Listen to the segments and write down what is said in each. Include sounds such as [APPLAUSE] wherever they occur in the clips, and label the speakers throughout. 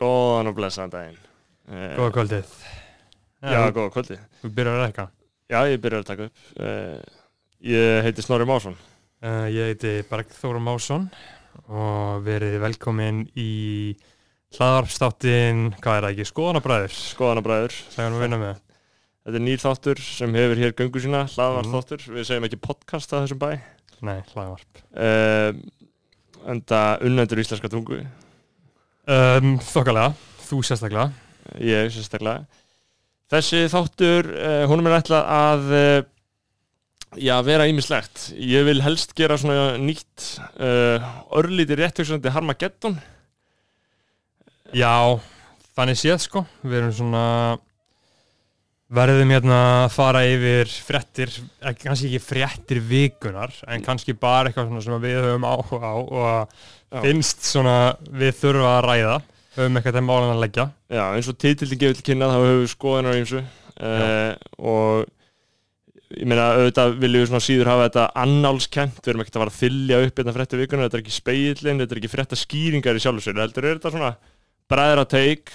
Speaker 1: og blessaðan daginn. Uh,
Speaker 2: Góða kvöldið.
Speaker 1: já, góða kvöldi.
Speaker 2: Þú byrjar að rekka.
Speaker 1: Já, ég byrjar að taka upp. Uh, ég heiti Snorri Másson.
Speaker 2: Uh, ég heiti Bergþóra Másson og verið velkomin í hlaðarpstáttin, hvað er það ekki, skoðanabræður,
Speaker 1: Skoðanabræður.
Speaker 2: sem við vinna með.
Speaker 1: Þetta er nýr þáttur sem hefur hér göngu sína, hlaðvart þáttur. Við segjum ekki podcast að þessum bæ.
Speaker 2: Nei, hlaðarp.
Speaker 1: Uh, enda unnendur íslenska tungu.
Speaker 2: Um, þokkalega, þú sérstaklega.
Speaker 1: Ég sérstaklega. Þessi þáttur, uh, hún er ætlað að uh, já, vera ýmislegt. Ég vil helst gera svona nýtt uh, örlíti réttugsunandi Harmageddon.
Speaker 2: Já, þannig séð sko, við erum svona, verðum hérna að fara yfir fréttir, eh, kannski ekki fréttir vikunar, en kannski bara eitthvað svona sem við höfum áhuga á og
Speaker 1: Já.
Speaker 2: finnst svona við þurfa að ræða, höfum eitthvað þeim málinn að leggja.
Speaker 1: Já, eins og titillin gefur til kynna þá höfum við skoðunar eins uh, og ég meina auðvitað viljum við svona síður hafa þetta annálskent, við erum ekkert að fara að þylja upp hérna frétta vikuna, þetta er ekki speillin, þetta er ekki frétta skýringar í sjálfsögur, heldur er þetta svona bræðra teik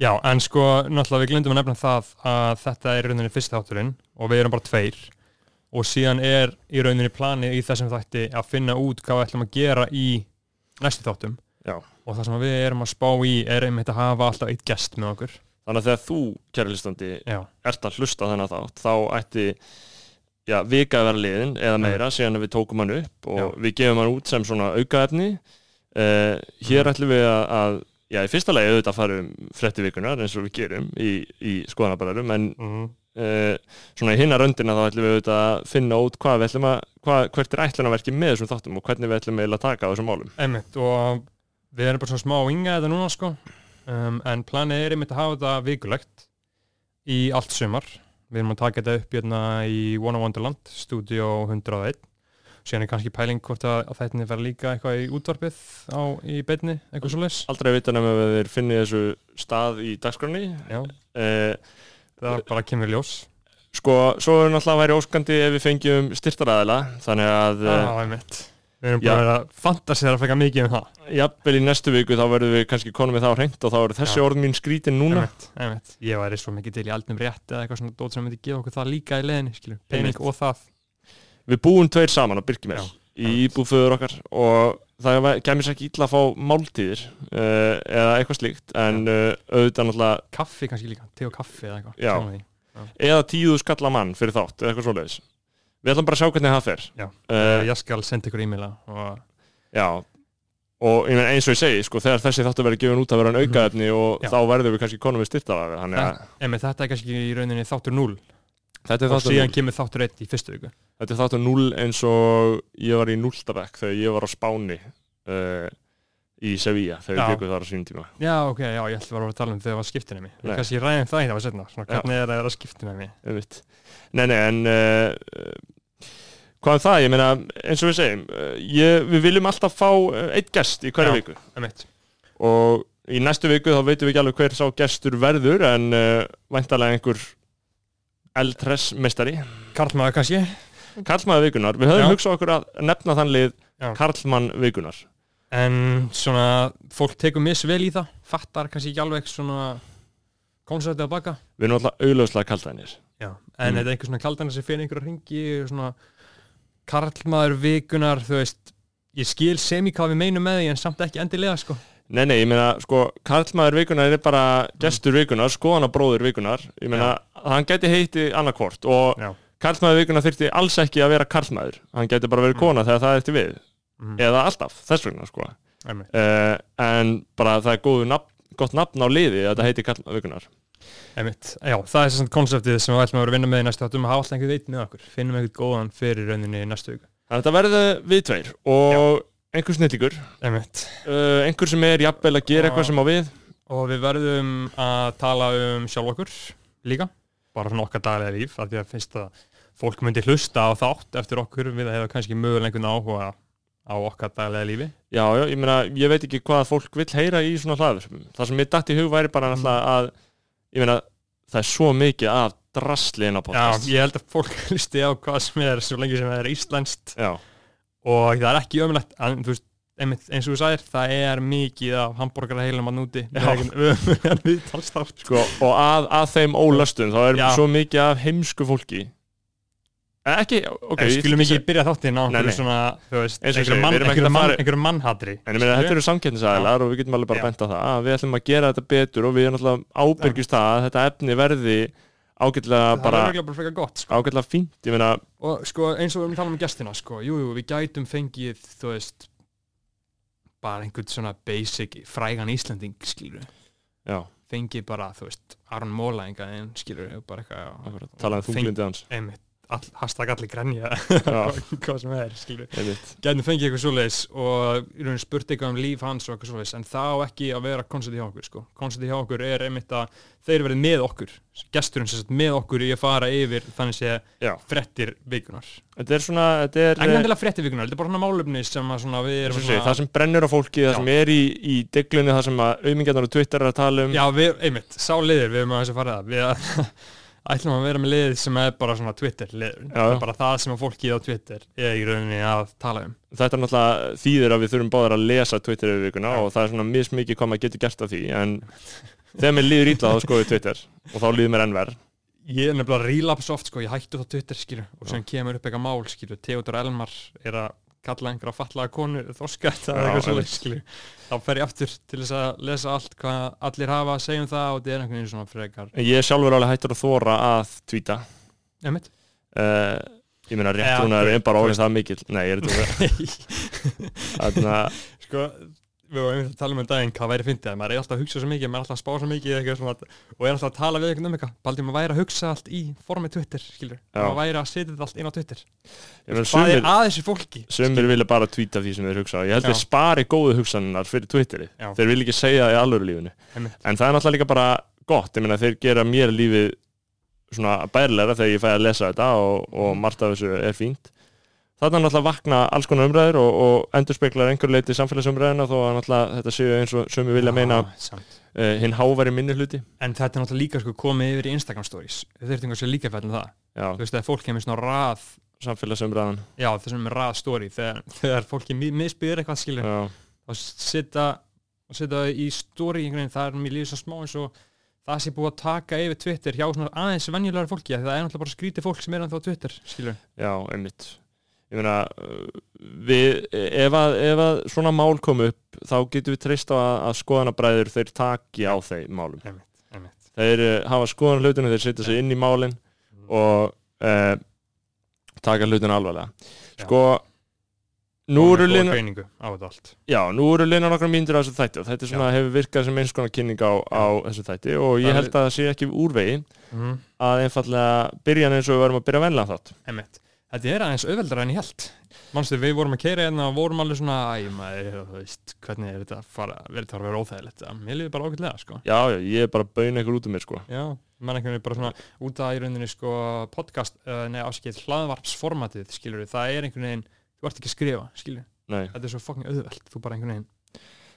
Speaker 2: Já, en sko, náttúrulega við glindum að nefna það að þetta er í rauninni fyrsti þátturinn og við erum bara tveir og síðan er í rauninni planið í þessum þætti að finna út hvað við ætlum að gera í næstu þáttum
Speaker 1: Já.
Speaker 2: og það sem við erum að spá í er einmitt að hafa alltaf eitt gest með okkur
Speaker 1: þannig að þegar þú, kæri listandi,
Speaker 2: Já,
Speaker 1: ert að hlusta á þennan þátt þá ætti já, vika að vera liðin eða meira síðan að við tókum hann upp og
Speaker 2: Já.
Speaker 1: við gefum hann út sem svona aukaefni uh, hér ætlum við að, að já, í fyrsta lagi auðvitað farum frétti vikunar eins og við gerum í, í skoðanabararum en
Speaker 2: mm.
Speaker 1: uh, svona í hinna röndina þá ætlum við auðvitað að finna út hvað við ætlum að hvað, hvert er ætlunarverkið með þessum þáttum og hvernig við ætlum eiginlega að taka á þessum málum
Speaker 2: einmitt og við erum bara svona smá að inga þetta núna sko um, en planið er einmitt að hafa þetta vikulegt í allt sumar við erum að taka þetta upp hérna í One of Wonderland, Studio 101 síðan er kannski pæling hvort að, að þetta verða líka eitthvað í útvarpið á, í beinni, eitthvað svo leys
Speaker 1: aldrei að vita nefnum að við finnum þessu stað í dagskránni
Speaker 2: Já,
Speaker 1: uh,
Speaker 2: það bara kemur í ljós
Speaker 1: Sko, svo er náttúrulega væri óskandi ef við fengjum styrtaræðila, þannig að
Speaker 2: Já,
Speaker 1: ah.
Speaker 2: einmitt Við erum
Speaker 1: Já.
Speaker 2: bara að vera að fantasera frekar mikið um það
Speaker 1: jafnvel í næstu viku þá verðum við kannski konum við þá hreint og þá eru þessi
Speaker 2: Já.
Speaker 1: orð mín skrítin núna.
Speaker 2: einmitt, einmitt. Ég væri svo mikið til í aldnum rétt eða eitthvað svona dót sem myndi gefa okkur það líka í leðinni skilur, pening
Speaker 1: Einmitt.
Speaker 2: og það
Speaker 1: Við búum tveir saman á Birkimel
Speaker 2: Já,
Speaker 1: í íbúföður okkar og það kemur sér ekki illa að fá máltíðir uh, eða eitthvað slíkt, en uh, auðvitað náttúrulega,
Speaker 2: kaffi kannski líka, te og kaffi eða eitthvað
Speaker 1: Já.
Speaker 2: kemur því.
Speaker 1: eða tíðu skalla mann fyrir þátt, eða eitthvað svoleiðis. Við ætlum bara að sjá hvernig það fer.
Speaker 2: Já.
Speaker 1: Eh,
Speaker 2: ég skal senda ykkur e-maila og
Speaker 1: Já og ég meina eins og ég segi sko þegar þessi þáttu verið gefin út að vera en aukaefni og
Speaker 2: Mhm. Já.
Speaker 1: þá verður við kannski konum við styrtaðar þannig að
Speaker 2: emi, þetta er kannski í rauninni þáttur 0
Speaker 1: þetta er
Speaker 2: og
Speaker 1: þáttur
Speaker 2: síðan kemur þáttur 1 í fyrstu viku
Speaker 1: Þetta er þáttu 0 eins og ég var í 0. bekk þegar ég var á Spáni uh, í Sevilla þegar
Speaker 2: Já.
Speaker 1: við byggum þar á sínum tíma.
Speaker 2: já ok, já, ég ætla bara að tala um þegar það var skiptinemi
Speaker 1: Nei.
Speaker 2: ég kannski ræðum það í það var setna svona,
Speaker 1: Já.
Speaker 2: hvernig er að vera skiptinemi
Speaker 1: einmitt. Nei, nei, en uh, hvað er það? Ég meina, eins og við segjum, uh, ég, við viljum alltaf fá uh, eitt gest í hverja
Speaker 2: Já.
Speaker 1: viku
Speaker 2: emitt,
Speaker 1: og í næstu viku þá veitum við ekki alveg hver sá gestur verður en uh, væntalega einhver eldhress meistari.
Speaker 2: Karlmaður kannski
Speaker 1: Karlmaður vikunar, við höfum
Speaker 2: Já.
Speaker 1: hugsað okkur að nefna þann lið
Speaker 2: Já.
Speaker 1: Karlmann vikunar.
Speaker 2: en svona, fólk tekur misvel í það fattar kannski ekki alveg svona konsertið að baka
Speaker 1: Við erum alltaf augljóslega kaldanir.
Speaker 2: já. en
Speaker 1: Mm.
Speaker 2: þetta er einhver svona kaldan sem finnir einhverja ringi svona karlmaður vikunar þú veist, ég skil sem í hvað við meinum með því en samt ekki endilega sko
Speaker 1: Nei, nei, ég meina, sko, karlmaður vikunar er bara
Speaker 2: Mm.
Speaker 1: gestur sko, vikunar, skoðanabróður vikunar ég meina, hann gæti heiti annarkvort og
Speaker 2: Já.
Speaker 1: karlmaður vikunar þyrfti alls ekki að vera karlmaður, hann gæti bara
Speaker 2: Mm.
Speaker 1: verið kona þegar það er til við,
Speaker 2: Mhm.
Speaker 1: eða alltaf þess vegna, sko,
Speaker 2: Einmitt.
Speaker 1: uh, en bara það er góðu nafn, gott nafn á liði að þetta heiti karlmaður vikunar
Speaker 2: Einmitt. Já, það er þessum konceptið sem við ætlum að vera að vinna með í næstu þáttum að hafa alltaf einhvern veit með okkur, finnum einhvern góðan fyrir rauninni í næstu viku.
Speaker 1: Þannig að þetta verður við tveir og einhver snillíkur,
Speaker 2: Einmitt.
Speaker 1: uh, einhver sem er jafnvel að gera
Speaker 2: Já.
Speaker 1: eitthvað sem á við
Speaker 2: Og við verðum að tala um sjálf okkur líka, bara svona okkar daglega líf, af því að finnst að fólk myndi hlusta á þátt eftir okkur við að hefa kannski mögulega einhvern áhuga á okkar daglega lífi.
Speaker 1: Já, já, ég meina, ég veit ekki hvað fólk vill heyra í svona hlaðverfum. Það sem mér datt í hug væri bara
Speaker 2: Mm.
Speaker 1: náttúrulega að, ég meina, það er svo mikið af drasli inn á podcast.
Speaker 2: Já, ég held að fólk [LAUGHS] hlusti á hvað sem er svo lengi sem það er íslenskt
Speaker 1: já.
Speaker 2: og það er ekki ömulegt, en þú veist, einmitt, eins og þú sagðir, það er mikið af hambúrgara heilum að núti
Speaker 1: Já.
Speaker 2: ömulegan viðtalstátt
Speaker 1: sko, og að, að þeim ólastum þá er
Speaker 2: Já.
Speaker 1: svo mikið af heimsku fólki Eh, ekki, ok
Speaker 2: okay,
Speaker 1: ég-
Speaker 2: Skulum ekki byrja þáttinn á
Speaker 1: Nei,
Speaker 2: einhverju
Speaker 1: nei.
Speaker 2: svona, þú veist,
Speaker 1: Eins og ég
Speaker 2: einhverju
Speaker 1: segi,
Speaker 2: mann,
Speaker 1: við erum ekkert
Speaker 2: einhverju
Speaker 1: að
Speaker 2: mann,
Speaker 1: fara-
Speaker 2: einhverju mannhatri
Speaker 1: En ég meina, þetta eru samkettnisæðilar og við getum alveg bara
Speaker 2: Já.
Speaker 1: bent á það að við ætlum að gera þetta betur og við erum náttúrulega ábyrgjust það að þetta efni verði ágætlega
Speaker 2: Það er
Speaker 1: bara,
Speaker 2: örugglega bara frekar gott, sko.
Speaker 1: ágætlega fínt, ég meina
Speaker 2: Og sko, eins og við erum að tala um gestina, sko, jú, jú, við gætum fengið, þú veist, bara einhvern svona basic frægan Íslanding, skilur
Speaker 1: já,
Speaker 2: fengið bara, þú veist, Aron Móla enga en skilur við bara eitthvað
Speaker 1: akkurat, talaði um þunglindi hans
Speaker 2: já, einmitt, all, hashtag allir grænja
Speaker 1: Já,
Speaker 2: [LAUGHS] hvað sem er, skilur
Speaker 1: einmitt,
Speaker 2: gætum fengið eitthvað svoleiðis og í rauninni spurt eitthvað um líf hans og eitthvað svoleiðis en það á ekki að vera koncerti hjá okkur sko. koncerti hjá okkur er einmitt að þeir verið með okkur, gesturinn sem sagt með okkur í að fara yfir þannig sé
Speaker 1: já
Speaker 2: frettir vikunar
Speaker 1: Þetta er svona, þetta er
Speaker 2: ekki endilega frettir vikunar, þetta er bara svona málefni sem að svona við
Speaker 1: eins
Speaker 2: erum
Speaker 1: og ég segi, það sem brennur á fólki, það
Speaker 2: Já.
Speaker 1: sem er í, í deglunni, það sem að auðmingjarnar og Twitter er að tala um
Speaker 2: já, við, einmitt, sá liðir við erum að [LAUGHS] þess að fara það við ætlum að vera með liðið sem er bara svona Twitter liður,
Speaker 1: Já, já.
Speaker 2: það er bara það sem að fólkið á Twitter er í rauninni að tala um
Speaker 1: þetta er náttúrulega þýðir að við þurfum báðar að lesa Twitter yfir vikuna og það er svona mismikið hvað maður getur gert af því en þegar mér líður ítla þá skoðu Twitter og þá líður mér enn verð
Speaker 2: ég er nefnilega relapse oft sko, ég hættu þá Twitter skilur og sem kemur upp eitthvað mál skilur Theodor Elmar er að kalla einhverja fatlaða konu þorskætt eða
Speaker 1: Já,
Speaker 2: eitthvað svo
Speaker 1: einmitt.
Speaker 2: skilur þá fer ég aftur til þess að lesa allt hvað allir hafa að segja um það og þetta er einhvern veginn svona frekar
Speaker 1: ég er sjálfur alveg hættur að þóra að tvíta
Speaker 2: Einmitt.
Speaker 1: uh, ég meina rétt
Speaker 2: Já,
Speaker 1: hún er
Speaker 2: þú-
Speaker 1: bara
Speaker 2: þú
Speaker 1: orðins það mikill nei, ég er þetta
Speaker 2: [LAUGHS]
Speaker 1: Þarna,
Speaker 2: [LAUGHS] sko við varum einmitt að tala um um daginn hvað væri fyndið að maður er alltaf að hugsa svo mikið, maður er alltaf að spá svo mikið eitthvað svona, og er alltaf að tala við einhvern um eitthvað Baldur maður væri að hugsa allt í formi Twitter skilur,
Speaker 1: Já.
Speaker 2: maður væri að setja þetta allt inn á Twitter
Speaker 1: ég meina
Speaker 2: hvað er
Speaker 1: sumir,
Speaker 2: að þessu fólki
Speaker 1: sumir vilja bara tvíta því sem þeir hugsa ég held
Speaker 2: Já.
Speaker 1: þeir spari góðu hugsaninnar fyrir Twitteri
Speaker 2: Já.
Speaker 1: þeir vilja ekki segja það í alvöru lífinu
Speaker 2: Einmitt.
Speaker 1: en það er náttúrulega líka bara gott ég meina þeir gera mér lífið svona bærilega þegar ég fæ að lesa þetta og, og margt af þessu er fínt þarna náttúrulega vakna alls konar umræður og, og endurspeglar einhver leiti samfélagsumræðina þó að náttúrulega þetta séu eins og sumi vilja meina uh,
Speaker 2: Ah, samt.
Speaker 1: hinn háværi minni hluti
Speaker 2: En þetta er náttúrulega líka sko komið yfir í Instagram stories Þau þurftum kannski líka fæll um það
Speaker 1: já,
Speaker 2: Þú veist, þegar fólk kemur svona rað
Speaker 1: samfélagsumræðan
Speaker 2: Já, þessum með rað story Þegar, þegar fólki misbyður eitthvað skilur
Speaker 1: já,
Speaker 2: Og setja og setja það í story einhvern veginn Það er mér líður svo smá eins og Það sé búið að taka yfir Twitter hjá svona aðeins venjulegar fólki af því Það er náttúrulega bara skrítið fólk sem er ennþá á Twitter skilur
Speaker 1: já, einmitt ég meina uh, við, ef, að, ef að svona mál kom upp þá getum við treyst á að, að skoðanabræður þeir taki á þeim málum
Speaker 2: Einmitt. Mm.
Speaker 1: þeir eh, hafa skoðan hlutinu, þeir setja sig inn í málin og uh, taka hlutinu alvarlega
Speaker 2: Já.
Speaker 1: sko nú
Speaker 2: Og
Speaker 1: eru
Speaker 2: með góða
Speaker 1: linar,
Speaker 2: greiningu á þetta allt
Speaker 1: já, nú eru linar nokkra mínútur á þessu þætti og þetta er svona hefur virkað sem eins konar kynning á, á þessu þætti og
Speaker 2: Það
Speaker 1: ég
Speaker 2: er-
Speaker 1: held að það sé ekki úr vegi
Speaker 2: mm.
Speaker 1: að einfallega byrjan eins og við varum að byrja venlega þátt
Speaker 2: Einmitt. Þetta er aðeins auðveldra en ég held Manstu, við vorum að keira hérna og vorum alveg svona Æ, maður, þú veist, hvernig er þetta að fara Verður þetta að vera óþægilegt En Mér líður bara ágætlega, sko
Speaker 1: já, já, ég er bara að bauna ykkur út um mér sko
Speaker 2: Já, menn einhvern veginn bara svona út að í rauninni sko podcast, uh, nei afskilt hlaðvarpsformatið, skilur við, það er einhvern veginn þú ert ekki að skrifa, skilur við,
Speaker 1: Nei,
Speaker 2: þetta er svo fucking auðvelt, þú bara einhvern veginn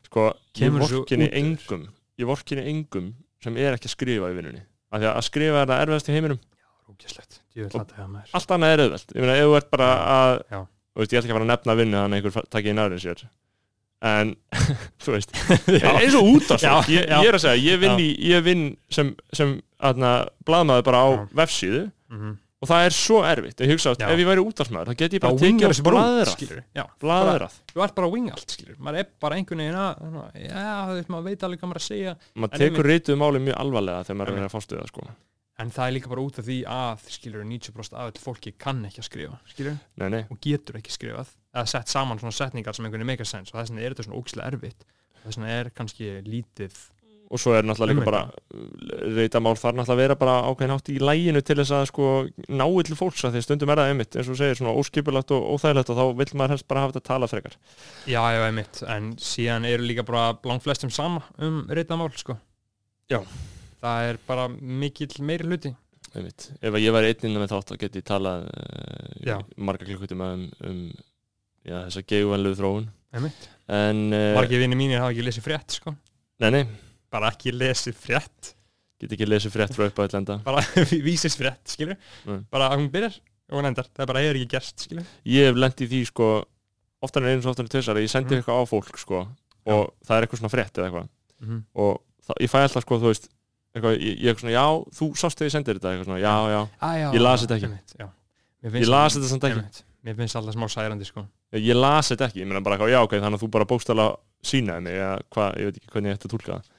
Speaker 1: sko, ég
Speaker 2: Kemur þessu
Speaker 1: vorkinni
Speaker 2: út úr.
Speaker 1: engum ég vorkinni engum sem er ekki að skrifa í vinnunni af því að að skrifa er það erfiðast í heiminum
Speaker 2: rúkislegt, ég vil
Speaker 1: Og-
Speaker 2: hætta það maður
Speaker 1: allt annað er auðvelt ég meina, ef þú ert bara að
Speaker 2: Já.
Speaker 1: þú veist, ég ætla ekki að fara að nefna vinnu þannig að einhver takk í nærið sér en, [LAUGHS] þú veist
Speaker 2: Ah, [LAUGHS] Já,
Speaker 1: eins og út af svo,
Speaker 2: Já,
Speaker 1: ég,
Speaker 2: já.
Speaker 1: ég er að segja ég vinn,
Speaker 2: Já.
Speaker 1: í, ég vinn sem, sem aðna, blaðmaður bara á
Speaker 2: Já.
Speaker 1: vefsíðu
Speaker 2: mhm.
Speaker 1: og það er svo erfitt, ég hugsa
Speaker 2: Já.
Speaker 1: að ef ég væri útafsmaður þá get ég bara
Speaker 2: bara
Speaker 1: að tekið
Speaker 2: wingar
Speaker 1: og
Speaker 2: þessu bara út,
Speaker 1: bladrað
Speaker 2: skilur við, já,
Speaker 1: bladrað,
Speaker 2: þú ert bara að winga allt, skilur við, maður er bara einhvern veginn að, svona, já, þú veist, maður veit alveg hvað maður er að segja En
Speaker 1: maður
Speaker 2: einmitt-
Speaker 1: tekur rituð máli mjög alvarlega þegar maður er að reyna að fástu það sko.
Speaker 2: en það er líka bara út af því að, skilur við, 90% af öllu fólki kann ekki að skrifa, skilur við,
Speaker 1: nei, nei,
Speaker 2: og getur ekki skrifað eða sett saman svona setningar sem einhvern veginn make a sense og þess vegna er þetta svona ógislega erfitt og þess vegna er kannski lítið
Speaker 1: og svo er náttúrulega líka
Speaker 2: Einmitt,
Speaker 1: bara reytamál þar náttúrulega að vera bara ákveðin hátt í læginu til þess að sko ná til fólks að því stundum er það einmitt eins og þú segir svona óskipulagt og óþægilegt og þá vill maður helst bara hafa þetta að tala frekar
Speaker 2: já, já, einmitt, en síðan eru líka bara langflestum sama um reytamál sko.
Speaker 1: Já.
Speaker 2: það er bara mikill meiri hluti
Speaker 1: einmitt. ef að ég væri einn innan með þátt þá geti ég talað uh,
Speaker 2: Já.
Speaker 1: marga klukkutum um, um já, þessa geigvænlegu þróun
Speaker 2: einmitt,
Speaker 1: en uh,
Speaker 2: margir vini mínir hafa ekki lesið frétt sko.
Speaker 1: nei, nei,
Speaker 2: bara ekki lesið frétt
Speaker 1: get ekki lesið frétt frá upp á ætlenda
Speaker 2: bara [LAUGHS] vísist frétt, skilur
Speaker 1: Nei.
Speaker 2: bara hún byrjar og hún endar, það bara er ekki gerst skilur
Speaker 1: ég hef lent í því sko oftar en einu og oftar en tvisar að ég sendi
Speaker 2: Mm.
Speaker 1: eitthvað á fólk sko og það er eitthvað svona frétt eða eitthvað
Speaker 2: Mhm.
Speaker 1: og það, ég fæ alltaf sko þú veist eitthvað, ég, ég er svona já, þú sást þegar ég sendir þetta eitthvað svona já, já,
Speaker 2: ah, já,
Speaker 1: Ég las þetta ekki.
Speaker 2: einmitt, já. Mér
Speaker 1: ég
Speaker 2: finnst-
Speaker 1: las þetta samt ekki
Speaker 2: einmitt. Mér finnst alltaf smá særandi sko
Speaker 1: ég, ég las þetta ekki, ég meina bara eitthvað já, ok, þannig að þú bara bókstala sínaði mig eða hvað, ég veit ekki hvernig ég ætti að tólka það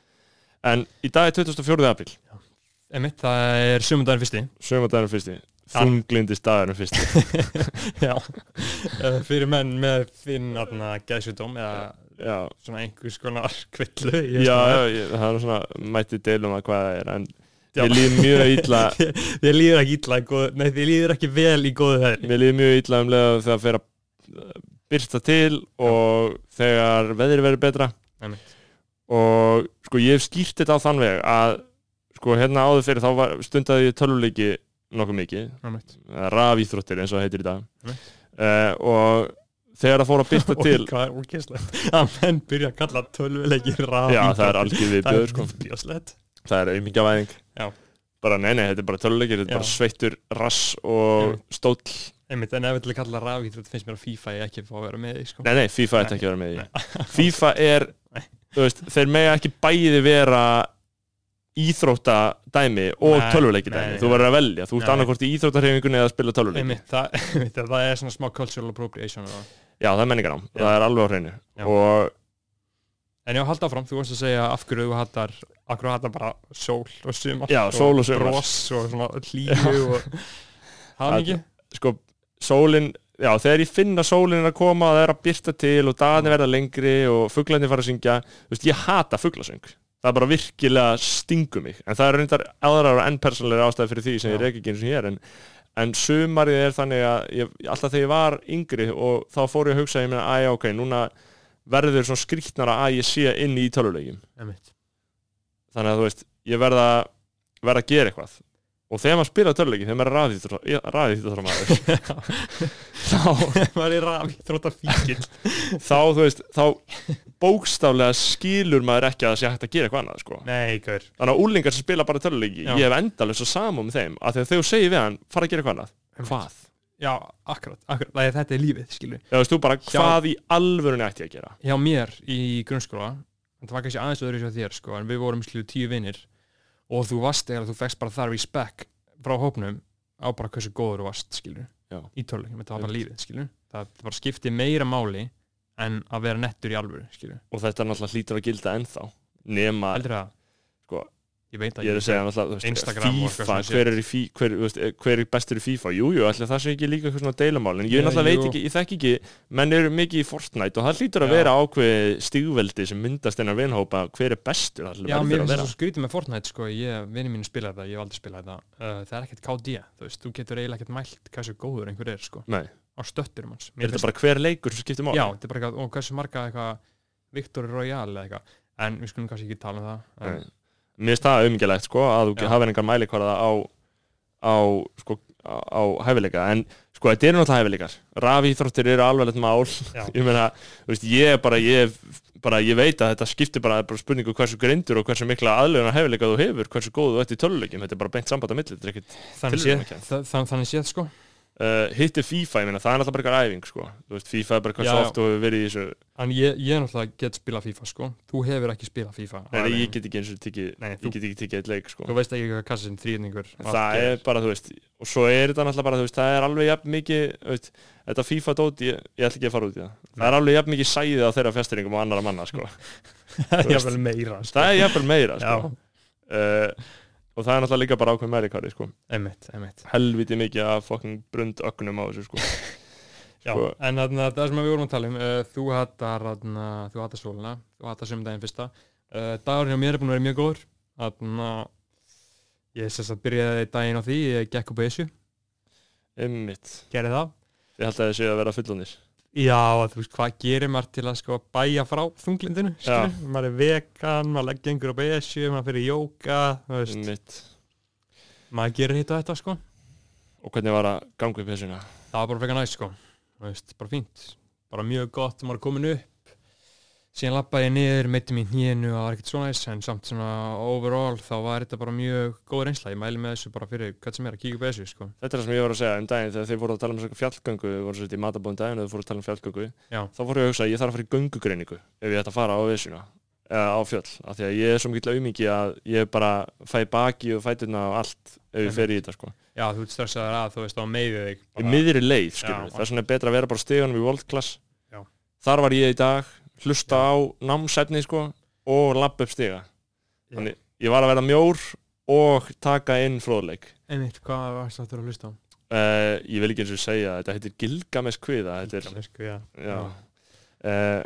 Speaker 1: en í dag er 24. apríl
Speaker 2: Einmitt, það er sumundaginn fyrsti
Speaker 1: [LAUGHS] sömandagurinn fyrsti,
Speaker 2: Já.
Speaker 1: þunglindist dagurinn fyrsti
Speaker 2: Já Eh, Fyrir menn með þinn atna, geðsjúdóm eða
Speaker 1: já,
Speaker 2: svona einhvers konar kvillu
Speaker 1: já, já ég, það er svona mætti deilum að hvað það er en
Speaker 2: Já.
Speaker 1: ég líð mjög illa
Speaker 2: [LAUGHS] Þið líður ekki illa í góð, Nei, þið líður ekki vel í góðu veðri
Speaker 1: mér líður mjög illa um leiða þegar fyrir að byrsta til og þegar veðri verður betra
Speaker 2: Einmitt.
Speaker 1: og sko ég hef skýrt þetta á þann veg að sko hérna áður fyrir þá var, stundaði ég töluleiki nokkuð mikið,
Speaker 2: Einmitt.
Speaker 1: rafíþróttir eins og það heitir í dag
Speaker 2: Einmitt.
Speaker 1: uh, og þegar það fór að byrta
Speaker 2: [LAUGHS] Og
Speaker 1: til
Speaker 2: hvað er úrkislegt að menn byrja að kalla tölvuleiki raf
Speaker 1: já það er algjör
Speaker 2: Það
Speaker 1: viðbjöður
Speaker 2: er
Speaker 1: sko.
Speaker 2: bjóslegt
Speaker 1: það er aumingjavæðing
Speaker 2: Já.
Speaker 1: bara nei nei, þetta er bara töluleikir þetta
Speaker 2: Já.
Speaker 1: er bara sveittur, rass og stóll
Speaker 2: Einmitt, en ef við ætlum að kalla raf íþrótt finnst mér að FIFA ég ekki fá að vera með því sko
Speaker 1: Nei, nei, FIFA ætti
Speaker 2: Nei.
Speaker 1: ekki að vera með því FIFA er, þú veist, þeir mega ekki bæði vera íþrótta dæmi og
Speaker 2: Nei,
Speaker 1: tölvuleiki
Speaker 2: nei,
Speaker 1: dæmi þú
Speaker 2: nei.
Speaker 1: verður að velja, þú ert
Speaker 2: Nei.
Speaker 1: annarkvort í íþróttahreyfingunni eða að spila tölvuleiki
Speaker 2: Einmitt, það, [LAUGHS] einmitt, það er svona smá cultural appropriation og
Speaker 1: Já, það er menningarnám,
Speaker 2: Já.
Speaker 1: það er alveg á hreinu
Speaker 2: Já.
Speaker 1: og
Speaker 2: En já, halda áfram, þú varst að segja af hverju þú hattar, af hverju þú hattar bara sól og sumar
Speaker 1: Já, sól og sumar.
Speaker 2: Bros og svona hlýju og [LAUGHS] hamingi
Speaker 1: sko, sólin já, þegar ég finna sólin að koma og það er að byrta til og dagarnir verða lengri og fugglarnir fara að syngja, þú veist, ég hata fugglasöng það er bara virkilega stingu mig en það er reyndar aðrar og enn persónlega ástæði fyrir því sem ég
Speaker 2: Já.
Speaker 1: er ekki eins og hér en, en sumarið er þannig að ég, alltaf þegar ég var yngri og þá fór ég að hugsa ég meina, að já, ok, núna verður svona skrýtnara að ég sé inn í tölulegjum
Speaker 2: [LAUGHS] Einmitt.
Speaker 1: þannig að þú veist, ég verða verða að gera eitthvað og þegar maður spila tölulegji, þegar maður er ræðið
Speaker 2: [LAUGHS]
Speaker 1: þá
Speaker 2: Var í rafi, þrótt að fíkil
Speaker 1: þá, þú veist, þá bókstaflega skilur maður ekki að það sé hægt að gera eitthvað annað, sko.
Speaker 2: Nei, gaur
Speaker 1: Þannig að úlingar sem spila bara töluleiki,
Speaker 2: Já.
Speaker 1: ég hef endalins að samum með þeim, að þegar þau segir við hann, fara að gera eitthvað annað.
Speaker 2: Einmitt.
Speaker 1: Hvað?
Speaker 2: Já, akkurat, akkurat, það er þetta er lífið, skilur
Speaker 1: Já, veist þú bara,
Speaker 2: Já.
Speaker 1: hvað í alvörunni ætti ég að gera?
Speaker 2: hjá mér í grunnskóla en það var kannski aðeins öðru sér þér sko en við vorum slíðu tíu vinnir og þú varst eða þú fegst bara þar í spekk frá hópnum á bara hversu góður þú varst skilur
Speaker 1: Já.
Speaker 2: í töluleikum, þetta var bara
Speaker 1: Einmitt.
Speaker 2: lífið skilur það bara skipti meira máli en að vera nettur í alvöru skilur
Speaker 1: Og þetta er náttúrulega hlýtur að gilda ennþá. Nema,
Speaker 2: heldur það
Speaker 1: Sko,
Speaker 2: ég veit að
Speaker 1: ég er að segja náttúrulega, þú veist,
Speaker 2: Instagram og eitthvað
Speaker 1: FIFA,
Speaker 2: svona shit.
Speaker 1: hver er, í, fí- hver, þú veist, hver er bestur í FIFA? Jú, jú, allir það sé ekki líka eitthvað svona deilamál, en ég
Speaker 2: Já,
Speaker 1: náttúrulega
Speaker 2: jú.
Speaker 1: veit ekki, ég þekk ekki, menn eru mikið í Fortnite og það hlýtur að
Speaker 2: Já.
Speaker 1: vera ákveðið stígveldi sem myndast innan vinhópa, hver er bestur, allir
Speaker 2: já,
Speaker 1: verður að
Speaker 2: mér finnst það
Speaker 1: vera.
Speaker 2: svo skrítið með Fortnite sko ég, vinni mínu spilaði það, ég hef aldrei spilaði það uh, það er ekkert KD, þú veist, þú getur eiginlega ekkert mælt hversu góður einhver er sko
Speaker 1: Nei.
Speaker 2: á stötturum hans Mér
Speaker 1: Er
Speaker 2: finnst-
Speaker 1: þetta bara hver leikur sem skiptir mál?
Speaker 2: Já, þetta er bara eitthvað, og hversu marga eitthvað Victor Royale eða eitthvað en við skulum kannski ekki tala um það en,
Speaker 1: Nei. Mér finnst það auðmyggjulegt sko að þú
Speaker 2: Já.
Speaker 1: hafa engar mælikvarða á, á, sko, á, á hæfileika en sko þetta eru náttúrulega hæfileikar rafíþróttir eru alveglegt mál
Speaker 2: Já.
Speaker 1: [LAUGHS] ég meina, þú veist, ég er bara ég, er bara, ég veit að þetta skiptir bara, bara spurningu hversu grindur og hversu mikla aðlöðuna hæfileika þú hefur, hversu góð þú ert í töluleikim þetta er bara beint samband á milli, þetta er ekkert
Speaker 2: þannig,
Speaker 1: Tilraun
Speaker 2: séð,
Speaker 1: ekki.
Speaker 2: þa þa- þannig séð sko
Speaker 1: uh, hitti FIFA, ég meina, það er náttúrulega bara eitthvað æfing sko, þú veist, FIFA er bara hversu
Speaker 2: Já, já.
Speaker 1: oft þú hefur verið í þessu,
Speaker 2: en ég, ég náttúrulega get spilað FIFA sko þú hefur ekki spilað FIFA
Speaker 1: en
Speaker 2: alveg.
Speaker 1: ég get ekki eins og tekið,
Speaker 2: Nei,
Speaker 1: ég
Speaker 2: þú,
Speaker 1: get ekki tekið eitt leik sko.
Speaker 2: þú veist ekki hvað kassin þrýðningur
Speaker 1: En það
Speaker 2: [LAUGHS]
Speaker 1: er bara, þú veist, og svo er þetta náttúrulega bara, þú veist, það er alveg jafn mikið, þú veist, þetta FIFA dót, ég, ég ætla ekki að fara út í það. Það er alveg jafn mikið sæðið á þeirra fjastiringum og annara manna,
Speaker 2: [LAUGHS]
Speaker 1: sko. þú veist.
Speaker 2: jafnvel meira sko.
Speaker 1: það er jafnvel meira, sko.
Speaker 2: Já,
Speaker 1: Uh, og það er náttúrulega líka bara ákveð mælikari, sko.
Speaker 2: einmitt, einmitt
Speaker 1: Helviti mikið af fokkin brundögnum á þessu, sko.
Speaker 2: Já,
Speaker 1: Sko-
Speaker 2: en þarna, það sem við vorum að tala um uh, þú hattar, þarna, þú hattar sóluna þú hattar sömdaginn fyrsta uh, dagurinn hjá mér er búin að vera mjög góður þarna, ég sérst að byrjaði daginn á því, ég gekk upp á Esju
Speaker 1: Ymmit.
Speaker 2: gerði það
Speaker 1: Ég held að það sé að vera fullonir.
Speaker 2: já, að þú veist, hvað gerir maður til að sko bæja frá þunglindinu skilur? maður er vegan, maður legg gengur upp á Esju maður fyrir jóka, þú veist
Speaker 1: Ymmit.
Speaker 2: maður gerir hitt og þetta sko
Speaker 1: Og hvernig var að ganga upp þessuna?
Speaker 2: það var bara frekar næst sko Þú veist, bara fínt, bara mjög gott maður er komin upp síðan lappaði ég niður, meiti mín hnínu og það var ekkert svona þess, en samt svona overall þá var þetta bara mjög góð reynsla ég mæli með þessu bara fyrir hvað sem er að kíka upp að þessu sko.
Speaker 1: Þetta er það sem ég var að segja um daginn þegar þið voru að tala um svona fjallgöngu, við vorum svolítið í matabóðum daginn og þið voru að tala um fjallgöngu,
Speaker 2: Já.
Speaker 1: þá voru ég að hugsa að ég þarf að fara í göngugreiningu ef ég ætti að fara á vissuna eða á fjöll, af því að ég er svo mikill aumingi að ég bara fæ baki og fætuna og allt ef ég fer í þetta sko.
Speaker 2: já, þú ert stressaður að þú veist þá meiðið þig
Speaker 1: Í
Speaker 2: bara-
Speaker 1: miðri leið, skilur
Speaker 2: Já.
Speaker 1: við, þess vegna er betra að vera bara á stiganum í world class
Speaker 2: Já.
Speaker 1: Þar var ég í dag, hlusta á námsefni sko og lapp upp stiga
Speaker 2: Já.
Speaker 1: Þannig ég var að vera mjór og taka inn fróðleik
Speaker 2: einmitt, hvað varst þetta að hlusta á?
Speaker 1: Uh, ég vil ekki eins og segja, þetta heitir Gilgamesh kviða, þetta er
Speaker 2: Sko, já.
Speaker 1: já. Uh,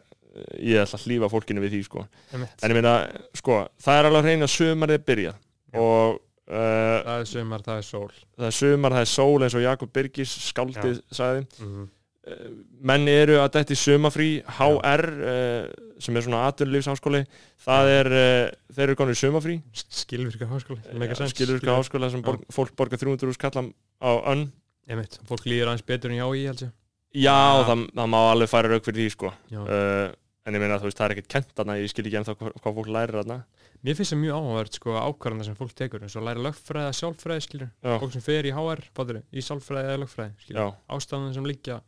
Speaker 1: ég ætla að hlýfa fólkinu við því sko.
Speaker 2: Einmitt.
Speaker 1: en ég meina, sko, það er alveg hrein að sumarið byrja
Speaker 2: Já.
Speaker 1: og uh,
Speaker 2: það er sumar, það er sól
Speaker 1: það er sumar, það er sól eins og Jakob Birgis skáldið sagði
Speaker 2: mm.
Speaker 1: uh, menn eru að þetta er sumafrí HR, uh, sem er svona atvinnulífsháskóli, það er uh, þeir eru konur sumafrí
Speaker 2: skilvirka háskóli sem make a sense.
Speaker 1: skilur ykkur Eh, háskóla sem borg, fólk borgar 300 úr skallam á önn
Speaker 2: einmitt, fólk líður aðeins betur en já í held ég
Speaker 1: já,
Speaker 2: Já.
Speaker 1: Það, það má alveg fara rauk fyrir því sko.
Speaker 2: Já.
Speaker 1: uh, en ég meina þú veist, það er ekkert kent þarna, ég skil ekki ennþá hvað, hvað fólk lærir þarna
Speaker 2: Mér finnst það mjög áhugavert sko ákvarðan sem fólk tekur eins og læra lögfræði að sjálffræði skilur
Speaker 1: Já.
Speaker 2: fólk sem fer í HR, fattur, í sjálffræði eða lögfræði skilur,
Speaker 1: já,
Speaker 2: ástæðan sem liggja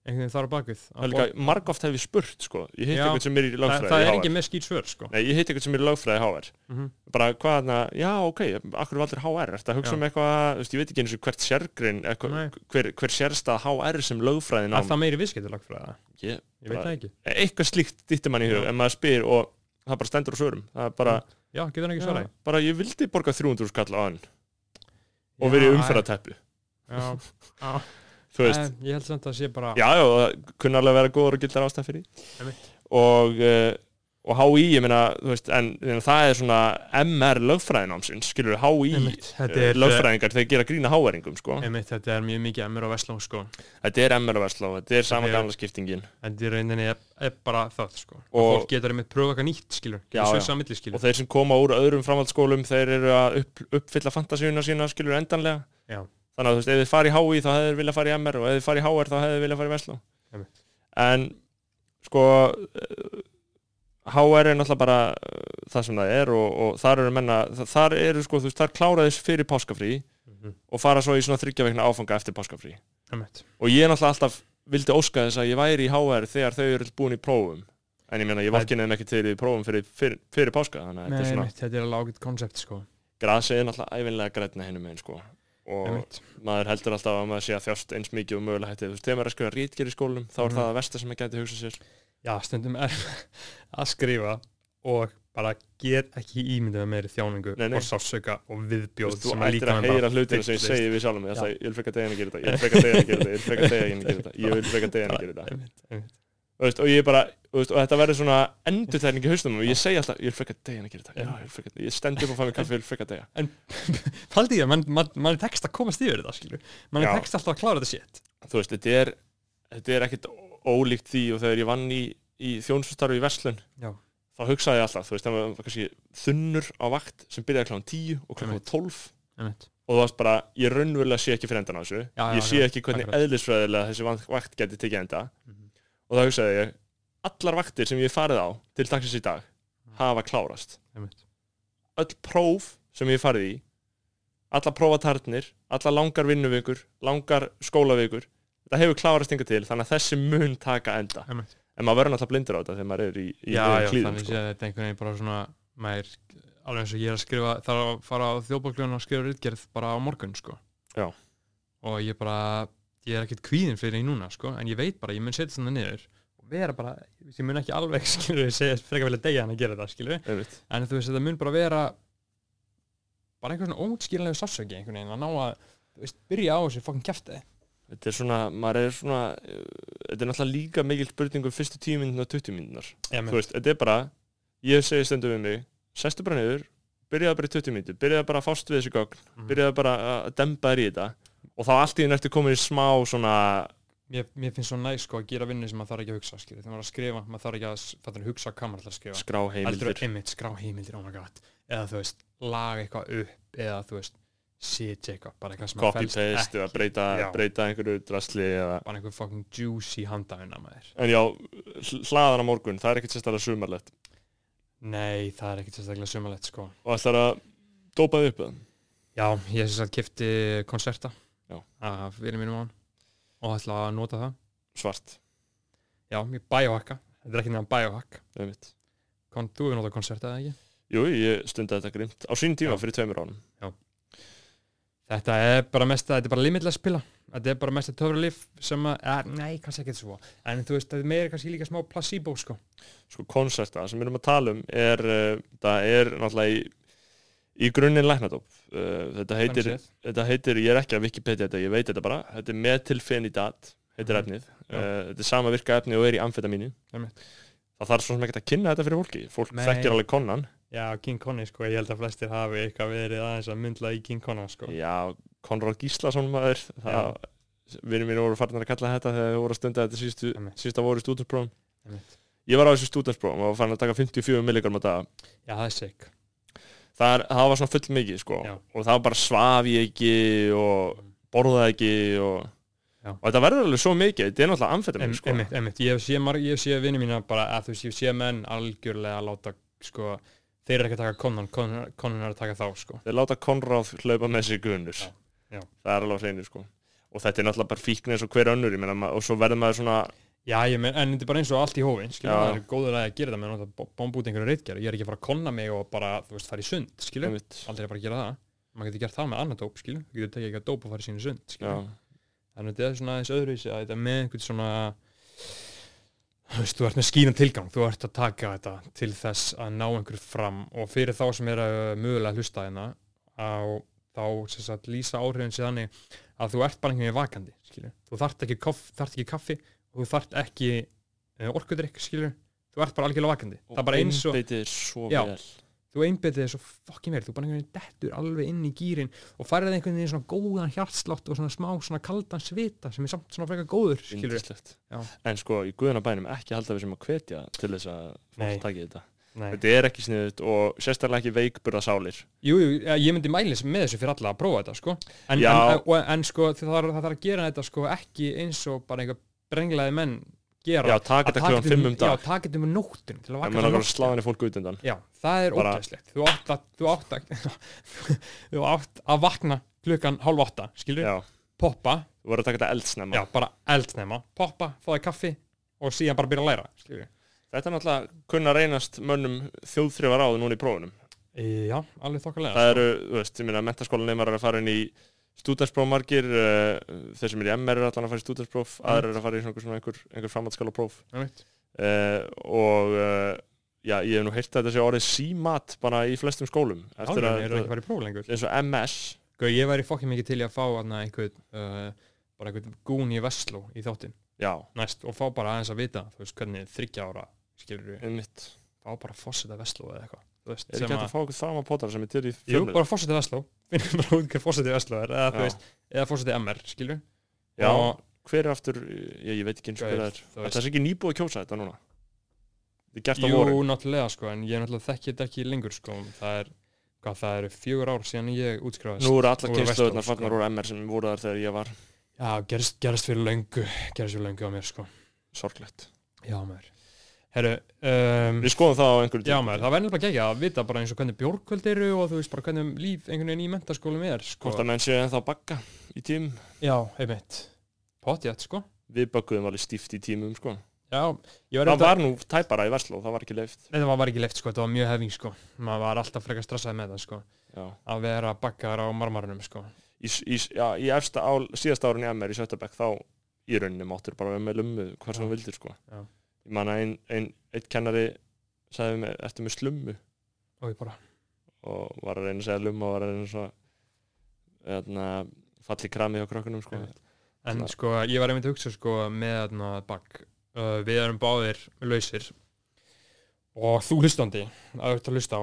Speaker 2: einhvern veginn þar á bakvið Að
Speaker 1: Helga, margóft hef ég spurt sko. ég hitt
Speaker 2: Já.
Speaker 1: eitthvað sem er í
Speaker 2: það,
Speaker 1: lögfræði
Speaker 2: það er
Speaker 1: í HR.
Speaker 2: ekki með skýt svör sko
Speaker 1: Nei, ég hitt eitthvað sem er í lögfræði HR
Speaker 2: mm -hmm.
Speaker 1: bara hvað þarna, já ok, akkur valdur HR ertu að hugsa
Speaker 2: Já.
Speaker 1: um eitthvað, þú veist, ég veit ekki eins og hvert sérgrin, eitthvað,
Speaker 2: Nei.
Speaker 1: hver, hver sérstað HR sem lögfræði
Speaker 2: Er
Speaker 1: nám
Speaker 2: það meiri viðskiptur lögfræði?
Speaker 1: Ég-
Speaker 2: Ég veit
Speaker 1: bara-
Speaker 2: það ekki
Speaker 1: eitthvað slíkt dittir mann í hug,
Speaker 2: Já.
Speaker 1: en maður spyr og það bara stendur á svörum, það er bara
Speaker 2: Já, getur hann ekki
Speaker 1: já,
Speaker 2: svarað
Speaker 1: bara ég vildi borga 300 skall á hann og verið umferðateppu
Speaker 2: Já, já.
Speaker 1: þú veist,
Speaker 2: En Ég held samt að það sé bara
Speaker 1: já, já, það kunna alveg að vera góður og gildar ástæð fyrir því.
Speaker 2: Einmitt.
Speaker 1: og uh, og HÍ, ég meina, þú veist, en ég meina, það er svona MR lögfræðinámsins, skilur HÍ,
Speaker 2: Einmitt, þetta
Speaker 1: eh,
Speaker 2: er-
Speaker 1: lögfræðingar, þeir gera grína háæringum, sko.
Speaker 2: Einmitt, þetta er mjög mikið emir á Vestló sko
Speaker 1: Þetta er MR-versló, þetta er sama
Speaker 2: Þetta er-
Speaker 1: gamla skiptingin
Speaker 2: en því reyndinni er, er bara það sko og,
Speaker 1: Og-
Speaker 2: fólk getur einmitt pröfa eitthvað nýtt skilur
Speaker 1: Já,
Speaker 2: getur
Speaker 1: já.
Speaker 2: svissa að milli
Speaker 1: og
Speaker 2: skilur
Speaker 1: þeir sem koma úr öðrum framhaldsskólum þeir eru að upp, uppfylla fantasíuna sína skilur endanlega
Speaker 2: Já.
Speaker 1: þannig að þú veist, ef þið farið í HÍ þá hefðu þið viljað farið í MR og ef þið farið í HR þá hefðu þið viljað farið í versló
Speaker 2: Einmitt.
Speaker 1: en sko eh, HR er náttúrulega bara eh, það sem það er og, og þar eru menna þa- þar eru sko, þú veist, þar kláraðis fyrir páskafrí
Speaker 2: Mhm.
Speaker 1: og fara svo í svona þryggjaveikna áfanga eftir páskafrí
Speaker 2: Einmitt.
Speaker 1: og ég náttúrulega alltaf vildi óska þess að ég væri í HR þegar þau eru búin í prófum en ég meina ég valkinni þeim ekki til í prófum fyrir, fyrir, fyrir páska þannig að
Speaker 2: Nei,
Speaker 1: þetta er svona
Speaker 2: einmitt, þetta er alveg ágætt koncept sko
Speaker 1: grasið er náttúrulega ævinlega grætna hennum einn sko og
Speaker 2: Einmitt.
Speaker 1: maður heldur alltaf að maður sé að þjást eins mikið og mögulega hætti þú veist, þegar maður er að skrifa rítgerð í skólum þá er
Speaker 2: Mhm.
Speaker 1: það að versta sem maður gæti hugsað sér
Speaker 2: já, stundum er [LAUGHS] að skrifa og bara get ekki ímyndið með meiri þjáningu
Speaker 1: Nei, nei.
Speaker 2: og sásauka og
Speaker 1: Þú
Speaker 2: viðbjóð
Speaker 1: veist, þú
Speaker 2: sem að
Speaker 1: ættir
Speaker 2: líka
Speaker 1: að heyra hlutina sem ég segi við sjálfum mig,
Speaker 2: Já.
Speaker 1: alltaf, ég vil freka deginu að gera þetta ég vil freka deginu að gera þetta, ég vil freka
Speaker 2: [LAUGHS]
Speaker 1: deginu að gera þetta ég vil freka deginu að gera þetta Þú veist, og ég bara, þú veist, og þetta verður svona endurtæning í haustum og ég segi alltaf, ég vil freka deginu að gera þetta, já, ég vil freka ég stend upp og fæ mig kaffi, ég vil freka degja
Speaker 2: faldi ég að mann man, man er tekst að komast yfir þetta skilur mann
Speaker 1: Já.
Speaker 2: er tekst alltaf að klára þetta shit
Speaker 1: þú veist, þetta er þetta er ekkit ólíkt því og þegar ég vann í, í þjónsustarfi í Verslun
Speaker 2: Já.
Speaker 1: þá hugsaði ég alltaf, þú veist, það var kannski þunnur á vakt sem byrjaði kláðan 10 og kláðan
Speaker 2: Einmitt.
Speaker 1: 12
Speaker 2: einmitt
Speaker 1: og þú varst bara, ég raunverulega sé ekki fyrir endan á þessu
Speaker 2: Já, já,
Speaker 1: ég sé
Speaker 2: já,
Speaker 1: ekki hvernig
Speaker 2: akkurat.
Speaker 1: eðlisfræðilega þessi van- vakt geti tekið enda
Speaker 2: Mhm.
Speaker 1: og þá hugsaði ég, allar vaktir sem ég hef farið á til dagsins í dag
Speaker 2: Mm.
Speaker 1: hafa klárast
Speaker 2: einmitt
Speaker 1: öll próf sem ég hef farið í alla prófatarnir, alla langar vinnuvikur langar skólavikur þetta hefur klárast yngar til, þannig að þessi mun taka enda,
Speaker 2: einmitt
Speaker 1: en maður verður náttúrulega blindur á þetta þegar maður er í, í
Speaker 2: já,
Speaker 1: miðjum
Speaker 2: já,
Speaker 1: klíðum,
Speaker 2: þannig
Speaker 1: sko.
Speaker 2: sé að þetta einhvern veginn bara svona maður, alveg eins og ég er að skrifa þarf að fara á þjóðbókljóðan og skrifa rítgerð bara á morgun, sko
Speaker 1: Já.
Speaker 2: og ég bara, ég er ekkert kvíðin fyrir því núna, sko, en ég veit bara, ég mun setja þannig niður og vera bara, ég mun ekki alveg [LAUGHS] skilur, ég segja frekar vel að degja hann að gera þetta, skilur
Speaker 1: Einmitt.
Speaker 2: en þú veist, þetta mun bara vera bara einhver svona ótskýrlega sársöki einhvern veginn, að ná að, þú veist, byrja á þessu fokkin kjæfti,
Speaker 1: þetta er svona, maður er svona eh, þetta er náttúrulega líka mikil spurning um fyrstu 10 minútin og 20 minútinar
Speaker 2: já,
Speaker 1: þú veist, þetta er bara, ég segi stundum við mig sestu bara niður, byrjaðu bara í 20 mínútur byrjaðu bara að fást við þessi gögn,
Speaker 2: Mhm.
Speaker 1: byrjaðu bara að dempa þér í þetta og þá allt í enn eftir komin í smá svona,
Speaker 2: mér, mér finnst svo næst, sko, að gera vinnu sem maður þarf ekki að hugsa, skilur, þegar maður er að skrifa maður þarf ekki að, fattar, hugsa hvað maður ætlar að skrifa
Speaker 1: skrá
Speaker 2: heldur
Speaker 1: heimildir
Speaker 2: einmitt skrá heimildir, oh my god eða þú veist, laga eitthvað upp eða þú veist, shit Jacob, bara eitthvað sem að
Speaker 1: copy paste eða breyta,
Speaker 2: Já.
Speaker 1: breyta einhverju drasli eða.
Speaker 2: bara einhver fucking juicy handafina maður
Speaker 1: en já, hl- hlaðan á morgun það er ekkert sérstaklega sumarlegt
Speaker 2: nei, það er ekkit sérstaklega sumalett sko
Speaker 1: og ætlar að dópa þig upp eða?
Speaker 2: já, ég sem sagt kifti konserta
Speaker 1: Já.
Speaker 2: af vinið mínum á hann og ætla að nota það
Speaker 1: svart,
Speaker 2: já, ég biohacka, þetta er ekki nefn biohack
Speaker 1: það er mitt
Speaker 2: Kon, þú hefur notað konserta eða ekki?
Speaker 1: jú, ég stundi þetta grimt á sín tíma
Speaker 2: Já.
Speaker 1: fyrir tveimur ánum
Speaker 2: Þetta er bara mest að, þetta er bara limitless pilla Þetta er bara mest að töfra lif sem að, að nei, kannski ekki svo En þú veist, þetta er meira kannski líka smá placebo, sko
Speaker 1: sko konserta sem við erum að tala um er, uh, það er náttúrulega í, í grunninn læknadóp uh, þetta, heitir,
Speaker 2: Þannig séð.
Speaker 1: þetta heitir, ég er ekki að Wikipedia þetta, ég veit þetta bara þetta er metilfenidat, heitir
Speaker 2: Mhm.
Speaker 1: efnið uh,
Speaker 2: Já.
Speaker 1: þetta er sama virka efni og er í amfetamínu
Speaker 2: Einmitt.
Speaker 1: það þarf svo sem ekki að kynna þetta fyrir fólki fólk
Speaker 2: Nei.
Speaker 1: þekkir alveg konan
Speaker 2: Já, King Conny, sko, ég held að flestir hafi eitthvað verið aðeins að myndla í King Conny, sko
Speaker 1: já, Konrad Gíslason maður það, vinur mínu voru farnar að kalla þetta þegar þau voru að stunda þetta sístu,
Speaker 2: Einmitt.
Speaker 1: sísta voru í stúdensprófum
Speaker 2: Einmitt.
Speaker 1: ég var á þessu stúdensprófum og fann að taka 54 milligram á dag
Speaker 2: Já, það er sick
Speaker 1: það, er, það var svona full mikið sko.
Speaker 2: Já.
Speaker 1: og það var bara svaf ég ekki og borðaði ekki og,
Speaker 2: Já.
Speaker 1: og þetta verður alveg svo mikið þetta er náttúrulega amfetamin
Speaker 2: Em-
Speaker 1: sko.
Speaker 2: Einmitt, einmitt, ég hef séð, mar- ég hef séð vinni mína bara, að þú veist, ég hef séð menn algjörlega að láta, sko Þeir eru ekki að taka konan, konan, konan er að taka þá, sko
Speaker 1: þeir láta Konráð hlaupa með sér gunnur
Speaker 2: Já. Já.
Speaker 1: það er alveg hreinu sko. og þetta er náttúrulega bara fíkn eins og hver önnur ég meina, ma- og svo verður maður svona
Speaker 2: Já, ég menn, en þetta er bara eins og allt í hófin, skilur,
Speaker 1: Já.
Speaker 2: það er góður að gera það með náttúrulega bomba út einhverju reitgerð, ég er ekki að fara að konna mig og bara, þú veist, fara í sund, skilur
Speaker 1: einmitt,
Speaker 2: aldrei bara að gera það maður getur gert það með annað dóp, skilju þú getur tekið eitthvað dóp og farið sínu sund,
Speaker 1: já,
Speaker 2: skilju þannig að þetta er svona aðeins öðruvísi að þetta er með einhvern svona þú veist, þú ert með skýna tilgang þú ert að taka þetta til þess að ná einhverju fram og fyrir þá sem er að mögulega að hlusta hérna á þá sem sagt lýsa áhrifin sér þannig að þú ert bara einhvern veginn vakandi skilju, þú þart ekki, koff, þart ekki kaffi og þú þart ekki uh, orkudrykk, skilju, þú ert bara algjörlega vakandi það er bara eins og
Speaker 1: einbeitir svo
Speaker 2: Já.
Speaker 1: vel
Speaker 2: þú einbetið þér svo fokkin verið, þú bara einhvern veginn dettur alveg inn í gýrin og færið einhvern veginn svona góðan hjartslátt og svona smá svona kaldan svita sem er samt svona frekar góður, skilur við.
Speaker 1: Yndislegt.
Speaker 2: Já.
Speaker 1: en sko í guðunabænum ekki halda við sem að hvetja til þess að
Speaker 2: Nei.
Speaker 1: fólk taki þetta
Speaker 2: Nei.
Speaker 1: þetta er ekki sniðut og sérstaklega ekki veikburða sálir
Speaker 2: Jú, jú, eh, ég myndi mælis með þessu fyrir alla að prófa þetta, sko. En,
Speaker 1: Já.
Speaker 2: en, en, en sko, það þarf, það þarf að gera þetta sko ekki eins og bara einhver brenglaði menn gera.
Speaker 1: já, taka þetta kljóðan fimm um dag
Speaker 2: Já, taka þetta um nóttin til að
Speaker 1: en
Speaker 2: vaka
Speaker 1: maður
Speaker 2: það
Speaker 1: langar að slá henni fólk út undan
Speaker 2: Já, það er
Speaker 1: Bara-
Speaker 2: ógæslegt. Þú átt að, þú átt að, þú átt að [LAUGHS] vakna klukkan hálf átta, skilur
Speaker 1: já,
Speaker 2: poppa,
Speaker 1: þú voru að taka þetta eldsnemma
Speaker 2: Já, bara eldsnema, poppa, fáði kaffi og síðan bara byrja að læra skilju.
Speaker 1: þetta er náttúrulega kunna reynast mönnum þjóðþrifar áður núna í prófunum
Speaker 2: E, Já, alveg þokkalega
Speaker 1: það eru, þú veist, ég minna, mentaskólan neymar er að fara inn í stúdarsprófmargir uh, þeir sem er í MR er allan að fara í stúdarspróf aðra er að fara í svona einhver, svona einhver, einhver framhaldsskóla próf
Speaker 2: Einmitt.
Speaker 1: og uh, já, ég hef nú heyrt að þetta sé orðið símat bara í flestum skólum eftir
Speaker 2: Álfin
Speaker 1: að,
Speaker 2: eru sko. ekki farið í próf lengur
Speaker 1: eins og MS
Speaker 2: Gau, ég væri fokkið mikið til í að fá aðna, einhvern, uh, bara einhvern gún í Vestló í þáttinn
Speaker 1: já,
Speaker 2: næst og fá bara aðeins að vita þú veist hvernig þryggja ára skilur við
Speaker 1: einmitt
Speaker 2: fá bara fósita Vestló eða eitthvað þú veist,
Speaker 1: er
Speaker 2: sem
Speaker 1: ekki hægt að fá okkur fram á potara sem er til í
Speaker 2: Jú,
Speaker 1: fjölmiðlum?
Speaker 2: bara fósita Vestló finnum bara út hver fósita Vestló er eða, þú
Speaker 1: Já.
Speaker 2: veist, eða fósita MR skilur
Speaker 1: Já.
Speaker 2: og,
Speaker 1: hver er aftur, ég, ég veit ekki eins og hver það er
Speaker 2: þú
Speaker 1: Ætli
Speaker 2: veist-
Speaker 1: það er ekki nýbúið að kjósa þetta núna Þetta er gert á
Speaker 2: Jú,
Speaker 1: vorin
Speaker 2: náttúrulega sko, en ég náttúrulega þekki þetta ekki lengur sko, það er, hvað, það eru fjögur ár síðan ég útskráðist.
Speaker 1: Nú eru allar
Speaker 2: voru
Speaker 1: kynstöðunar
Speaker 2: Vestló,
Speaker 1: farnar
Speaker 2: sko.
Speaker 1: úr MR sem voru þar þegar ég var
Speaker 2: Já, gerst, gerst fyrir löngu, gerst fyrir löngu á mér sko.
Speaker 1: sorglegt
Speaker 2: Já, maður. Herru, um,
Speaker 1: Við skoðum það á einhverju
Speaker 2: já maður, það væri nefnilega gegja að vita bara eins og hvernig bjórkvöld eru og þú veist bara hvernig líf einhvern veginn í mentaskólum er sko.
Speaker 1: Hvort að menn séu ennþá að bakka í tímum
Speaker 2: Já, einmitt. Potjætt sko.
Speaker 1: Við bakkuðum alveg stíft í tímum sko
Speaker 2: Já, ég var
Speaker 1: Það
Speaker 2: auðvitað,
Speaker 1: var nú tæpara í Versló, það var ekki leift
Speaker 2: þetta var, var ekki leift sko, þetta var mjög hefing sko. Maður var alltaf frekar stressað með það sko,
Speaker 1: Já,
Speaker 2: að vera bakkaðar á marmarunum sko.
Speaker 1: í, s- í, s- já, í efsta ál, síðasta árin í MR í Sjötabæk þá í rauninni máttur bara vera með lummu hvað sem
Speaker 2: Já.
Speaker 1: þú vildir sko
Speaker 2: Já.
Speaker 1: Ég man að ein, ein, einn kennari sagði með, ertu með slummu
Speaker 2: Og ég bara,
Speaker 1: og var að reyna að segja lumma og var að reyna svona eðna, falli krami hjá krökkunum sko.
Speaker 2: Einmitt. En
Speaker 1: Svona-
Speaker 2: sko, ég var einmitt að hugsa sko með þarna bakk uh, Við erum báðir lausir og þú hlustandi að þú ert að hlusta á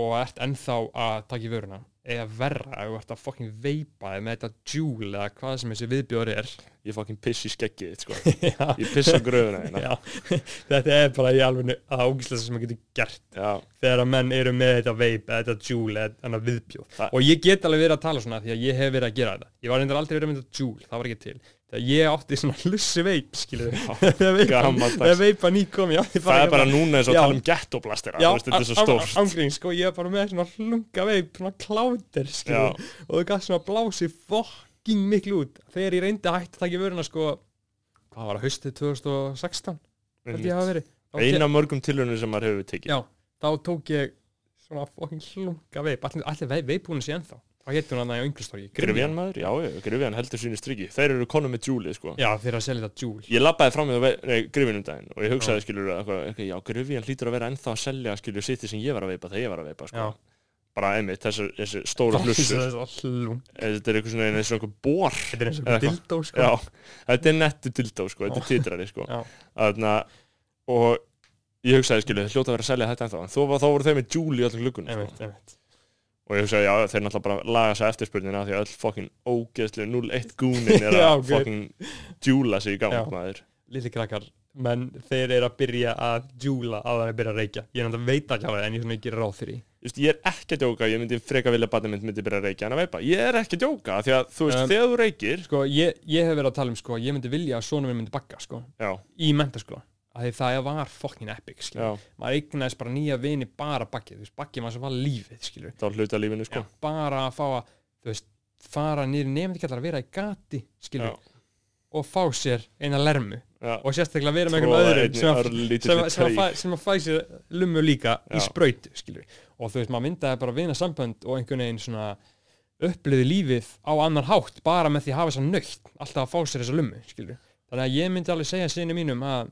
Speaker 2: og ert ennþá að taka í vöruna eða verra ef þú ert að fucking veipa þig með þetta júl eða hvað sem þessi viðbjóður er
Speaker 1: ég fucking piss í skeggið þitt,
Speaker 2: [LAUGHS]
Speaker 1: sko.
Speaker 2: Já,
Speaker 1: ég piss á gröfuna þína.
Speaker 2: Já, [LAUGHS] þetta er bara í alveg að ógislega sem maður getur gert
Speaker 1: já,
Speaker 2: þegar að menn eru með þetta veip eða þetta júl eða þannig viðbjóð
Speaker 1: Það-
Speaker 2: og ég get alveg verið að tala svona því að ég hef verið að gera þetta ég var reyndar aldrei verið með þetta júl, það var ekki til þegar ég átti svona hlussi veip skilur
Speaker 1: gamaldags.
Speaker 2: [LAUGHS] þegar veipa ný kom ég átti
Speaker 1: það er bara núna eins og
Speaker 2: Já.
Speaker 1: að tala um ghettoblastir
Speaker 2: Já,
Speaker 1: þetta er svo stórt
Speaker 2: ángrín, sko, ég var bara með svona hlunga veip, svona kláter, skilur og þú gafst svona blási fokking miklu út þegar ég reyndi að hætta að taka vöruna, sko hvað var að haustið 2016 held ég hafa verið Þá
Speaker 1: eina af mörgum tilhörnum sem maður hefur tekið
Speaker 2: Já, þá tók ég svona fokkin hlunga veip allir, allir veip, veipbúinu sé ennþá hvað hétt hún að næja á ynglustorgi?
Speaker 1: Grifjan maður, já, já, Grifjan heldur sínu striki Þeir eru konum með júli, sko
Speaker 2: Já, þeir eru að selja þetta júl
Speaker 1: Ég labbaði fram með Grifjan um daginn og ég hugsaði, skilur, eitthvað, eitthvað, já, Grifjan hlýtur að vera ennþá að selja, skilur, sitt sem ég var að veipa þegar ég var að veipa, sko
Speaker 2: Já.
Speaker 1: Bara einmitt, þessi, þessi stóra hlussur
Speaker 2: hlung
Speaker 1: Þetta er eitthvað svona, eins og einhver bor
Speaker 2: Þetta er eins og
Speaker 1: Eða eitthvað.
Speaker 2: einhver dildó, sko
Speaker 1: Já, þetta er nettu dildó, sko, þetta er titrari, sko
Speaker 2: Já.
Speaker 1: Þarna, og ég hugsaði, skilur, þeir hljóta að vera að selja þetta ennþá En þó, var- þá voru þeir með júli í öllum gluggunum, sko
Speaker 2: Einmitt, einmitt.
Speaker 1: og ég hugsaði, já, þeir náttúrulega bara laga sér eftirspurnina því að öll fokkin ógeðslu 0-1
Speaker 2: [LAUGHS]
Speaker 1: gúnin er
Speaker 2: Já,
Speaker 1: að
Speaker 2: ok.
Speaker 1: fokkin djúla sig í gang,
Speaker 2: Já.
Speaker 1: maður
Speaker 2: Lilli krakkar, menn þeir eru að byrja að júla að það er að byrja að reykja Ég er náttúrulega veit ekki á það en ég svona ekki ráð fyrir því.
Speaker 1: Just, ég er ekki að djóka, ég myndi freka vilja batna mynd myndi byrja að reykja en að veipa, ég er ekki að djóka því að þú veist,
Speaker 2: Um,
Speaker 1: þegar þú reykir
Speaker 2: Sko, ég, ég hef verið að tala um, sko, ég myndi vilja að svona mér myndi bagga, sko
Speaker 1: já,
Speaker 2: Í mentaskóla, af því það var fokkin epic, skilur
Speaker 1: já,
Speaker 2: Maður eignaðist bara nýja vini bara baggið, þú veist, baggið maður sem var lífið, skilur
Speaker 1: þá hluta lífinu, sko
Speaker 2: Já, bara að fá að þú veist, fara nýri nefndikjallar að vera í gati skilur,
Speaker 1: Já.
Speaker 2: og fá sér eina lermu
Speaker 1: já,
Speaker 2: og sérstaklega vera með
Speaker 1: Troða
Speaker 2: einhverjum öðrum
Speaker 1: einni
Speaker 2: sem, að-
Speaker 1: örlítilli
Speaker 2: sem, að- sem, að
Speaker 1: teig.
Speaker 2: fæ- sem að fæ sér lummu líka í
Speaker 1: Já.
Speaker 2: sprautu skilur. og þú veist, maður myndaði bara vina sambönd og einhvern veginn svona upplöði lífið á annan hátt bara með því að hafa þess að nöytt alltaf að fá sér þessa lummu skilur. þannig að ég myndi alveg segja sinni mínum að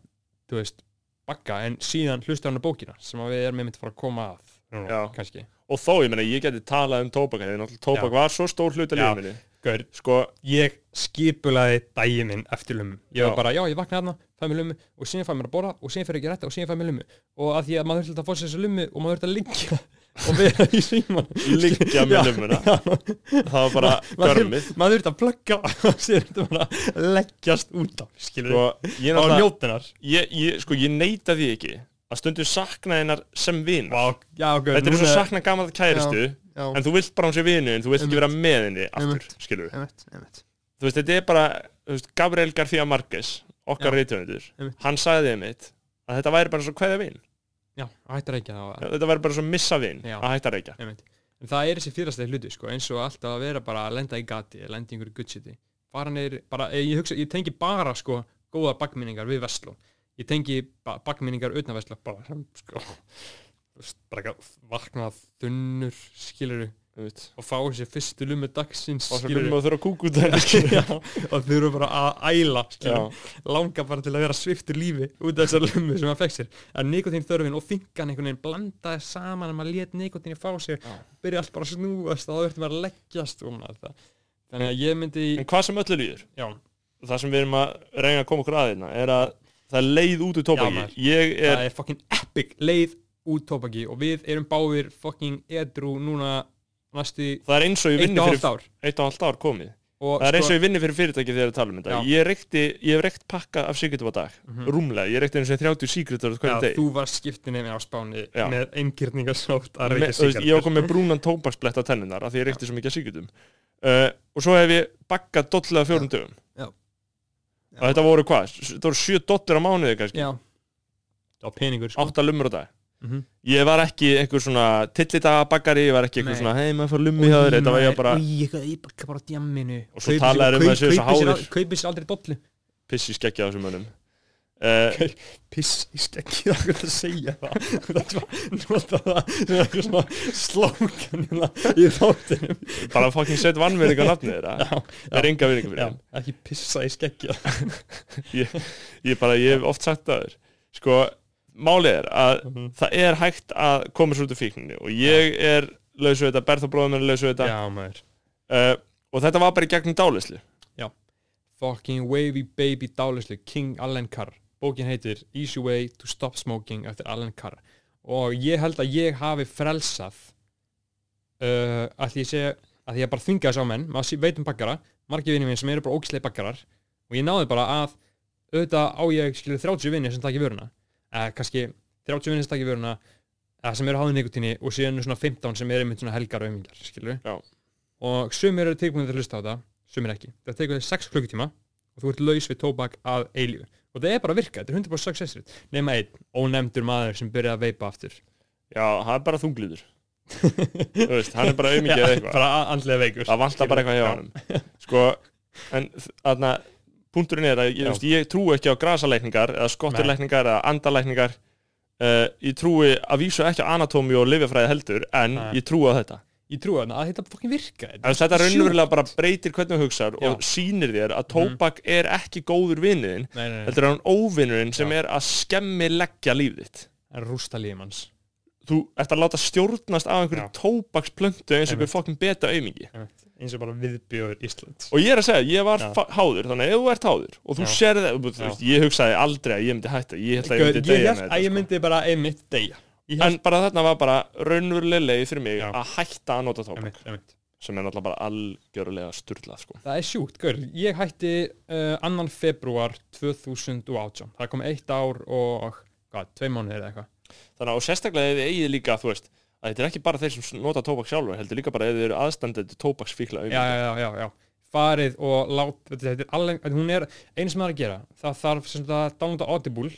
Speaker 2: þú veist, bakka en síðan hlusta hann á bókina sem að við erum einmitt að fara að koma að núna,
Speaker 1: Já.
Speaker 2: kannski
Speaker 1: og þó, ég meina, ég geti talað um tóbak þegar náttúrulega tóbak var svo stór hluta
Speaker 2: Já.
Speaker 1: lífinu
Speaker 2: Gaur,
Speaker 1: sko,
Speaker 2: ég skipulaði daginn minn eftir lumu ég var
Speaker 1: Já.
Speaker 2: bara, já, ég vaknaði hérna, fæ mér lumu og síðan fæ mér að borða og síðan fer ég að gera þetta og síðan fæ mér lumu og að því að maður þurfti að fá sér þessu lumu og maður þurfti að liggja [LAUGHS] og vera í síman
Speaker 1: liggja
Speaker 2: Já.
Speaker 1: með lumuna það var
Speaker 2: [LAUGHS]
Speaker 1: bara görmið
Speaker 2: maður þurfti að plugga [LAUGHS] og síðan þurfti bara að leggjast út af skilur
Speaker 1: sko,
Speaker 2: við,
Speaker 1: ég
Speaker 2: á
Speaker 1: náttúrulega
Speaker 2: njótinar
Speaker 1: ég, ég, sko, ég neita því ekki að stundum sakna hennar sem vin
Speaker 2: Vá, já, gaur,
Speaker 1: þetta er
Speaker 2: núna-
Speaker 1: eins og sakna gamað kæristu
Speaker 2: já,
Speaker 1: en þú vilt bara hún sé vinu en þú vilt ekki
Speaker 2: Einmitt.
Speaker 1: vera með henni aftur,
Speaker 2: Einmitt.
Speaker 1: skilur við
Speaker 2: einmitt, einmitt,
Speaker 1: þú veist, þetta er bara, þú veist, Gabriel García Marquez okkar
Speaker 2: Já.
Speaker 1: reytjöndur,
Speaker 2: Einmitt.
Speaker 1: hann sagði einmitt að þetta væri bara eins og hverja vin
Speaker 2: já, hættar ekki að það
Speaker 1: þetta væri bara eins og missa vin
Speaker 2: Já.
Speaker 1: að hætta að reykja
Speaker 2: Einmitt. En það er þessi fyrirstæði hluti sko, eins og alltaf að vera bara að lenda í gati eða lenda í einhverju guttsiti bara neyri, bara, eh, ég, hugsa, ég tengi bara sko góða bakminningar við Vestló ég tengi ba bakminningar utan Vestló bara hm, sko Þú veist, bara ekki að vakna þunnur skiluru
Speaker 1: Einmitt.
Speaker 2: og fá þessi fyrstu lumu dagsins
Speaker 1: og svo
Speaker 2: skilurðu.
Speaker 1: viljum við að þurfa að kúka út af henni, skilurðu.
Speaker 2: [LAUGHS] Já, og þau eru bara að æla skilurðu.
Speaker 1: Já.
Speaker 2: langa bara til að vera sviftur lífi út af þessar lummu sem hann fekk sér að nikotín þörfin og þingan einhvern veginn blandaði saman um að maður lét nikotínu fá sér
Speaker 1: Já.
Speaker 2: byrja allt bara að snúast og þá ertu maður að leggjast um þetta þannig að ég myndi
Speaker 1: en hvað sem öllu líður
Speaker 2: já,
Speaker 1: það sem við erum að reyna að koma okkur aðeina er að það er leið út úr tóbaki
Speaker 2: maður.
Speaker 1: ég er,
Speaker 2: það er fucking epic leið út tópaki og við erum báðir fucking edru núna næstu í
Speaker 1: það er eins og ég
Speaker 2: eitt
Speaker 1: vinni
Speaker 2: og
Speaker 1: fyrir
Speaker 2: hálft ár
Speaker 1: eitt og halvt ár komið
Speaker 2: og sko-
Speaker 1: það er eins og ég vinni fyrir fyrirtæki þegar ég er að tala um þetta
Speaker 2: Já.
Speaker 1: ég, reykti, ég hef reykt pakka af sigritum á dag rúmlega, ég reykti eins og 30 sigritur hvernig
Speaker 2: Mhm. já,
Speaker 1: deg
Speaker 2: þú var skiptinni á Spáni
Speaker 1: Já.
Speaker 2: með einkirningasótt að
Speaker 1: Me,
Speaker 2: reykja
Speaker 1: þú veist, ég
Speaker 2: sigarettur.
Speaker 1: var komið með brúnan tóbaksblett á tennunar af því ég reykti svo mikið af sigritum uh, og svo hef ég bakkað dollega fjórum dögum
Speaker 2: Já.
Speaker 1: og þetta voru hvað? S- þetta voru 7 dollur á mánuði kannski
Speaker 2: já, já, peningur sko
Speaker 1: 8 lumur á dag
Speaker 2: Mhm.
Speaker 1: ég var ekki einhver svona tillitagabakkari ég var ekki einhver
Speaker 2: Nei.
Speaker 1: svona hei maður fór lummi hjá þér þetta var ég bara
Speaker 2: Í, ég bakka bara á djamminu
Speaker 1: Og svo talaðir um að það séu svo háðir.
Speaker 2: Kaupið sér aldrei dollu
Speaker 1: pissi skekkja á þessum mönnum uh,
Speaker 2: Piss í skekkið, það er hvað að segja [LAUGHS] það Það var nota það sem eitthvað svona slókan hérna í þáttinum
Speaker 1: bara fucking set vannverðing á nafnið þeirra
Speaker 2: Já,
Speaker 1: það er enga verðing fyrir
Speaker 2: já,
Speaker 1: þeim
Speaker 2: ekki pissa í skekkið
Speaker 1: ég bara, ég hef oft sagt það þér sko, málið er að það er hægt að koma svo út af fíkninni og ég er laus við þetta, Bertha bróðum er laus við þetta
Speaker 2: Já maður
Speaker 1: uh, og þetta var bara í gegnum dálislu
Speaker 2: Fucking wavy baby dálislu King Allen Carr Bókin heitir Easy Way to Stop Smoking eftir Allen Carr og ég held að ég hafi frelsað uh, að því ég segja að því ég bara þvinga þessu á menn, maður sé- veit um bakkara margir vinni minn sem eru bara ógislega bakkarar og ég náði bara að auðvitað á ég skilur 30 vinni sem takk í vöruna eða kannski 30 vinni sem takk í vöruna eða sem eru háðið nikotíni og síðan eru svona 15 sem eru einmitt svona helgar og ömingar skilur
Speaker 1: Já.
Speaker 2: og sumir eru tilbúinir til að hlusta á það sumir ekki, það tekur þér 6 klukkutíma og þú ert laus við tóbak að eilífu og það er bara að virka, þetta er 100% success rate nema einn ónefndur maður sem byrjaði að veipa aftur
Speaker 1: Já, hann er bara
Speaker 2: [LAUGHS]
Speaker 1: þunglýður Þú veist, hann er bara auðmikið eða eitthvað
Speaker 2: bara andlega veikur
Speaker 1: Það vantar bara eitthvað hjá
Speaker 2: Já.
Speaker 1: hann Sko, en þarna Punturinn er að ég,
Speaker 2: Já.
Speaker 1: þú veist, ég trúi ekki á grasalækningar eða skotturlækningar eða andalækningar uh, Ég trúi að vísu ekki á anatómi og lifjafræði heldur en
Speaker 2: Nei.
Speaker 1: ég trúi á þetta
Speaker 2: ég trúi þarna að þetta fokkin virka
Speaker 1: En þetta raunverulega bara breytir hvernig þú hugsar og
Speaker 2: Já. Mhm.
Speaker 1: sýnir þér að tóbak er ekki góður vinniðin
Speaker 2: nei, nei, nei.
Speaker 1: Þetta er hann óvinnurinn sem
Speaker 2: Já.
Speaker 1: er að skemmi leggja líf þitt
Speaker 2: en rústa lífum hans
Speaker 1: Þú ert að láta stjórnast af einhverju
Speaker 2: Já.
Speaker 1: tóbaksplöntu eins og
Speaker 2: Einmitt.
Speaker 1: einhver fokkin beta aumingi
Speaker 2: eins og bara viðbjóður Ísland
Speaker 1: og ég er að segja, ég var
Speaker 2: Já.
Speaker 1: fa- háður þannig að ef þú ert háður og þú
Speaker 2: Já.
Speaker 1: sér það, þú veist, ég hugsaði aldrei að ég myndi hætta ég held að ég myndi
Speaker 2: ég
Speaker 1: deyja
Speaker 2: held
Speaker 1: með
Speaker 2: að ég
Speaker 1: þetta sko.
Speaker 2: myndi bara einmitt deyja ég
Speaker 1: en bara þarna var bara raunveruleg leið fyrir mig
Speaker 2: Já.
Speaker 1: að hætta að nota tóbak
Speaker 2: einmitt, einmitt.
Speaker 1: sem er náttúrulega bara algjörulega styrlað sko.
Speaker 2: það er sjúkt, gaur ég hætti uh, annan februar 2018 það kom eitt ár og hvað, tvei mánuðir eða eitthvað
Speaker 1: þannig að og sérstaklega ef þið eigið líka þú veist, að þetta er ekki bara þeir sem nota tóbak sjálfur heldur líka bara ef þið eru aðstandandi tóbaksfíkla
Speaker 2: já, já, já, já, já farið og lát þetta þetta er alveg, þetta- hún er, eins sem það er að gera það þarf sem það dánda Audible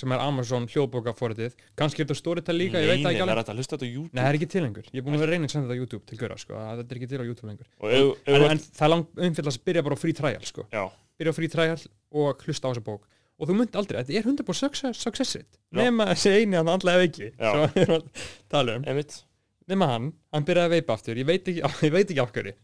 Speaker 2: sem er Amazon hljóðbókaforritið kannski er þetta Storytel líka, ég veit það
Speaker 1: Nei,
Speaker 2: ekki
Speaker 1: það
Speaker 2: alveg
Speaker 1: er hægt að hlusta þetta á YouTube
Speaker 2: Nei, það er ekki til lengur. Ég er búin að vera að reyna að senda þetta á YouTube til gura, sko. að Þetta er ekki til á YouTube lengur.
Speaker 1: og ef, ef,
Speaker 2: En, en það er langt umfyllast byrja bara á free trial, sko.
Speaker 1: já,
Speaker 2: Byrja á free trial og hlusta á þessa bók. Og þú myndi aldrei, þetta er 100% success, success rate.
Speaker 1: Já.
Speaker 2: Nema þessi eini hann andlega veiki.
Speaker 1: Já.
Speaker 2: Svo við erum að tala um.
Speaker 1: einmitt
Speaker 2: Nema hann, hann byrjaði að veipa aftur. Ég veit ekki, [LAUGHS] ég veit ekki af hverju.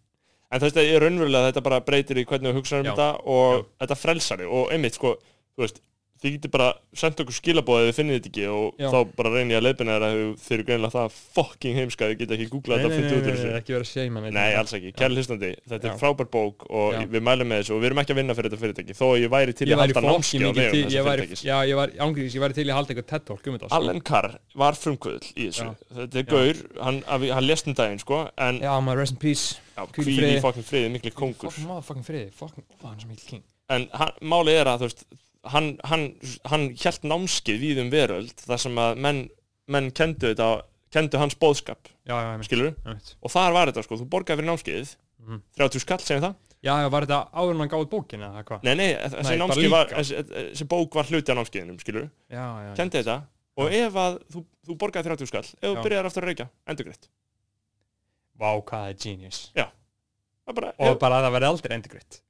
Speaker 1: En þú veist að ég raunverulega þetta bara breytir í hvernig þú hugsaður um
Speaker 2: Já.
Speaker 1: þetta og þetta frelsar þig og einmitt sko, þú veist, þið getur bara sendt okkur skilabóðið þið finnið þetta ekki og
Speaker 2: Já.
Speaker 1: þá bara reynir ég að leiðbina þér að þau- þið eru greinilega það fucking heimska þið geta ekki googlað þetta og fundið út úr þessu.
Speaker 2: ekki vera að seima mig.
Speaker 1: Nei, alls ekki, kæri hlustandi, þetta
Speaker 2: Já.
Speaker 1: er frábær bók og
Speaker 2: Já.
Speaker 1: við mælum með þessu og við erum ekki að vinna fyrir þetta fyrirtæki þó að ég væri til í
Speaker 2: Ég
Speaker 1: að
Speaker 2: væri
Speaker 1: halda
Speaker 2: flokki
Speaker 1: námski á vegum
Speaker 2: mikið til,
Speaker 1: þessa
Speaker 2: ég væri,
Speaker 1: fyrirtækis.
Speaker 2: já, ég væri, ángriðis, ég væri til í að halda eitthvað TED Talk um þetta, sko.
Speaker 1: Allen Carr var frumkvöðl í þessu, þetta er
Speaker 2: Já.
Speaker 1: gaur, hann, að- hann lest um daginn sko, en
Speaker 2: Já, maður rest in peace.
Speaker 1: já,
Speaker 2: hvíl í
Speaker 1: hvíl í
Speaker 2: friði.
Speaker 1: fucking friði, mikli kongur.
Speaker 2: Fucking motherfucking friði, fucking, ó, hann er svo mikil king.
Speaker 1: en hann, málið er að þú veist, hann, hann, hann hjælt námskið við um veröld þar sem að menn, menn kendu, þetta, kendu hans bóðskap
Speaker 2: Já, já, ég
Speaker 1: skilur
Speaker 2: mynd.
Speaker 1: og þar var þetta sko, þú borgaði fyrir námskið
Speaker 2: Mhm.
Speaker 1: 30 skall segjum það
Speaker 2: Já, já, var þetta áður en hann gáði bókina eða hvað?
Speaker 1: nei, nei, þessi,
Speaker 2: Nei, bara
Speaker 1: námskið var,
Speaker 2: líka.
Speaker 1: þessi, þessi bók var hluti af námskiðinum skilur,
Speaker 2: Já, já, já.
Speaker 1: kendi þetta og ef að þú, þú borgaði 30 skall ef þú
Speaker 2: Já.
Speaker 1: byrjar aftur að reykja, endurgreitt
Speaker 2: Vá, hvað það er genius.
Speaker 1: það, bara,
Speaker 2: Og
Speaker 1: ef,
Speaker 2: bara að það verði aldrei endurgritt.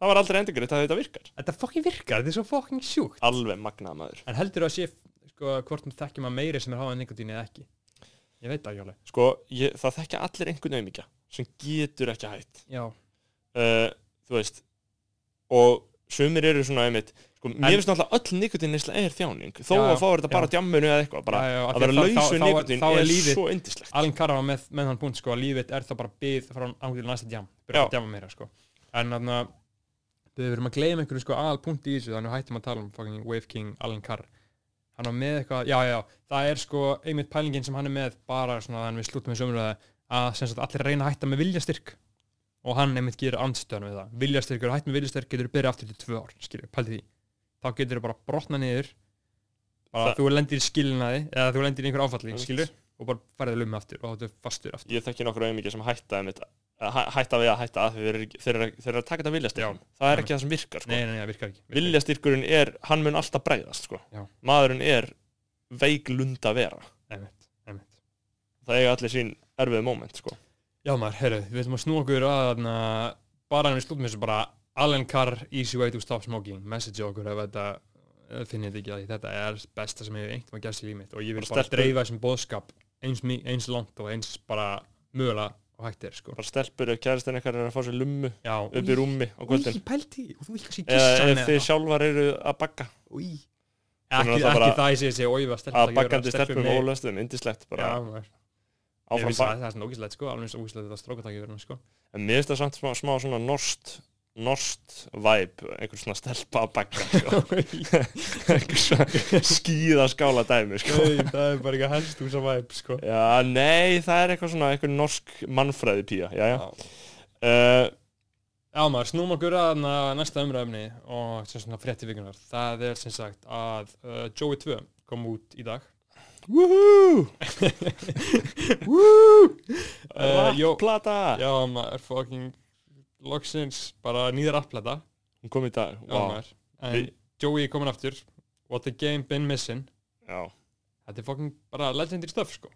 Speaker 1: það var aldrei endurgreitt að þetta virkar
Speaker 2: Þetta fokkin virkar, þetta er svo fokkin sjúkt.
Speaker 1: alveg magnað maður
Speaker 2: En heldur þú að sé, sko, hvort þú þekkjum að meiri sem er háðan nikotín eða ekki? Ég veit það ekki alveg.
Speaker 1: sko, ég, það þekkja allir einhvern auðmíkja sem getur ekki hætt
Speaker 2: Já.
Speaker 1: uh, þú veist og sumir eru svona einmitt sko, mér finnst náttúrulega öll nikotin neysla er þjáning þó
Speaker 2: Já, já,
Speaker 1: að fá þetta bara
Speaker 2: já.
Speaker 1: djammunu eða eitthvað bara
Speaker 2: já, já, af
Speaker 1: að
Speaker 2: því
Speaker 1: vera
Speaker 2: þá-
Speaker 1: laus
Speaker 2: þá-
Speaker 1: við
Speaker 2: þá er-
Speaker 1: nikotin
Speaker 2: þá er
Speaker 1: er
Speaker 2: lífið-
Speaker 1: svo yndislegt
Speaker 2: Alan Carr var með, með hann punkt, sko, að lífið er það bara byð frá ángur til næsta djam. Byrja
Speaker 1: Já.
Speaker 2: að djama meira, sko. En þannig að við verum að gleyma einhverju, sko, aðal punkt í þessu, þannig að hættum að tala um fucking Wave King Alan Carr. Hann var með eitthvað, já, já, það er sko einmitt pælingin sem hann er með bara svona þannig við slúttum við sömurlega að sem sagt allir reyna að hætta með viljastyrk og hann einmitt gerir andstöðan við það. Viljastyrkur, hætt með viljastyrk getur þú byrja aftur til tvö ár, skilju, pældi því. Þá getur þú bara brotna niður, bara
Speaker 1: Það-
Speaker 2: þú lendir í skilinaði eða þú lendir í einhver áfalli,
Speaker 1: Einmitt.
Speaker 2: skilju, og bara færið lummi aftur og þá ertu fastur aftur.
Speaker 1: ég þekki nokkur auðmikið sem hætta einmitt að hæ- hætta við að hætta að þeir, eru- þeir, eru- þeir eru að taka þetta viljastyrk það er ekki það sem virkar sko.
Speaker 2: Nei, nei, nei, það virkar ekki. virkar ekki.
Speaker 1: viljastyrkurinn er, hann mun alltaf bregðast sko.
Speaker 2: Já.
Speaker 1: maðurinn er veiklunda vera
Speaker 2: Einmitt, einmitt.
Speaker 1: það eiga allir sín erfiðu moment sko.
Speaker 2: Já maður, heyrðu, við ætlum að snú okkur að þarna, bara en við slúttum þessu bara Alan Carr, Easy Way to Stop Smoking message okkur ef þetta ef þið finnið þið ekki að því þetta er besta sem hefur einhvern að gerst í límit og ég vil
Speaker 1: Bara
Speaker 2: bara
Speaker 1: stelpur-
Speaker 2: dreifa þessum bóðskap eins, mi- eins langt og eins bara mögulega og hægt er sko
Speaker 1: bara stelpur ef kæristinn ykkar er að fá sér lummu
Speaker 2: Já,
Speaker 1: upp í rúmi á kvöldin
Speaker 2: Í pælti, og þú ekki að sé
Speaker 1: eða
Speaker 2: gissa
Speaker 1: ef þið sjálfar eru að bagga
Speaker 2: Í
Speaker 1: Þannig
Speaker 2: Ekki,
Speaker 1: að
Speaker 2: ekki
Speaker 1: það bara-
Speaker 2: það ég sé að sé óifa stelpa
Speaker 1: að bakkandi stelpum og ólöstum, indislegt
Speaker 2: Já,
Speaker 1: bara
Speaker 2: maður, ég
Speaker 1: áfram
Speaker 2: vissi
Speaker 1: bak
Speaker 2: að það er svona ógíslegt sko, alveg eins og ógíslegt að strókataki verðum sko
Speaker 1: en mér finnst það samt smá, smá svona norst norst vibe einhver svona stelpa að bagga
Speaker 2: [LAUGHS]
Speaker 1: sko. einhver svona skýða skála dæmi sko.
Speaker 2: Nei, það er bara ekki helst úr sem væp sko
Speaker 1: já, nei, það er eitthvað svona einhver norsk mannfræði pía já, já. Uh,
Speaker 2: Já maður, snúm okkur að na- næsta umræfni og sem svona frétti vikunar það er sem sagt að uh, Joey 2 kom út í dag
Speaker 1: woohoo
Speaker 2: [LAUGHS] Woo!
Speaker 1: eh,
Speaker 2: uh, jó,
Speaker 1: rapplata
Speaker 2: Já maður, fucking loksins, bara nýðar applata
Speaker 1: hún kom í dag
Speaker 2: Já
Speaker 1: wow.
Speaker 2: maður, en
Speaker 1: Við-
Speaker 2: Joey er komin aftur What the game been missing
Speaker 1: já.
Speaker 2: Þetta er fucking bara legendary stuff sko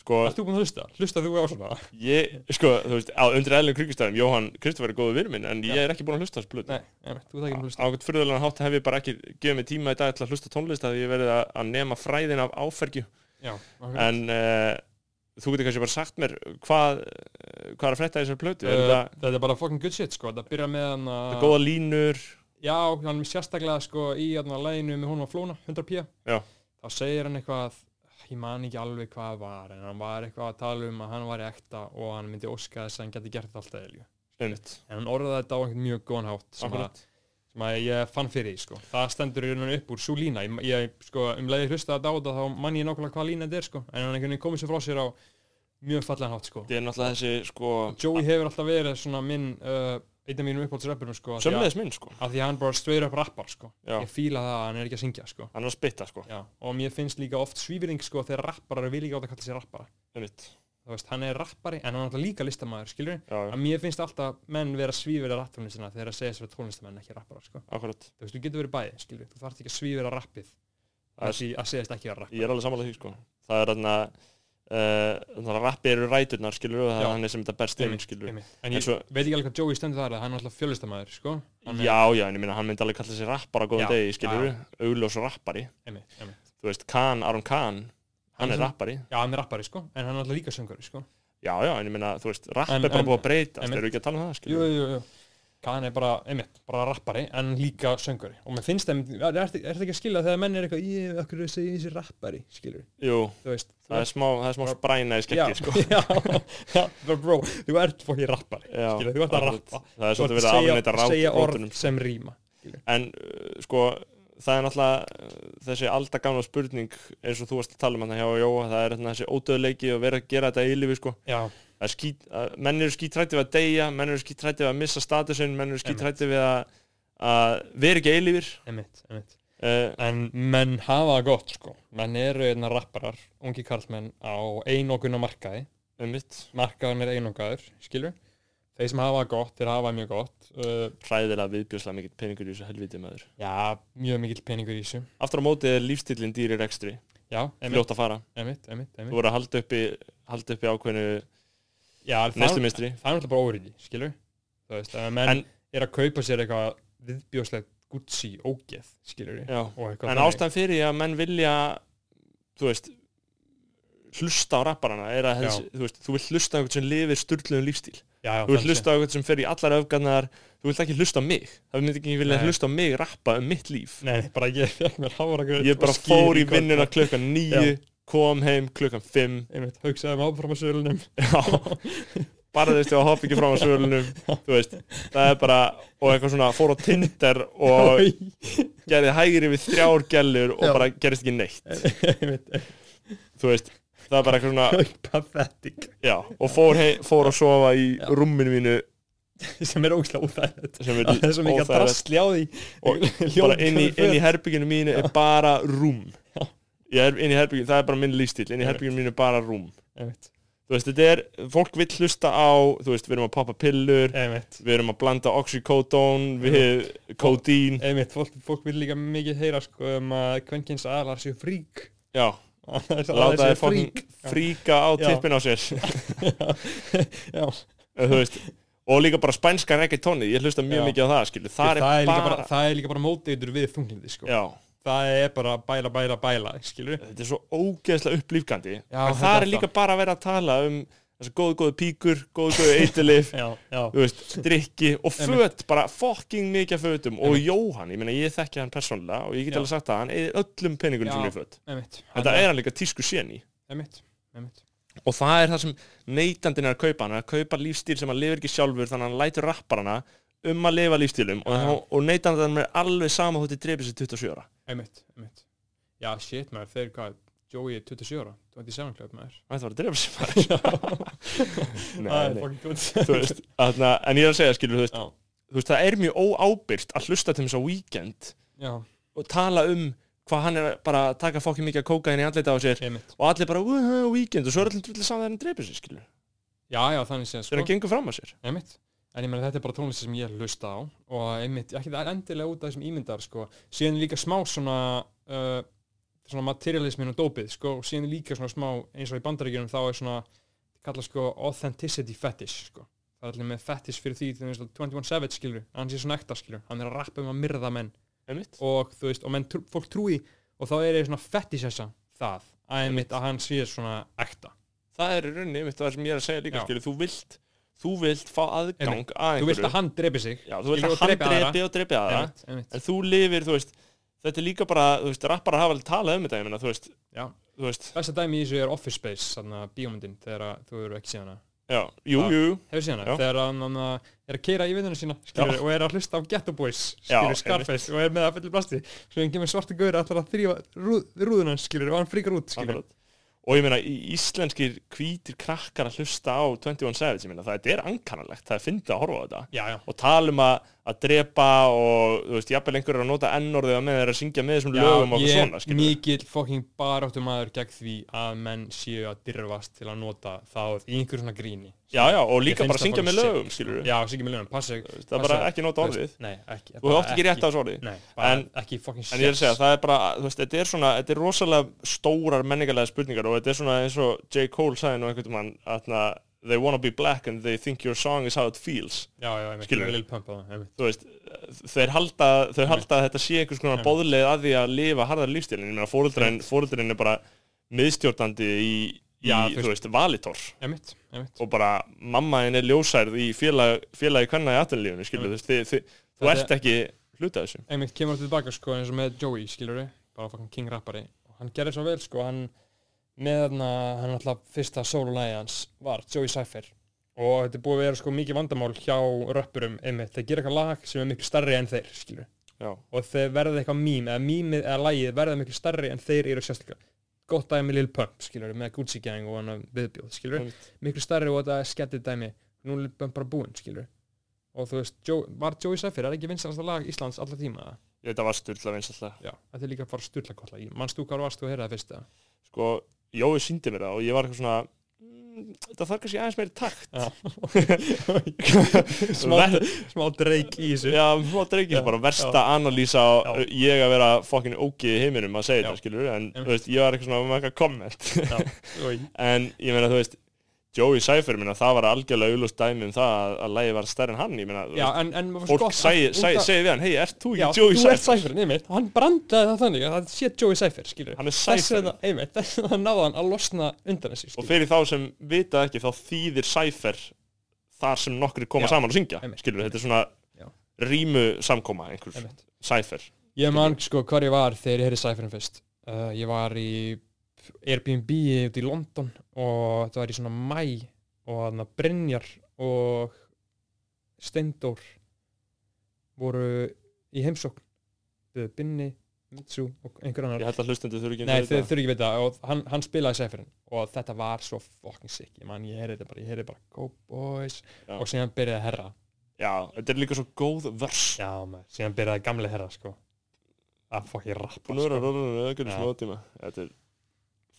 Speaker 1: sko,
Speaker 2: Ert þú búin að hlusta? Hlusta þú á svona?
Speaker 1: ég, sko, þú veist, á undir eðlum krukistæðum Jóhann Kristoffer er góðu vinur minn en ég er ekki búin að hlusta á þessu blötu
Speaker 2: Nei, nei, þú það ekki að hlusta
Speaker 1: ákveð fyrirðalega hátt hef ég bara ekki gefið mig tíma í dag til að hlusta á tónlist að ég verið að, að nema fræðin af áfergju
Speaker 2: Já, ok.
Speaker 1: en uh, þú getur kannski bara sagt mér hvað, eh, hvað er að frétta í þessari plötu er
Speaker 2: Uh,
Speaker 1: þetta
Speaker 2: Þetta er bara fucking good shit sko Það byrja með hann
Speaker 1: uh,
Speaker 2: að
Speaker 1: góða línur
Speaker 2: Já, hann er sérstaklega sko í hérna læginu með honum að flóna, 100 pía
Speaker 1: Já.
Speaker 2: þá segir hann eitthvað ég man ekki alveg hvað var en hann var eitthvað að tala um að hann var ekta og hann myndi óska þess að hann geti gert þetta alltaf elju
Speaker 1: einmitt
Speaker 2: en hann orðaði þetta á einhvern mjög góðan hátt sem, að,
Speaker 1: Akkurat.
Speaker 2: sem að ég fann fyrir því sko það stendur í rauninu upp úr svo lína ég, ég sko um leiði hlusta þetta á þetta þá man ég nákvæmlega hvað lína þetta er sko en hann einhvern veginn komið sér frá sér á mjög fallan hátt sko
Speaker 1: þetta er náttúrulega þessi sko
Speaker 2: Joey hefur alltaf verið svona minn uh, einn af mínum uppáhaldsrappurum sko af því að-
Speaker 1: sömleðis minn sko
Speaker 2: af því að hann bara straight up rappar sko.
Speaker 1: Já.
Speaker 2: ég fíla það að hann er ekki að syngja sko.
Speaker 1: hann er að spitta sko
Speaker 2: Já. og mér finnst líka oft svífyrring sko, þegar rapparar vil ekki átt að kalla sér rappara
Speaker 1: einmitt
Speaker 2: Þú veist, hann er rappari en hann er alltaf líka listamaður skilur
Speaker 1: já, já,
Speaker 2: að mér finnst alltaf menn vera svífyrða rapptónlistina þegar að segja sér að tónlistamenn ekki rappara sko.
Speaker 1: akkurat
Speaker 2: þú veist, þú getur verið bæði skilur þú þarft ekki að svífyrða rappið
Speaker 1: Það er-
Speaker 2: að, sí, að segjast ekki að rappa
Speaker 1: ég er alveg samanlega því sko það er þarna uh, rappi eru ræturnar skilur og það
Speaker 2: Já.
Speaker 1: er hann sem þetta berst inn
Speaker 2: Einmitt,
Speaker 1: skilur
Speaker 2: einmitt. en ég
Speaker 1: En svo-
Speaker 2: veit ekki alveg hvað Joey stendur þar að hann er alltaf fjölistamaður sko. Hann er-
Speaker 1: Já, já, en ég minna hann myndi alveg kalla sér rappara á góðum
Speaker 2: Já,
Speaker 1: degi, skilur við, augljós rappari
Speaker 2: einmitt, einmitt.
Speaker 1: þú veist, Khan, Aron Khan hann
Speaker 2: Hann
Speaker 1: er
Speaker 2: sem-
Speaker 1: rappari,
Speaker 2: Já, hann er rappari sko, en hann er alltaf líka söngari sko.
Speaker 1: já, já, en ég minna þú veist, rapp
Speaker 2: En-
Speaker 1: er bara
Speaker 2: en-
Speaker 1: búið að breyta
Speaker 2: einmitt.
Speaker 1: erum við ekki að tala um það,
Speaker 2: jú,
Speaker 1: skilur við
Speaker 2: jú, jú. Khan er bara, einmitt, bara rappari en líka söngari og mér finnst það, er, er, er það ekki að skilja þegar menn er eitthvað ég, okkur er að segja þessi rappari, skilur
Speaker 1: Jú,
Speaker 2: þú veist, þú
Speaker 1: það er smá, það er smá spræna í skekki, sko
Speaker 2: [LAUGHS] já, já, bara bro, þú ert fokki rappari,
Speaker 1: Já,
Speaker 2: skilur, þú ert að
Speaker 1: akkurat.
Speaker 2: rappa
Speaker 1: það er
Speaker 2: þú ert
Speaker 1: svolítið verið að afneita rá-
Speaker 2: segja orð
Speaker 1: rótunum
Speaker 2: sem rýma
Speaker 1: en uh, sko, það er náttúrulega uh, þessi alltaf gamla spurning eins og þú varst að tala um hann hjá Jóa, það er þarna þessi ódöðleiki og vera að gera þetta í lífi, sko
Speaker 2: já,
Speaker 1: Það er skít, að, menn eru skítrætti við að deyja, menn eru skítrætti við að missa statusinn, menn eru skítrætti við að, að vera ekki eilífir
Speaker 2: einmitt, einmitt
Speaker 1: uh,
Speaker 2: en menn hafa það gott, sko menn eru einna rapparar, ungi karlmenn á einokuna markaði
Speaker 1: um mitt,
Speaker 2: markaðan er einungaður, skilur þeir sem hafa það gott, þeir hafa það mjög gott uh,
Speaker 1: hræðilega viðbjörslega mikill peningur í þessu helviti maður.
Speaker 2: Já, mjög mikill peningur í þessu
Speaker 1: Aftur á móti er lífstillin dýrir ekstri,
Speaker 2: Já, emitt,
Speaker 1: fljótt að fara.
Speaker 2: emitt, emitt,
Speaker 1: Þú
Speaker 2: emitt.
Speaker 1: voru að halda uppi, halda uppi ákveðinu
Speaker 2: Já, það, það er
Speaker 1: neyslumistri.
Speaker 2: náttúrulega bara óriði, skilur Þú veist, ef að menn
Speaker 1: En-
Speaker 2: er að kaupa sér eitthvað viðbjóðslegt Gucci ógeð, skilur
Speaker 1: Já.
Speaker 2: og eitthvað
Speaker 1: En ástæðan fyrir því að menn vilja, þú veist, hlusta á rapparana er að, þess, þú veist, þú vilt hlusta á einhvern sem lifir styrluðum lífstíl.
Speaker 2: já, já,
Speaker 1: Þú vilt
Speaker 2: þannig
Speaker 1: hlusta á einhvern sem fer í allar öfgarnar, þú vilt ekki hlusta á mig. Það myndi ekki vilja
Speaker 2: Nei.
Speaker 1: hlusta á mig rappa um mitt líf.
Speaker 2: sé. Nei, nei, bara ég [LAUGHS] fekk mér hára
Speaker 1: Ég bara fór í vinnuna klukkan
Speaker 2: Já.
Speaker 1: níu, kom heim klukkan fimm,
Speaker 2: Einmitt, hugsaði um mig áfram að sölunum [LAUGHS]
Speaker 1: Já, barðist ég að hoppa ekki fram á svölunum þú veist, það er bara og eitthvað svona, fór á Tinder og
Speaker 2: Einmitt,
Speaker 1: gerði hægri við þrjár gellur og
Speaker 2: Já.
Speaker 1: bara gerist ekki neitt
Speaker 2: einmitt,
Speaker 1: þú veist, það er bara eitthvað svona
Speaker 2: pathetic
Speaker 1: já, og fór, hei, fór að sofa í
Speaker 2: Já.
Speaker 1: rúminu mínu
Speaker 2: sem er ógeðslega óþægilegt
Speaker 1: sem er
Speaker 2: [LAUGHS] Það er svo mikið
Speaker 1: óþægilegt.
Speaker 2: að drastli á því
Speaker 1: og bara inn í, inn í herbygginu mínu er bara rúm
Speaker 2: Já.
Speaker 1: ég er inn í herbygginu, það er bara minn lífstíl inn í
Speaker 2: Einmitt.
Speaker 1: herbygginu mínu er bara rúm
Speaker 2: Einmitt,
Speaker 1: þú veist, þetta er, fólk vill hlusta á þú veist, við erum að poppa pillur
Speaker 2: einmitt
Speaker 1: við erum að blanda oxycodone við codeine
Speaker 2: Einmitt, fólk, fólk vil líka mikið heyra sko um að kvenkins aðlar séu frík [LAUGHS]
Speaker 1: Já, láta þér fokkin fríka á
Speaker 2: Já.
Speaker 1: tippin á sér
Speaker 2: Já,
Speaker 1: Þú veist, og líka bara spænska reggaetoni ég hlusta mjög
Speaker 2: Já.
Speaker 1: mikið á það skilur það er
Speaker 2: líka
Speaker 1: bara,
Speaker 2: bara, það er líka bara móteitur við þunglindi sko.
Speaker 1: Já,
Speaker 2: það er bara bæla, bæla, bæla skilur
Speaker 1: þetta er svo ógeðslega upplýfgandi
Speaker 2: Já,
Speaker 1: en
Speaker 2: þetta
Speaker 1: það
Speaker 2: er
Speaker 1: er líka bara að vera að tala um þessu góðu góðu píkur, góðu góðu
Speaker 2: [LAUGHS]
Speaker 1: eitilif
Speaker 2: já, já,
Speaker 1: þú veist, drikki og
Speaker 2: Einmitt.
Speaker 1: föt bara fokking mikið af fötum og Jóhann, ég meina ég þekki hann persónulega og ég get
Speaker 2: Já.
Speaker 1: alveg sagt að hann eða öllum penningunum sem
Speaker 2: Já.
Speaker 1: er föt
Speaker 2: einmitt
Speaker 1: þetta er hann líka tísku séni
Speaker 2: einmitt, einmitt
Speaker 1: og það er það sem neytandinn er að kaupa hann er að kaupa lífstíl sem hann lifir ekki sjálfur þannig að hann lætur rapparana um að lifa lífstílum og,
Speaker 2: Já.
Speaker 1: ja. og neytandanum er alveg sama hótti dreipið sér 27 ára
Speaker 2: einmitt, einmitt já, shit maður, þeir hvað, Joey er 27 ára 27 klöp maður
Speaker 1: Það var að dreipa sér maður
Speaker 2: það
Speaker 1: [LAUGHS] Nei,
Speaker 2: er
Speaker 1: nei,
Speaker 2: fucking good
Speaker 1: þú veist aðna, En ég er að segja, skilur, þú veist,
Speaker 2: já,
Speaker 1: þú veist Það er mjög óábyrgt að hlusta til þess að weekend
Speaker 2: já,
Speaker 1: og tala um hvað hann er bara að taka fokkin mikið að kóka henni í andlita á sér
Speaker 2: einmitt
Speaker 1: og allir bara, uh, weekend og svo er allir drullið saman þegar hann dreipið sér, skilur
Speaker 2: já, já, þannig séð
Speaker 1: þegar
Speaker 2: sko
Speaker 1: hann gengur fram að sér
Speaker 2: Einmitt. En ég meina þetta er bara tónlist sem ég hlusta á og einmitt, ekki það er endilega út af þessum ímyndar sko, síðan er líka smá svona uh, svona materialismin og dópið sko, og síðan er líka svona smá eins og í bandaríkjunum þá er svona kallað sko authenticity fetish sko það er allir með fetish fyrir því til þess að 21 Savage skilur, hann sé svona ekta skilur hann er að rappa um að myrða menn
Speaker 1: Einmitt.
Speaker 2: og þú veist, og menn trú, fólk trúi og þá er það svona fetish þessa það, að einmitt að hann sé svona ekta,
Speaker 1: Það er í rauninni, einmitt, það sem ég er að segja líka,
Speaker 2: Já.
Speaker 1: skilur þú vilt, þú vilt fá aðgang
Speaker 2: Einmitt.
Speaker 1: að
Speaker 2: þú
Speaker 1: einhverju
Speaker 2: veist að hann drepi sig
Speaker 1: Já, þú vilt að
Speaker 2: skilur, og
Speaker 1: hann
Speaker 2: drepi aðra.
Speaker 1: dreipi og dreipi aðra
Speaker 2: einmitt, einmitt.
Speaker 1: en þú lifir, þú veist þetta er líka bara, þú veist, rappara hafa alveg talað um þetta, ég meina, þú veist,
Speaker 2: Já.
Speaker 1: þú veist
Speaker 2: Besta dæmi í þessu er Office Space, þarna bíómyndin, þegar að þú eru ekki síðan að
Speaker 1: já, jú,
Speaker 2: Já.
Speaker 1: jú,
Speaker 2: hefur síðan að,
Speaker 1: Já.
Speaker 2: þegar hann hann að er að keira í vinnunum sína, skilur, og er að hlusta á Ghetto Boys,
Speaker 1: Já,
Speaker 2: skilur, Scarface og er með að fyllu plasti, svo hann kemur svartu gaur allar að þrýfa rúð, rúðun hans, skilur, og hann fríkar út, skilur,
Speaker 1: akkurat og ég meina, í- íslenskir hvítir krakkar að hlusta á 21 Savage, ég meina, það er ankanalegt það er fyndið að horfa á þetta
Speaker 2: já, já,
Speaker 1: og tala um að, að drepa og, þú veist, jafnvel einhverju að nota n-orðið að með þeir að syngja með þessum lögum og
Speaker 2: ég
Speaker 1: eitthvað svona, skilur
Speaker 2: mikill fucking baráttum aður gegn því að menn séu að dirfast til að nota það í einhver svona gríni,
Speaker 1: já, já, og líka
Speaker 2: finnst
Speaker 1: bara
Speaker 2: það
Speaker 1: syngja með
Speaker 2: fucking sick,
Speaker 1: lögum, skilur
Speaker 2: já, sig ekki með lögum, passa
Speaker 1: það er bara
Speaker 2: passa-
Speaker 1: ekki nota
Speaker 2: þú veist,
Speaker 1: orðið
Speaker 2: nei, ekki,
Speaker 1: þú hefur ekki rétt á þessu orðið
Speaker 2: nei, bara
Speaker 1: En-
Speaker 2: ekki fucking
Speaker 1: En ég er að
Speaker 2: séns.
Speaker 1: segja, það er bara, þú veist, þetta er svona, þetta er rosalega stórar menningarlega spurningar og þetta er svona eins og J. Cole sagði nú einhvern mann að they wanna be black and they think your song is how it feels.
Speaker 2: já, já, einmitt,
Speaker 1: Skilurðu?
Speaker 2: Lil Pump á það, einmitt
Speaker 1: Þú veist, þeir halda, þau halda að þetta sé einhvers konar
Speaker 2: Einmitt.
Speaker 1: boðleið að því að lifa harðar lífstílinn. Ég meina, fóreldrin, fóreldrin er bara miðstjórnandi í, í
Speaker 2: Já, þú
Speaker 1: þú veist, valitor
Speaker 2: Einmitt, einmitt.
Speaker 1: og bara mamma henn er ljósærð í félag, félagi kvenna í aðtunlífinu, skilur, þú veist, þið- þið- þú
Speaker 2: Þetta-
Speaker 1: ert ekki hluta þessu.
Speaker 2: Einmitt kemur hann tilbaka sko eins og með Joey, skilur við, bara fucking king rappari. Og hann gerði svo vel sko, hann með hann, hann alltaf fyrsta sólulægi hans var Joey Cypher. Og þetta er búið að vera sko mikið vandamál hjá röppurum, einmitt, þeir gera eitthvað lag sem er miklu starri en þeir, skilur við.
Speaker 1: Já,
Speaker 2: Og þeir verða eitthvað mím, eða mímið eða lagið verða miklu starri en þeir eru sérstaklega. Gott dæmi Lil Pump, skilur við, með Gucci Gang og hann viðbjóð, skilur við.
Speaker 1: einmitt.
Speaker 2: miklu starri og þetta skemmtið dæmi nú er Lil Pump bara búinn, skilur og þú veist, Joe, var Joey Safir er ekki vinsanasta lag Íslands alla tíma eða?
Speaker 1: Ég veit að það var styrla vinst alltaf.
Speaker 2: já. þetta er líka bara styrla kolla mannst þú hvað varst þú að heyra það fyrst
Speaker 1: [LAUGHS]
Speaker 2: eða?
Speaker 1: sko, Jói síndi mér það og ég var eitthvað svona "Mm, þetta þarf kannski aðeins meiri takt
Speaker 2: smá,
Speaker 1: Ver-
Speaker 2: smá dreik í þessu
Speaker 1: Já, þú áttur ekki
Speaker 2: Já,
Speaker 1: bara versta analýsa á
Speaker 2: Já.
Speaker 1: ég að vera fokkin ógið í heiminum að segja
Speaker 2: Já.
Speaker 1: þetta, skilur en
Speaker 2: Einmitt.
Speaker 1: þú veist, ég var eitthvað svona með eitthvað komment
Speaker 2: Oj.
Speaker 1: [LAUGHS] en ég meina, þú veist Joey Cypher, minna, það var algjörlega auðlust dæmi um það að, að lægi var stærri en hann, ég meina þú
Speaker 2: já,
Speaker 1: veist,
Speaker 2: en, en mér fannst
Speaker 1: fólk
Speaker 2: gott-
Speaker 1: segi,
Speaker 2: út
Speaker 1: segi,
Speaker 2: af-
Speaker 1: segi við hann hei, ert þú
Speaker 2: já,
Speaker 1: ekki
Speaker 2: þú
Speaker 1: Joey
Speaker 2: ert
Speaker 1: Cypher?
Speaker 2: Safir, nefnir hann brandaði það þannig að það sé Joey Safir, skilur
Speaker 1: Hann er
Speaker 2: þess
Speaker 1: Cypher
Speaker 2: vegna, einmitt, þess vegna náða hann að losna undan þessu,
Speaker 1: og
Speaker 2: skilur
Speaker 1: fyrir þá sem vita ekki þá þýðir Cypher þar sem nokkri koma
Speaker 2: Já.
Speaker 1: saman og syngja,
Speaker 2: Einmitt.
Speaker 1: skilur, þetta er svona
Speaker 2: Já.
Speaker 1: rýmu samkoma einhver,
Speaker 2: einmitt
Speaker 1: Cypher
Speaker 2: Ég man sko hvar ég var þegar ég heyrði Cypherin fyrst uh, Ég var í Airbnb út í London og þetta var í svona mæ og þannig að Brynjar og Steindór voru í heimsókn Þau Binni, Mitsu og einhver annar
Speaker 1: Ég held að hlustendur þurfi ekki
Speaker 2: Nei, þau þurfi ekki veit það og hann, hann spilaði Cypherin og þetta var svo fucking sick Ég man, ég heyrði þetta bara, ég heyrði bara Go boys
Speaker 1: Já.
Speaker 2: og síðan byrjaði að herra
Speaker 1: Já, þetta er líka svo góð vers
Speaker 2: Já, maður, síðan byrjaði gamli herra sko að fucking rappa sko.
Speaker 1: Búin að vera rörðunum öðgjörn
Speaker 2: Já.
Speaker 1: smá tíma Þetta er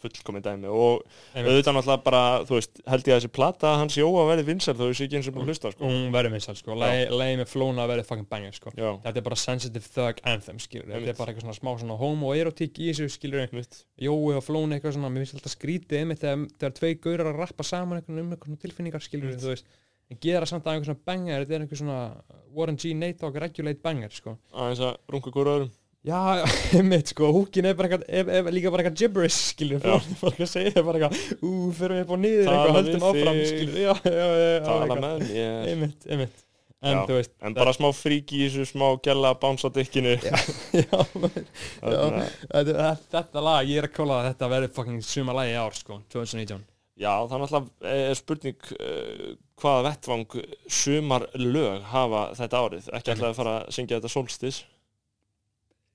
Speaker 1: fullkomin dæmi og
Speaker 2: Einmitt.
Speaker 1: auðvitað náttúrulega bara, þú veist, held ég að þessi plata hans Jóa verði vinsar þó þessi ekki eins og búin að hlusta sko.
Speaker 2: og hún verður vinsæl sko, leiði með flóna verður fucking banger sko
Speaker 1: Já,
Speaker 2: þetta er bara sensitive thug anthem skilur þetta
Speaker 1: Einmitt.
Speaker 2: er bara eitthvað svona smá svona homoerotík í þessu skilur
Speaker 1: mitt
Speaker 2: jói og flóna eitthvað svona, mér finnst alltaf skrítið einmitt þegar, þegar tvei gaurar að rappa saman eitthvað um eitthvað tilfinningar skilur
Speaker 1: Einmitt.
Speaker 2: þú veist en gera samt að einhver svona banger þetta er einhver svona Warren G. Nathog regulate banger sko
Speaker 1: Aðeins að runga hverju öðrum
Speaker 2: já, [LAUGHS] einmitt sko, húkin er bara eitthvað ef- ef- líka bara eitthvað gibberish skilur
Speaker 1: Já.
Speaker 2: flóna bara eitthvað að segja bara eitthvað ú, fyrir við upp og niður
Speaker 1: Tala
Speaker 2: eitthvað,
Speaker 1: við
Speaker 2: höldum áfram
Speaker 1: þig.
Speaker 2: skilur já, já, já, já,
Speaker 1: Tala
Speaker 2: eitthvað.
Speaker 1: með mér
Speaker 2: einmitt, einmitt en
Speaker 1: Já.
Speaker 2: þú veist [LAUGHS]
Speaker 1: En bara smá frík í þessu, smá gæla bánsa dikkinu
Speaker 2: já, maður, já.
Speaker 1: Þarna.
Speaker 2: þetta, þetta lag, ég er að kóla að þetta verður fucking suma lagi í ár sko, 2019
Speaker 1: Já, það er náttúrulega er spurning uh, hvaða vettvang sumar lög hafa þetta árið ekki alltaf að fara að syngja þetta solstis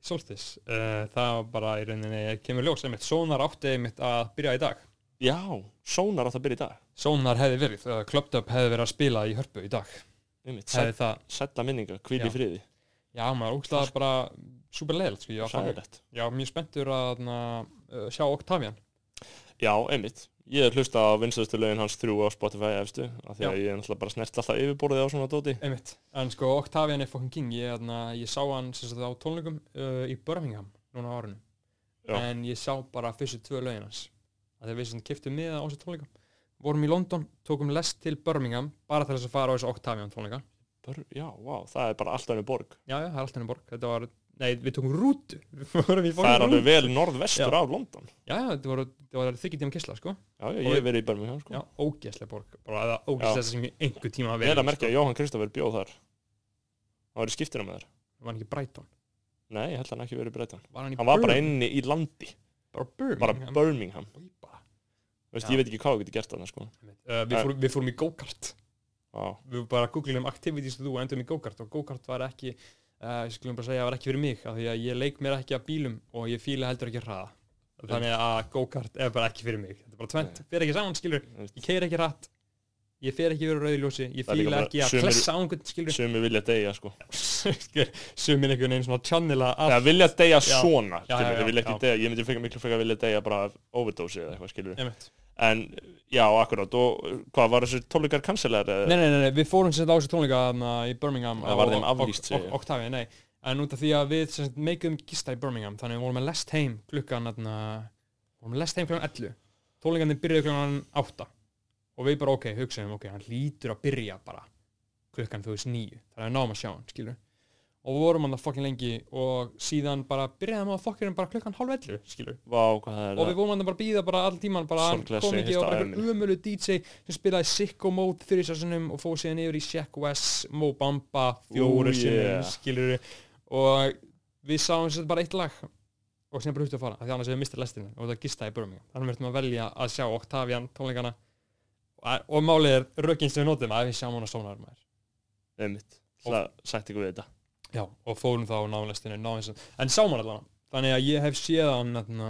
Speaker 2: Solstis, uh, það var bara í rauninni eh, kemur ljós einmitt, Sónar átti einmitt að byrja í dag
Speaker 1: Já, sónar átt að byrja í dag
Speaker 2: Sónar hefði verið, uh, Clubbed Up hefði verið að spila í hörpu í dag
Speaker 1: Einmitt, sæ,
Speaker 2: hefði það,
Speaker 1: Sætta minninga, hvíl
Speaker 2: Já.
Speaker 1: í friði
Speaker 2: Já, maður úkslega bara super leiðilegt sko, ég var þannig.
Speaker 1: Sæðilegt
Speaker 2: Já, mjög spenntur að na, uh, sjá Octavian
Speaker 1: Já, einmitt Ég hef hlustað á vinsastu lögin hans þrjú á Spotify efstu af því
Speaker 2: Já.
Speaker 1: að ég er náttúrulega bara snert alltaf yfirborðið á svona dóti
Speaker 2: einmitt. En sko, Octavian er fucking king Ég, na, ég sá hann sem sagt á tónleikum uh, í Birmingham núna á árinu
Speaker 1: Já.
Speaker 2: En ég sá bara fyrstu tvö lögin hans Þegar við sem kiptum miða á þessu tónleikum Vorum í London, tókum lest til Birmingham bara til þess að fara á þessu Octavian tónleika
Speaker 1: Bör, Já, vá, það er bara alltaf henni borg
Speaker 2: Já, já, það er alltaf henni borg Þetta var, nei, við tókum rútu [LAUGHS] Við fórum
Speaker 1: Það
Speaker 2: í
Speaker 1: er
Speaker 2: fucking
Speaker 1: alveg
Speaker 2: rútu.
Speaker 1: vel norðvestur af London
Speaker 2: Já, já, þetta var, þetta var þykki tíma kisla, sko
Speaker 1: Já, já, ég hef verið í Birmingham sko.
Speaker 2: Já, ógæslega borg Bara eða ógæslega sem ég einhver tíma sko. að
Speaker 1: Vel
Speaker 2: vera
Speaker 1: að merkja að Jóhann Kristoffer bjóð þar Það var í skiptina með þær
Speaker 2: Var hann ekki Brighton?
Speaker 1: Nei, ég held að hann ekki verið í Breiton
Speaker 2: Var hann í
Speaker 1: Hann var bara
Speaker 2: Birmingham?
Speaker 1: inni í landi
Speaker 2: Bara Birmingham
Speaker 1: Bara Birmingham
Speaker 2: Í bara.
Speaker 1: Veist,
Speaker 2: Já.
Speaker 1: Ég veit ekki hvað við getum gert þarna sko.
Speaker 2: Uh, við, fórum, við fórum í go-kart
Speaker 1: Já,
Speaker 2: Við bara googluðum activities to do og endum í go-kart og go-kart var ekki uh, ég skulum bara segja, var ekki fyrir mig af því að ég leik mér ekki að bílum og ég fíla heldur ekki að hraða þannig að go-kart er bara ekki fyrir mig þetta er bara tvent, fer ekki saman, skilur
Speaker 1: þú veist,
Speaker 2: ég keir ekki rætt ég fer ekki yfir rauðljósi, ég
Speaker 1: Það er líka
Speaker 2: fíla
Speaker 1: bara
Speaker 2: ekki að
Speaker 1: sumir-
Speaker 2: klessa á einhvern
Speaker 1: [LAUGHS]
Speaker 2: skilur
Speaker 1: Sumi vilja deyja sko.
Speaker 2: sumin einhvern veginn svona tjannila
Speaker 1: Það vilja deyja
Speaker 2: Já.
Speaker 1: svona
Speaker 2: Já, já,
Speaker 1: skilur,
Speaker 2: já,
Speaker 1: vilja ekki
Speaker 2: já.
Speaker 1: deyja, Ég myndi frekar miklu frekar vilja deyja bara af overdose eða eitthvað skilur
Speaker 2: nei,
Speaker 1: En já, akkurát Og hvað var þessi tólíkar kanselar?
Speaker 2: nei, nei, nei, við fórum sem sagt á þessu tónleika þarna í Birmingham
Speaker 1: Það var þeim aflýst,
Speaker 2: og,
Speaker 1: segi
Speaker 2: og,
Speaker 1: ég.
Speaker 2: og, Octavia, nei en út af því að við sem sagt meikum gista í Birmingham þannig við vorum með lest heim klukkan þarna, vorum með lest heim klukkan 11 tónleikandi byrjaði klukkan 8 og við bara ok, hugsaðum ok, hann lítur að byrja bara klukkan þú veist 9 þannig að við náum að sjá hann, skilur og við vorum hann það fokkin lengi og síðan bara byrjaðum að fokkinum bara klukkan hálf 11 skilur
Speaker 1: Vá, hvað það er
Speaker 2: og við vorum hann bara að býða bara all tíman bara hann
Speaker 1: Sorglega
Speaker 2: kom
Speaker 1: sé,
Speaker 2: ekki
Speaker 1: hista
Speaker 2: og bara
Speaker 1: aðeins.
Speaker 2: einhver umölu DJ sem spilaði Sicko Mode fyrir sessunum og fóð síðan yfir í Shack West Mo Bamba
Speaker 1: Ooh,
Speaker 2: fjóru
Speaker 1: yeah.
Speaker 2: sinum skilur og við sáum sem sagt bara eitt lag og sem bara húttu að fara af því annars hefur mistað lestina og það gista í Birmingham þannig verðum við að velja að sjá Octavian tónleikana og, og málið er rökin sem við notum að við sjáum hann að sónaður maður
Speaker 1: Einmitt. Það sætti ykkur við þetta
Speaker 2: Já, og fórum þá náðumlestinu náðum en sáum hann allan þannig að ég hef séð hann þarna,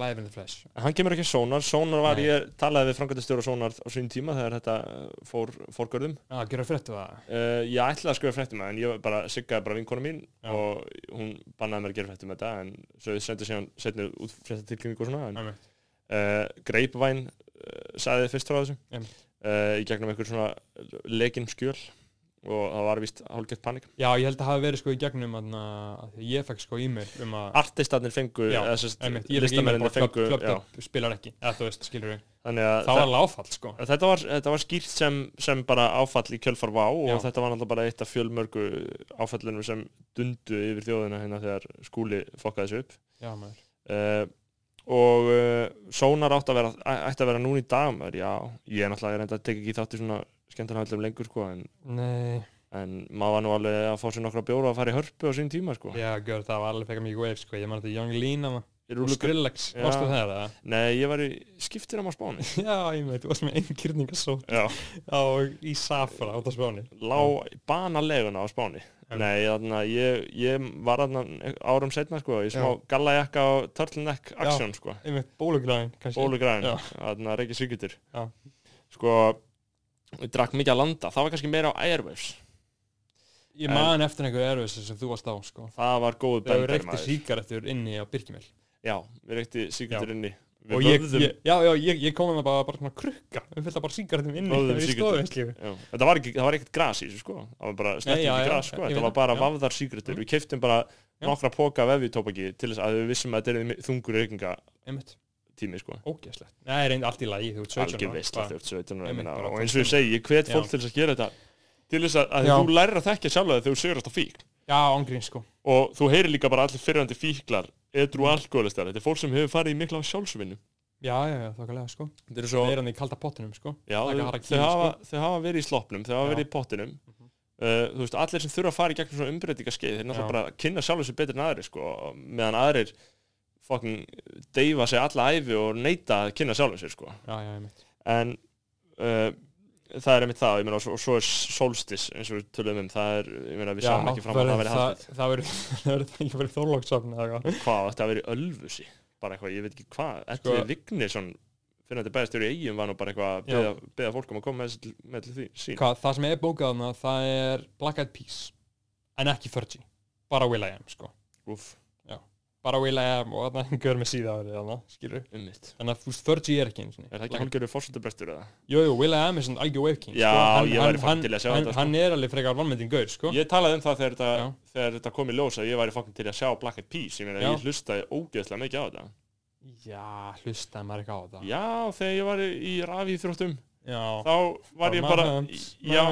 Speaker 2: live in the flesh
Speaker 1: En Hann kemur ekki sónar, sónar var,
Speaker 2: Nei.
Speaker 1: ég talaði við framkvæmdastjóra sónar á sín tíma þegar þetta eh, fór fórgörðum
Speaker 2: að gera fréttu það
Speaker 1: Uh, ég ætlaði að skrifa fréttum að en ég var bara siggaði bara vinkona mín
Speaker 2: Já.
Speaker 1: og hún bannaði mér að gera fréttum þetta en svo ég sendi síðan setni út fréttatilkynningu og svona en,
Speaker 2: Einmitt.
Speaker 1: uh, Greipvæn uh, sagði fyrst frá þessu uh,
Speaker 2: Einmitt.
Speaker 1: í gegnum einhver svona lekin skjöl og það var vist hálfgett panik
Speaker 2: Já, ég held að hafa verið sko í gegnum aðna, að því ég fekk sko e-mail um að
Speaker 1: Artistarnir fengu,
Speaker 2: Já,
Speaker 1: eða sérst
Speaker 2: einmitt, ég fekk e-mail um
Speaker 1: listamennir
Speaker 2: bara klöpp,
Speaker 1: fengu
Speaker 2: klöpp,
Speaker 1: já,
Speaker 2: klöpp, spilar ekki eða þú veist, skilur við
Speaker 1: þannig að
Speaker 2: það var alveg áfall sko
Speaker 1: þa- Þetta var, þetta var skýrt sem, sem bara áfall í kjölfar vá og
Speaker 2: Já.
Speaker 1: þetta var náttúrulega bara eitt af fjölmörgu áfallunum sem dundu yfir þjóðina hérna þegar skúli fokkaði þessu upp
Speaker 2: Já, maður
Speaker 1: uh, og uh, Sónar átt að vera, æ- ætti að vera núna í dag maður, já, ég er náttúrulega reynda að teka ekki þátt í svona skemmtarnahöllum lengur sko, en,
Speaker 2: Nei
Speaker 1: en maður var nú alveg að fá sér nokkra bjóra og að fara í hörpu á sín tíma sko.
Speaker 2: Já, gör, það var alveg fekk mikið wave sko ég man þetta Young Lean að
Speaker 1: Ég
Speaker 2: og
Speaker 1: rúlu-
Speaker 2: Skrillex
Speaker 1: Já.
Speaker 2: Varstu það eða? [LAUGHS]
Speaker 1: Nei, ég var í skiptinum á Spáni
Speaker 2: Já, ég veit, þú varst með einnkýrningasót
Speaker 1: Já,
Speaker 2: og í safra út á spáni
Speaker 1: lá banaleguna á Spáni
Speaker 2: Já.
Speaker 1: Nei, þarna, ég, ég var þarna árum setna sko, í smá
Speaker 2: Já.
Speaker 1: gallajakka og turtleneck action sko,
Speaker 2: Einmitt, bólugræðin, kannski
Speaker 1: bólugræðin
Speaker 2: Já.
Speaker 1: þarna reykja svíkutur
Speaker 2: Já.
Speaker 1: sko, ég drakk mikið að landa það var kannski meira á Airwaves
Speaker 2: Ég man eftir einhverju erfis sem þú varst á sko
Speaker 1: Það var góð
Speaker 2: Þegar við
Speaker 1: bender
Speaker 2: reykti
Speaker 1: maður
Speaker 2: síkaretur inni á Birkimel
Speaker 1: Já, við reykti síkundur inni
Speaker 2: og
Speaker 1: Við
Speaker 2: ég,
Speaker 1: vöðum,
Speaker 2: ég, já, já, ég, ég kom með bara, bara svona krukka við fylgta bara síkartum inni
Speaker 1: Vöðum
Speaker 2: í
Speaker 1: sígarettum.
Speaker 2: stofuveislu.
Speaker 1: já, Þetta var, ekki, það var ekkert gras í þessu sko Það var bara snett
Speaker 2: já,
Speaker 1: ekki
Speaker 2: já,
Speaker 1: gras
Speaker 2: ég
Speaker 1: sko
Speaker 2: veit
Speaker 1: Þetta var
Speaker 2: það,
Speaker 1: bara
Speaker 2: já.
Speaker 1: vafðar síkundur Við keiftum bara
Speaker 2: Já.
Speaker 1: nokkra póka vefi tópaki til þess að við vissum að þetta er þungur reykinga
Speaker 2: einmitt,
Speaker 1: tími sko
Speaker 2: ógæslegt nei, reynd allt í lagi, þú ert 17
Speaker 1: Algjör
Speaker 2: ára,
Speaker 1: veist
Speaker 2: bara-
Speaker 1: að þjótt 17 ára, ég
Speaker 2: Einmitt,
Speaker 1: meina,
Speaker 2: bara
Speaker 1: Og eins og ég
Speaker 2: fullkomlega.
Speaker 1: segi, ég hvet fólk
Speaker 2: Já.
Speaker 1: til þess að gera þetta Til þess að, að
Speaker 2: Já.
Speaker 1: þú lærir að þekkja sjálf að þú sigurast á fík
Speaker 2: já, ángrín sko
Speaker 1: Og þú heyrir líka bara allir fyrrandi fíklar Edru alkoholistar, þetta er fólk sem hefur farið í mikla sjálfsvinnu
Speaker 2: já, já, já, þokkalega sko
Speaker 1: Þetta er
Speaker 2: það er hann í kalda pottinum sko
Speaker 1: Já,
Speaker 2: Taka
Speaker 1: þau,
Speaker 2: harakiri,
Speaker 1: þau, hafa, þau hafa verið í sloppnum, þau hafa
Speaker 2: sko. Já. Mhm.
Speaker 1: verið í pottinum uh, Þú veist, allir sem þurfa að fara í gegnum svona umbreytingaskeið Þeir náttúrulega
Speaker 2: Já.
Speaker 1: bara að kynna sjálfur sér betur en aðrir sko og Meðan aðrir fucking deyfa sig alla æfi og neita að kynna sjálfur sér sko
Speaker 2: já, já, einmitt
Speaker 1: en uh, það er einmitt það, ég meina, og svo, og svo er solstis eins og við tölum um, það er, ég meina, við sáum ekki fram að það veri haldið,
Speaker 2: það verður [LAUGHS] það verður það ekki verið þorlóksafn eða eitthvað
Speaker 1: hvað, þetta veri ölfusi bara eitthvað, ég veit ekki hvað,
Speaker 2: Sko-
Speaker 1: Elli Vignisson fyrir þetta bæðastjóri í eigum var nú bara eitthvað að
Speaker 2: Já.
Speaker 1: beða, beða fólk um að koma með, þessi til- með til því sín
Speaker 2: Hvað, það sem er bókað þarna, það er Black Eyed Peas en ekki 30, bara Will.i.am sko.
Speaker 1: Úf,
Speaker 2: bara Will.i.am og þarna [LAUGHS] einhver með síða árið þarna, skilur
Speaker 1: ummitt
Speaker 2: þannig að þú veist 30 er ekki eins og
Speaker 1: um Er það ekki hálfgerður fórsöndabrestur eða?
Speaker 2: Jújú, Will.i.am er svona algjör waveking
Speaker 1: Já,
Speaker 2: sko. hann,
Speaker 1: ég væri
Speaker 2: hann,
Speaker 1: fucking
Speaker 2: hann,
Speaker 1: til í að sjá
Speaker 2: hann,
Speaker 1: þetta, sko.
Speaker 2: hann er alveg frekar vanmyndin gaur sko.
Speaker 1: Ég talaði um það þegar þetta,
Speaker 2: Já.
Speaker 1: þegar þetta kom í ljós að ég væri fokkin til að sjá Black Eyed Peas Ég meina,
Speaker 2: Já.
Speaker 1: ég hlustaði ógeðslega mikið á þetta
Speaker 2: Já, hlustaði maður ekki á þetta
Speaker 1: Já, þegar ég var í í rafíþróttum
Speaker 2: Já,
Speaker 1: Þá var ég bara Já,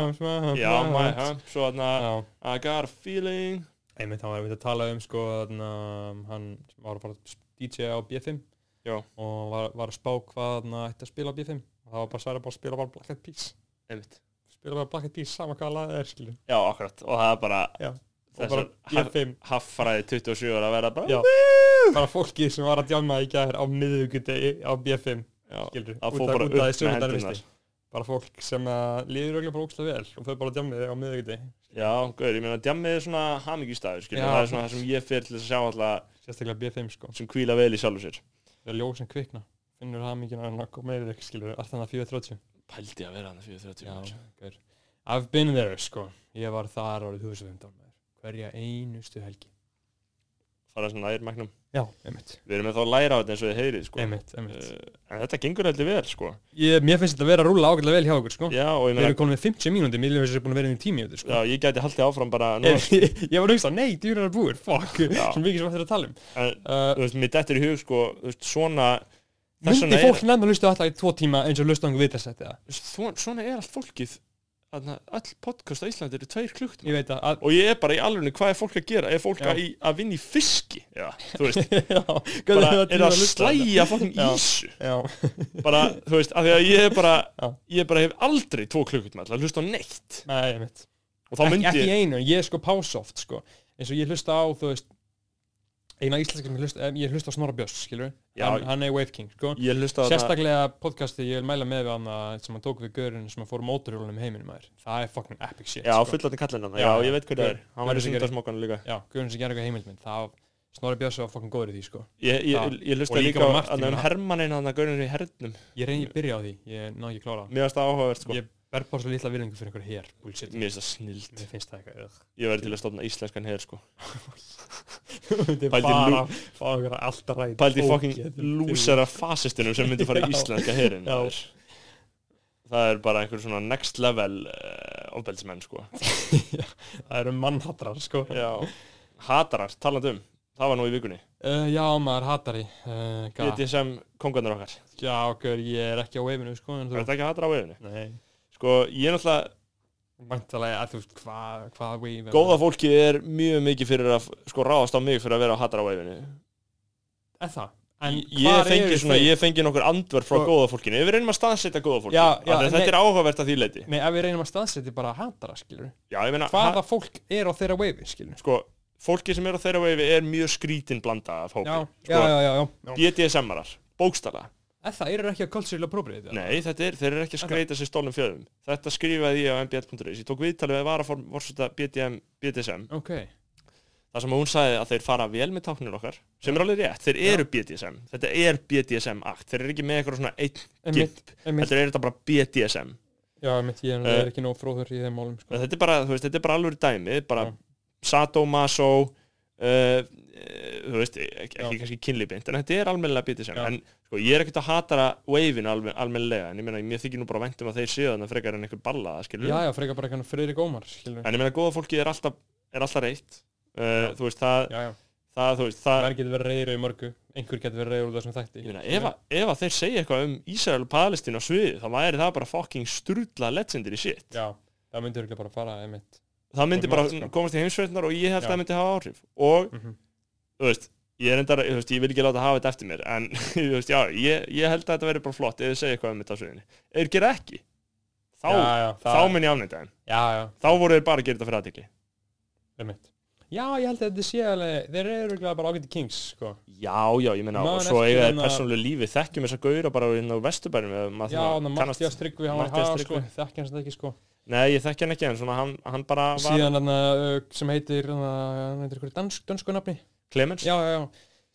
Speaker 1: já, my
Speaker 2: maður
Speaker 1: hump Svo þarna,
Speaker 2: Já,
Speaker 1: I got a feeling
Speaker 2: einmitt, hann var einmitt að tala um sko, þarna, hann var að fara að DJ á B5
Speaker 1: Já.
Speaker 2: og var, var að spá hvað hann ætti að spila á B5 og það var bara særa bara að spila bara Black Eyed Peas
Speaker 1: Einmitt
Speaker 2: spila bara Black Eyed Peas sama hvað lagið er skilur
Speaker 1: Já, akkurat, og það er bara
Speaker 2: Já. og
Speaker 1: Þessar
Speaker 2: bara B5
Speaker 1: haffræði 27 ára að vera bara
Speaker 2: Já. bara fólkið sem var að djáma í gær á miðugudegi á B5
Speaker 1: Já.
Speaker 2: skilur
Speaker 1: Að fór bara upp með hendurnar
Speaker 2: bara fólk sem að líður öglega bara ógstlega vel og þau bara djámið á miðugudegi
Speaker 1: Já, gauður, ég meina, djammið er svona hamingistæður, skilja,
Speaker 2: Já.
Speaker 1: það er svona það sem ég fyrir til þess að sjá alltaf
Speaker 2: sérstaklega B5 sko
Speaker 1: sem hvíla vel í sjálfu sér
Speaker 2: það er ljóð sem kvikna finnur það mikið að koma yfir þig skilur allt þannig að 4.30
Speaker 1: Pældi að vera hann fyrir 30
Speaker 2: Já,
Speaker 1: mínútur.
Speaker 2: gaur. I've been there sko Ég var þar árið 2015 maður. Hverja einustu helgi Sko,
Speaker 1: Það er svona nær magnum
Speaker 2: Já, einmitt,
Speaker 1: Við erum með þá að læra á þetta eins og þið heyrið, sko
Speaker 2: einmitt, einmitt.
Speaker 1: Uh, En þetta gengur heldur vel, sko
Speaker 2: eh, Ég, Mér finnst þetta að vera að rúla ágætlega vel hjá okkur sko
Speaker 1: Já, og ég
Speaker 2: Við
Speaker 1: meina,
Speaker 2: erum komin með 50 mínúti, mér finnst þetta búin að vera inn í tími sko.
Speaker 1: já, ég gæti haldið áfram bara nú,
Speaker 2: En ég, [LAUGHS] ég var að hugsa, nei, dýrar er búin, fuck
Speaker 1: Já.
Speaker 2: Svo mikið sem eftir að tala um
Speaker 1: en,
Speaker 2: uh,
Speaker 1: Þú veist, mér dettur í hug, sko, þú veist, svona þess
Speaker 2: Myndi
Speaker 1: vegna
Speaker 2: fólk nefn að lustu alltaf í tvo tíma eins og lustu ángu við þess að þetta
Speaker 1: er, þú veist, þvo- Svona er allt fólkið Þannig að all podcast á Íslandi eru tveir klukkt
Speaker 2: Ég veit að, [LAUGHS]
Speaker 1: Og ég er bara í alveg, hvað er fólk að gera? Er fólk
Speaker 2: Já.
Speaker 1: að, í- að vinna í fiski? Já, þú
Speaker 2: [LAUGHS]
Speaker 1: veist,
Speaker 2: já,
Speaker 1: bara
Speaker 2: hvernig
Speaker 1: er að
Speaker 2: hlusta á þetta?
Speaker 1: slæja fokkin
Speaker 2: Já.
Speaker 1: ísu [LAUGHS]
Speaker 2: Já,
Speaker 1: bara, þú veist, af því að ég er bara
Speaker 2: Já.
Speaker 1: ég bara hef aldrei tvo klukkutíma til að hlusta á neitt
Speaker 2: nei, einmitt
Speaker 1: og þá myndi
Speaker 2: ekki,
Speaker 1: ég,
Speaker 2: ekki einu, ég sko pása oft sko. eins og ég hlusta á, þú veist eina íslenska sem ég hlusta, em, ég hlusta á Snorra Björns, skilur
Speaker 1: Já.
Speaker 2: hann, hann er Wave King, sko
Speaker 1: ég hlusta á þarna-
Speaker 2: sérstaklega podcasti, ég vil mæla með við hann að- sem hann tók við görun sem hann fór móturhjólunum í heiminum maður, það er fucking epic shit
Speaker 1: já,
Speaker 2: sko.
Speaker 1: fullandin kallinn hann,
Speaker 2: Já,
Speaker 1: já,
Speaker 2: já.
Speaker 1: ég veit hvað það er hann
Speaker 2: Gaur
Speaker 1: var í
Speaker 2: sem gerir-
Speaker 1: sundarsmokkanum líka
Speaker 2: já, görun sem gerir eitthvað heimildmynd það, Snorri Björns var fucking góður í því, sko
Speaker 1: ég, ég,
Speaker 2: Já.
Speaker 1: ég
Speaker 2: Og
Speaker 1: hlusta
Speaker 2: líka
Speaker 1: líka
Speaker 2: var
Speaker 1: á
Speaker 2: Martin
Speaker 1: hann um
Speaker 2: hann.
Speaker 1: Hermannin hann að gaurinn í hernum
Speaker 2: ég reyni að byrja á því, ég ná ekki að klára það.
Speaker 1: mér varst það áhugavert, sko
Speaker 2: ég verð bara svo litla virðingu fyrir einhverju hér, bullshit
Speaker 1: mér finnst það snild,
Speaker 2: mér finnst það eitthvað ugh. [LAUGHS]
Speaker 1: ég verði til að stofna íslenskan her, sko
Speaker 2: Þetta er
Speaker 1: Pældi
Speaker 2: bara
Speaker 1: lú-
Speaker 2: fá einhverja hérna alltaf ræð
Speaker 1: pældi fokkin lúsera fasistunum sem myndi fara í
Speaker 2: [LAUGHS] Já.
Speaker 1: íslenska herin
Speaker 2: Já.
Speaker 1: það er bara einhver svona next level uh, ofbeldismenn, sko
Speaker 2: það eru mannhattrar, sko
Speaker 1: Já, hatarar, talandi um Það var nú í vikunni
Speaker 2: Uh, já, maður hatar í uh, gat-
Speaker 1: BDSM kongarnir okkar
Speaker 2: Já, okkur, ég er ekki á veifinu, sko en
Speaker 1: Er
Speaker 2: þú...
Speaker 1: þetta ekki hatara á vefinu?
Speaker 2: Nei
Speaker 1: Sko, ég er náttúrulega
Speaker 2: Væntalega, að þú veist, hvað hva veif er
Speaker 1: Góða fólki er mjög mikið fyrir að sko, ráðast á mig fyrir að vera á hatara á vefinu
Speaker 2: það? Er það? En
Speaker 1: Ég
Speaker 2: hvar
Speaker 1: fengi
Speaker 2: eru
Speaker 1: svona,
Speaker 2: þeir?
Speaker 1: ég fengi nokkur andverð frá
Speaker 2: Sko-
Speaker 1: góða fólkinu Ef við reynum að staðsetja góða fólki
Speaker 2: Já, já,
Speaker 1: Af því að
Speaker 2: nei.
Speaker 1: Þetta er áhugavert að því leiti
Speaker 2: Nei, ef við reynum að staðsetja bara hatara, skilur
Speaker 1: Já, ég meina ha,
Speaker 2: Hvaða fólk er á þeirra veifi, skilur
Speaker 1: Sko, fólki sem er á þeirra vefi er mjög skrítin blanda af hópi
Speaker 2: Já, já,
Speaker 1: Sko,
Speaker 2: já, já, já.
Speaker 1: BDSM-arar, bókstala
Speaker 2: Eða það eru ekki að cultural appropriate eða?
Speaker 1: Nei, þetta er, þeir eru ekki að skreita sér stólnum fjöðum Þetta skrifaði ég á mbl.is Ég tók viðtalið við varaform vorseta BDM, BDSM
Speaker 2: Ok,
Speaker 1: þar sem hún sagði að þeir fara vel með táknir okkar sem er alveg rétt, þeir eru BDSM Þetta er BDSM akt, þeir eru ekki með eitthvað svona einn
Speaker 2: einmitt,
Speaker 1: gimp,
Speaker 2: einmitt
Speaker 1: þetta er þetta bara BDSM
Speaker 2: Já, einmitt, ég
Speaker 1: Eh.
Speaker 2: er ekki nóg fróður í þeim málum, sko
Speaker 1: Þetta er bara, þú veist, þetta er bara alveg dæmi bara
Speaker 2: Já.
Speaker 1: sadomaso uh, þú veist, e, ekki,
Speaker 2: Já.
Speaker 1: ekki kannski kynlíbind en þetta er almennilega BDSM
Speaker 2: Já.
Speaker 1: en sko, ég er ekkert að hatara wave-in almen, almennilega en ég meina, mér þykir nú bara væntum að þeir séu þannig frekar en einhver ballaða, skilur
Speaker 2: Já, já, frekar bara eitthvað Friðrik Ómar, skilur
Speaker 1: en ég meina góða fólki er alltaf, er alltaf reitt uh, þú veist það,
Speaker 2: Já, já,
Speaker 1: það þú veist það,
Speaker 2: maður getur verið reyður í mörgu Einhver getur verið reyður úr þessum þætti
Speaker 1: ég meina, ef, að- ef að þeir segja eitthvað um Ísrael og Palestín á sviði þá væri það bara fucking strudla legendir í shit
Speaker 2: Já, það myndi örgulega bara fara einmitt
Speaker 1: það myndi
Speaker 2: Bara
Speaker 1: bara
Speaker 2: margt, sko.
Speaker 1: komast í heimsveitnar og ég held
Speaker 2: Já.
Speaker 1: að það myndi hafa áhrif og
Speaker 2: mm -hmm.
Speaker 1: þú veist ég er endara, þú veist, ég vil ekki láta hafa þetta eftir mér en [LAUGHS] þú veist, já, ég, ég held að þetta verði bara flott ef þið segja eitthvað um þetta á sviðinu ef þið gera ekki, þá,
Speaker 2: já, já,
Speaker 1: þá minn ég afnæta þeim
Speaker 2: Já, já,
Speaker 1: þá voru þeir bara að gera þetta fyrir aðtikli
Speaker 2: einmitt Já, ég held að þetta sé alveg, þeir eru örugglega bara ágæti kings, sko.
Speaker 1: Já, já, ég meina,
Speaker 2: Man
Speaker 1: og svo
Speaker 2: eftir
Speaker 1: eiga þeir
Speaker 2: hérna-
Speaker 1: persónulegu lífi þekkjum þess að gauðra bara inn á vesturbænum eða maður
Speaker 2: Já,
Speaker 1: svona
Speaker 2: þannig að Mattias Tryggvi, hann var í
Speaker 1: Matthías
Speaker 2: haga, sko,
Speaker 1: Tryggvi.
Speaker 2: þekki hans þetta ekki, sko.
Speaker 1: Nei, ég þekki hann ekki, en svona hann, hann bara var
Speaker 2: Síðan hann uh, sem heitir, hann hann heitir ykkur dansk, dansku nafni.
Speaker 1: Clemens,
Speaker 2: Já, já, já.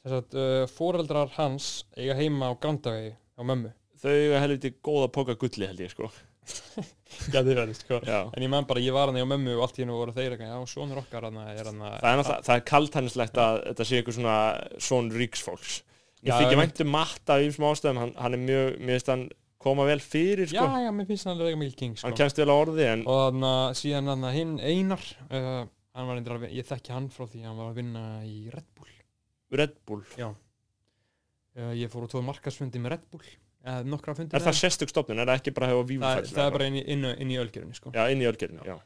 Speaker 2: Þess að uh, foreldrar hans eiga heima á Grandavegi á mömmu.
Speaker 1: þau eiga helviti góða póka gulli held ég, sko
Speaker 2: Gæti verið, sko.
Speaker 1: [LAUGHS] Já,
Speaker 2: En ég man bara, ég var hann á mömmu og allt í hennu voru þeir eitthvað, já, sonur okkar hann er
Speaker 1: það er,
Speaker 2: hann
Speaker 1: náttúrulega- það er kaltænislegt að þetta sé einhver svona svon ríksfólks Mér
Speaker 2: Já,
Speaker 1: þykir um
Speaker 2: einmitt.
Speaker 1: væntum matta í þessum ástæðum, hann, hann er mjög, mér finnst hann koma vel fyrir,
Speaker 2: Já,
Speaker 1: sko
Speaker 2: já, mér finnst hann alveg eitthvað mikil king, sko.
Speaker 1: Hann kemst vel á orði, en
Speaker 2: og þannig að síðan þannig að hinn Einar uh, hann var eindir að, vin- ég þekki hann frá því að hann var að vinna í Red Bull
Speaker 1: Red Bull
Speaker 2: uh, ég fór á tvoð markarsfundi með Red Bull uh, nokkra fundi
Speaker 1: Er það sérstök stofnun, er það ekki bara að hefa
Speaker 2: það, er-
Speaker 1: vífufæll?
Speaker 2: það er bara inn í, inn, í- inn í ölgerinu sko.
Speaker 1: Já, inn í ölgerinu, já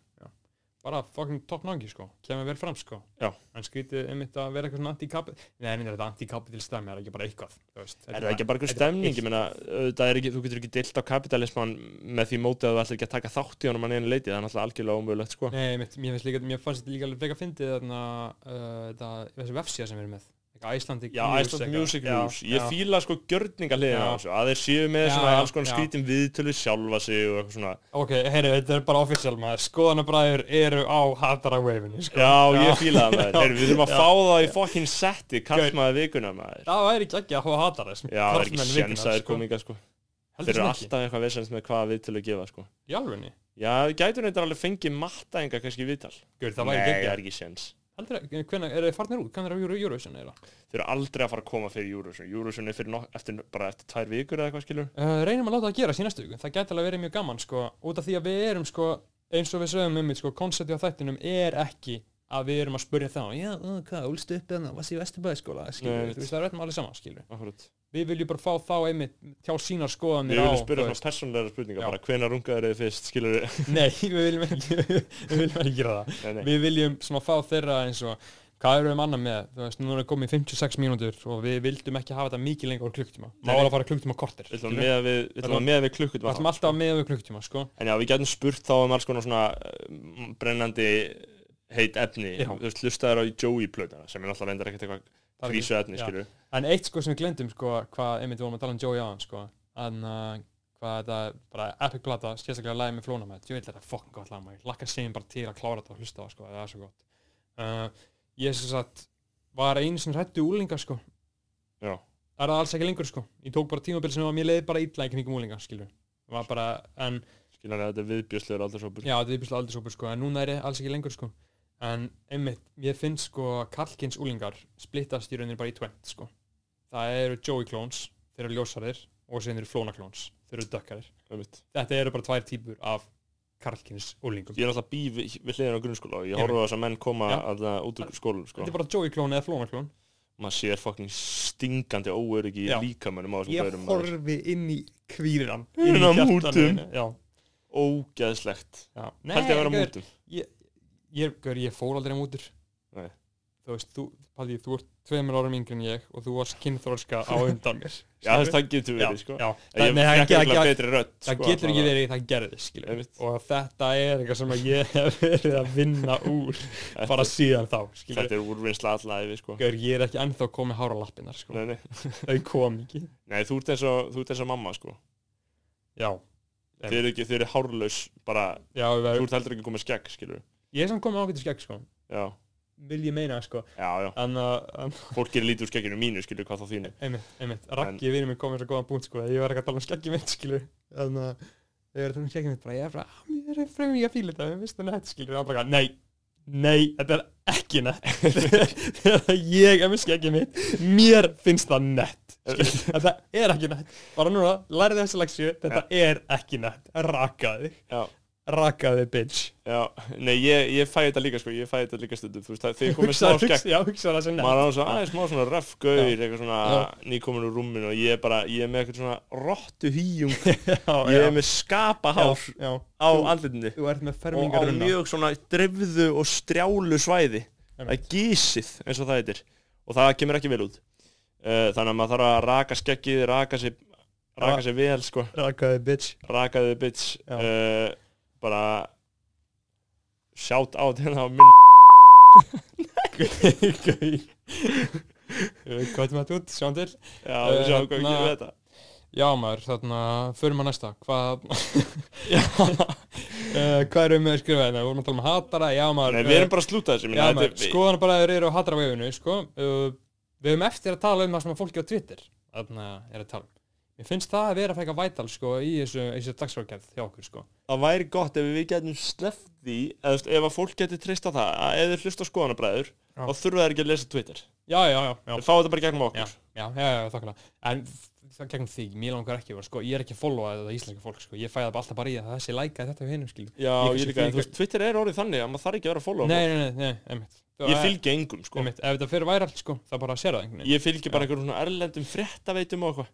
Speaker 2: bara fucking top nangi sko kemur vel fram sko
Speaker 1: Já.
Speaker 2: hann skrítið einmitt að vera eitthvað svona anti-capital nei, minn er þetta anti-capital stæmi, það er ekki bara eitthvað þú veist,
Speaker 1: Er það ekki bara einhver
Speaker 2: þetta er
Speaker 1: stemning,
Speaker 2: eitt-
Speaker 1: ég meina, auðvitað er ekki, þú getur ekki dilt á kapitalisman með því mótið að þú ætlir ekki að taka þátt í honum að einu leiti, það er náttúrulega algjörlega ómögulegt, sko.
Speaker 2: nei, einmitt, mér, finnst líka, mér fannst þetta líka alveg frekar fyndið þarna uh, þetta, þessi vefsíða sem við erum með eitthvað Icelandic
Speaker 1: Já,
Speaker 2: News
Speaker 1: Iceland
Speaker 2: eitthvað.
Speaker 1: Music
Speaker 2: Já,
Speaker 1: News, ég
Speaker 2: já.
Speaker 1: fíla sko gjörningaliðin á
Speaker 2: Já.
Speaker 1: þessu, að þeir séu með
Speaker 2: Já,
Speaker 1: svona
Speaker 2: já,
Speaker 1: alls konar
Speaker 2: já.
Speaker 1: skrítum viðtölu sjálfa sig og eitthvað svona.
Speaker 2: Ok, heyri, þetta er bara official maður, skoðanabræður eru á hatara wave-inu, sko.
Speaker 1: Já,
Speaker 2: [LAUGHS] Já.
Speaker 1: ég fíla það maður, Heyrðu, við þurfum að
Speaker 2: Já.
Speaker 1: fá það í fokkin setti, kallmaði vikuna maður.
Speaker 2: Það væri ekki ekki að hafa hatara, sko.
Speaker 1: Já, það er ekki sjens að þeir kominga sko. Þeir eru
Speaker 2: Heldur sem ekki,
Speaker 1: alltaf eitthvað vesens með hvaða viðtölu gefa sko.
Speaker 2: í alvegni.
Speaker 1: Já, við gætum þetta alveg fengið mattaenga kannski í viðtal.
Speaker 2: Guður, það
Speaker 1: Nei,
Speaker 2: væri
Speaker 1: það er
Speaker 2: ekki ekki.
Speaker 1: ekki sjens.
Speaker 2: Heldur ekki, hvernig, er þeir farnir út, hvernig er á Euro Eurovision eða?
Speaker 1: Þeir eru aldrei að fara að koma fyrir Eurovision. Eurovision er fyrir nok eftir, bara eftir tvær vikur eða eitthvað skilur.
Speaker 2: Uh, reynum að láta það gera sínastu ykkur, það gæti alveg verið mjög gaman, sko, út af því að við erum, sko, eins og við sögum um, sko, koncepti á þættinum er ekki að við erum að spurja þá, já, uh, hvað, úlstu upp eða, hvað sé Vesturbæðskóla, skilur,
Speaker 1: Nei,
Speaker 2: þú veist, það er veitum alveg saman, skilur.
Speaker 1: Akkurat.
Speaker 2: Við viljum bara fá þá einmitt tjá sínar skoðanir
Speaker 1: Við
Speaker 2: á,
Speaker 1: viljum
Speaker 2: þú
Speaker 1: spyrja
Speaker 2: veist.
Speaker 1: svona persónlega spurningar
Speaker 2: Já.
Speaker 1: bara hvenar rungaður þið fyrst, skilur
Speaker 2: Nei, við viljum ekki, [LAUGHS] við viljum ekki gera það.
Speaker 1: [LAUGHS] nei, nei.
Speaker 2: Við viljum svona fá þeirra eins og hvað eru við annað með, þú veist, núna er komið 56 mínútur og við vildum ekki hafa þetta mikið lengur úr klukktíma. Má
Speaker 1: Nei, nei.
Speaker 2: alveg fara klukktíma kortir.
Speaker 1: Við ætlum að
Speaker 2: skilurðu?
Speaker 1: meða við, við, ætlum að meða við
Speaker 2: Við
Speaker 1: klukkutum
Speaker 2: ætlum alltaf með við klukktíma, sko.
Speaker 1: En já, við gætum spurt þá um alls konar svona uh, brennandi heit efni
Speaker 2: Já.
Speaker 1: Þú veist, hlustaður á Joey-plötana sem er alltaf reyndar ekkert
Speaker 2: Það
Speaker 1: eitthvað
Speaker 2: er
Speaker 1: krísu efni,
Speaker 2: já.
Speaker 1: skilur
Speaker 2: En eitt sko sem við glendum, sko, hvað einmitt við vorum að tala um Joey Aðan, sko, en uh, hvað þetta er bara epic plata, sérstaklega lagið með flóna með, djövill þetta er fokkin gott lag, maður, lakka segjum bara til að klára þetta og hlusta á, það, sko, það er svo gott. Uh, ég sem sagt, var einu sem hrættu úlingar, sko,
Speaker 1: Já,
Speaker 2: það er það alls ekki lengur sko ég tók bara tímabil sem var mér leið bara illa í kringum úlinga skilur var bara, en
Speaker 1: skilur að þetta er viðbjörslegur aldrei svo
Speaker 2: já, þetta er byrjulega aldursópur sko en núna er ég alls ekki lengur sko en einmitt, ég finn sko kalkins úlingar splittast í rauninni bara í tvent sko það eru Joey Clones, þeir eru ljósarir og sen eru Flóna Clones, þeir eru dökkarir
Speaker 1: Einmitt.
Speaker 2: þetta eru bara tvær típur af kalkins úlingum
Speaker 1: Ég er alltaf bí við, við hliðin á grunnskóla og ég
Speaker 2: Ég
Speaker 1: horfa á þess að menn koma
Speaker 2: Já.
Speaker 1: alltaf út úr skólum, sko
Speaker 2: þetta er bara Joey Clone eða Flóna Clone
Speaker 1: Maður sér fucking stingandi óöryggi í
Speaker 2: Já.
Speaker 1: líkamönum á þessum
Speaker 2: ég
Speaker 1: gaurum, maður.
Speaker 2: horfi inn í kvíðan
Speaker 1: Inn á mútum.
Speaker 2: já,
Speaker 1: Ógeðslegt
Speaker 2: já. Nei,
Speaker 1: Haldið að vera á
Speaker 2: gaur,
Speaker 1: mútum
Speaker 2: ég, gaur, ég fór aldrei á mútur
Speaker 1: Nei.
Speaker 2: þú veist, þú, Palli, þú ert tveimur árum yngri en ég og þú varst kynþrólska á undan mér
Speaker 1: Já, þess það getur
Speaker 2: já,
Speaker 1: verið, sko
Speaker 2: já.
Speaker 1: Ég fekk
Speaker 2: Nei, það, það,
Speaker 1: eitthvað
Speaker 2: það,
Speaker 1: betri rödd
Speaker 2: það
Speaker 1: sko,
Speaker 2: getur ekki
Speaker 1: allavega.
Speaker 2: verið það gerði, skilur
Speaker 1: Einmitt.
Speaker 2: og þetta er eitthvað sem að ég [LAUGHS] hef verið að vinna úr bara síðan þá, skilur
Speaker 1: Þetta er úrvinnsla allæfi, sko
Speaker 2: Gaur, ég er ekki ennþá komið hára lappinnar, sko
Speaker 1: nei, nei.
Speaker 2: þau kom ekki
Speaker 1: nei, þú ert eins og, þú ert eins og mamma, sko
Speaker 2: já,
Speaker 1: Þið eru ekki, þið eru hárlaus bara,
Speaker 2: já, við
Speaker 1: þú
Speaker 2: verðum
Speaker 1: ert heldur ekki komið skegg, skilur
Speaker 2: ég er samt komið ágætið skegg, sko
Speaker 1: Já,
Speaker 2: vil ég meina, sko
Speaker 1: já, já
Speaker 2: en, uh, en
Speaker 1: Fólk gerir lítið úr skegginu mínu, skilur hvað þá þínu
Speaker 2: einmitt, einmitt, Raggi vinur minn kom með svo góðan punkt sko, ég var ekki að tala um skeggi mitt skilur þannig að ég var að tala um skeggi mitt bara, ég er bara, "Ah, mér er fremjum ég að fíla þetta mér finnst það nætt skilur, hann bara, nei nei, þetta er ekki nætt [LAUGHS] þegar að ég er með skeggi mitt mér finnst það nætt þetta er ekki nætt, bara núna lærið þessi leksju, þetta er ekki nætt rakaði,
Speaker 1: Já,
Speaker 2: rakaði bitch
Speaker 1: já, nei, ég, ég fæ þetta líka, sko Ég fæ þetta líka stundum, þú veist, það- þið komið smá
Speaker 2: Hugsaði-
Speaker 1: skegg
Speaker 2: hugsa- já, hugsaði það sem
Speaker 1: maður
Speaker 2: nætt
Speaker 1: á þess að aðeins smá svona röff gaur
Speaker 2: Já.
Speaker 1: eitthvað svona nýkomin úr rúminu og ég er bara, ég er með eitthvað svona rottu hýjung,
Speaker 2: [LAUGHS] já,
Speaker 1: ég
Speaker 2: já,
Speaker 1: er með skapahár
Speaker 2: já, já,
Speaker 1: á andlitinu
Speaker 2: þú ert með
Speaker 1: og á
Speaker 2: fermingarunna
Speaker 1: mjög svona drefðu og strjálu svæði það er gísið eins og það heitir og það kemur ekki vel út Eh, þannig að maður þarf að raka skeggið raka sér, raka
Speaker 2: Ra-
Speaker 1: sér vel sko
Speaker 2: rakaði bitch
Speaker 1: rakaðu bitch
Speaker 2: Já.
Speaker 1: uh, bara shout out hérna á minn
Speaker 2: Gau Kvætum þetta út, sjáum til
Speaker 1: [LAUGHS] Já,
Speaker 2: Eh,
Speaker 1: við sjáum hvað við
Speaker 2: hérna-
Speaker 1: gerum við þetta
Speaker 2: Já maður, þarna, förum að næsta [LAUGHS] Hvað uh, Hvað erum við með að skrifa hérna? Vorum að tala um hatara, já maður eh,
Speaker 1: Nei, við erum bara að slúta þessu ég
Speaker 2: Já
Speaker 1: meina,
Speaker 2: maður,
Speaker 1: þetta er-
Speaker 2: skoðan bara þeir eru á hatara vefinu, sko uh, Við höfum eftir að tala um það sem að fólki á Twitter Þarna er að tala um Mér finnst það að vera fækka vætal, sko, í þessu, í þessu dagsfólkjæð hjá okkur, sko
Speaker 1: Það væri gott ef við getum sleppt því eða þú veist, ef að fólk getur treyst á það að ef þeir hlusta á skoðanabræður
Speaker 2: Já.
Speaker 1: þá þurfa þeir ekki að lesa Twitter
Speaker 2: Já, já, já, já
Speaker 1: Þeir fá þetta bara gegnum
Speaker 2: já,
Speaker 1: okkur
Speaker 2: já, já, já þakkarlega en f- það gegnum því, mér langar ekki bara, sko, ég er ekki að followa þetta íslenska fólk sko. ég fæ það bara alltaf bara í að þessi lækaði þetta við hinum skilju
Speaker 1: Já,
Speaker 2: Ég
Speaker 1: ég
Speaker 2: kannski
Speaker 1: líka, en
Speaker 2: fylg-
Speaker 1: þú veist, Twitter er orðið þannig að maður þarf ekki að vera að followa
Speaker 2: nei,
Speaker 1: fólk.
Speaker 2: nei, nei, nei, einmitt
Speaker 1: Ég fylgi engum, sko
Speaker 2: einmitt, ef þetta fyrir væral, sko, það bara sér það einhvern veginn
Speaker 1: Ég fylgi bara einhverjum svona erlendum fréttaveitum og eitthvað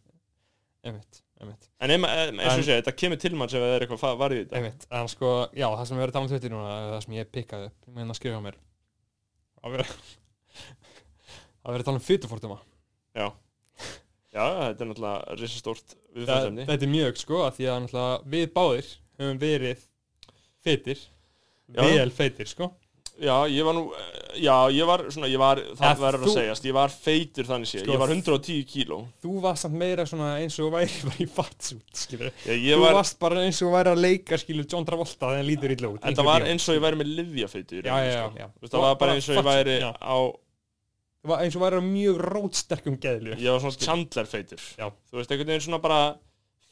Speaker 2: einmitt, einmitt,
Speaker 1: En ef ma- eh, eins og ég
Speaker 2: En-
Speaker 1: segi, þetta kemur til manns ef það er eitthvað fa- varðið í þetta
Speaker 2: einmitt en sko, já, það sem við verðum að tala um tvittir núna það sem ég pikkaði upp, ég meina að skrifa á mér það verður það verður [LAUGHS] að tala um fytufortuma
Speaker 1: Já, þetta er náttúrulega risastórt
Speaker 2: Þa-
Speaker 1: viðfangsefni
Speaker 2: þetta er mjög, sko, að því að náttúrulega við báðir höfum verið fytir,
Speaker 1: Já.
Speaker 2: vel fytir, sko
Speaker 1: Já, ég var nú, eh, já, ég var svona, ég var, það
Speaker 2: Ef
Speaker 1: verður
Speaker 2: þú-
Speaker 1: að segjast, ég var feitur þannig sé,
Speaker 2: Sko,
Speaker 1: ég var 110 kíló
Speaker 2: þú varst samt meira svona eins og væri [LAUGHS] bara í fatsút, skilur
Speaker 1: Ég,
Speaker 2: Þú
Speaker 1: ég var,
Speaker 2: varst bara eins og væri að leika, skilur, John Travolta þegar hann lítur illa út
Speaker 1: þetta var eins og ég væri með livjafeitur
Speaker 2: Já, já, já, já.
Speaker 1: sko. Það var bara eins og ég
Speaker 2: fatsút,
Speaker 1: væri
Speaker 2: já.
Speaker 1: á,
Speaker 2: Þú var eins og væri á mjög rótsterkum geðlu
Speaker 1: ég var svona Chandler feitur
Speaker 2: Já.
Speaker 1: Þú veist, einhvern veginn svona bara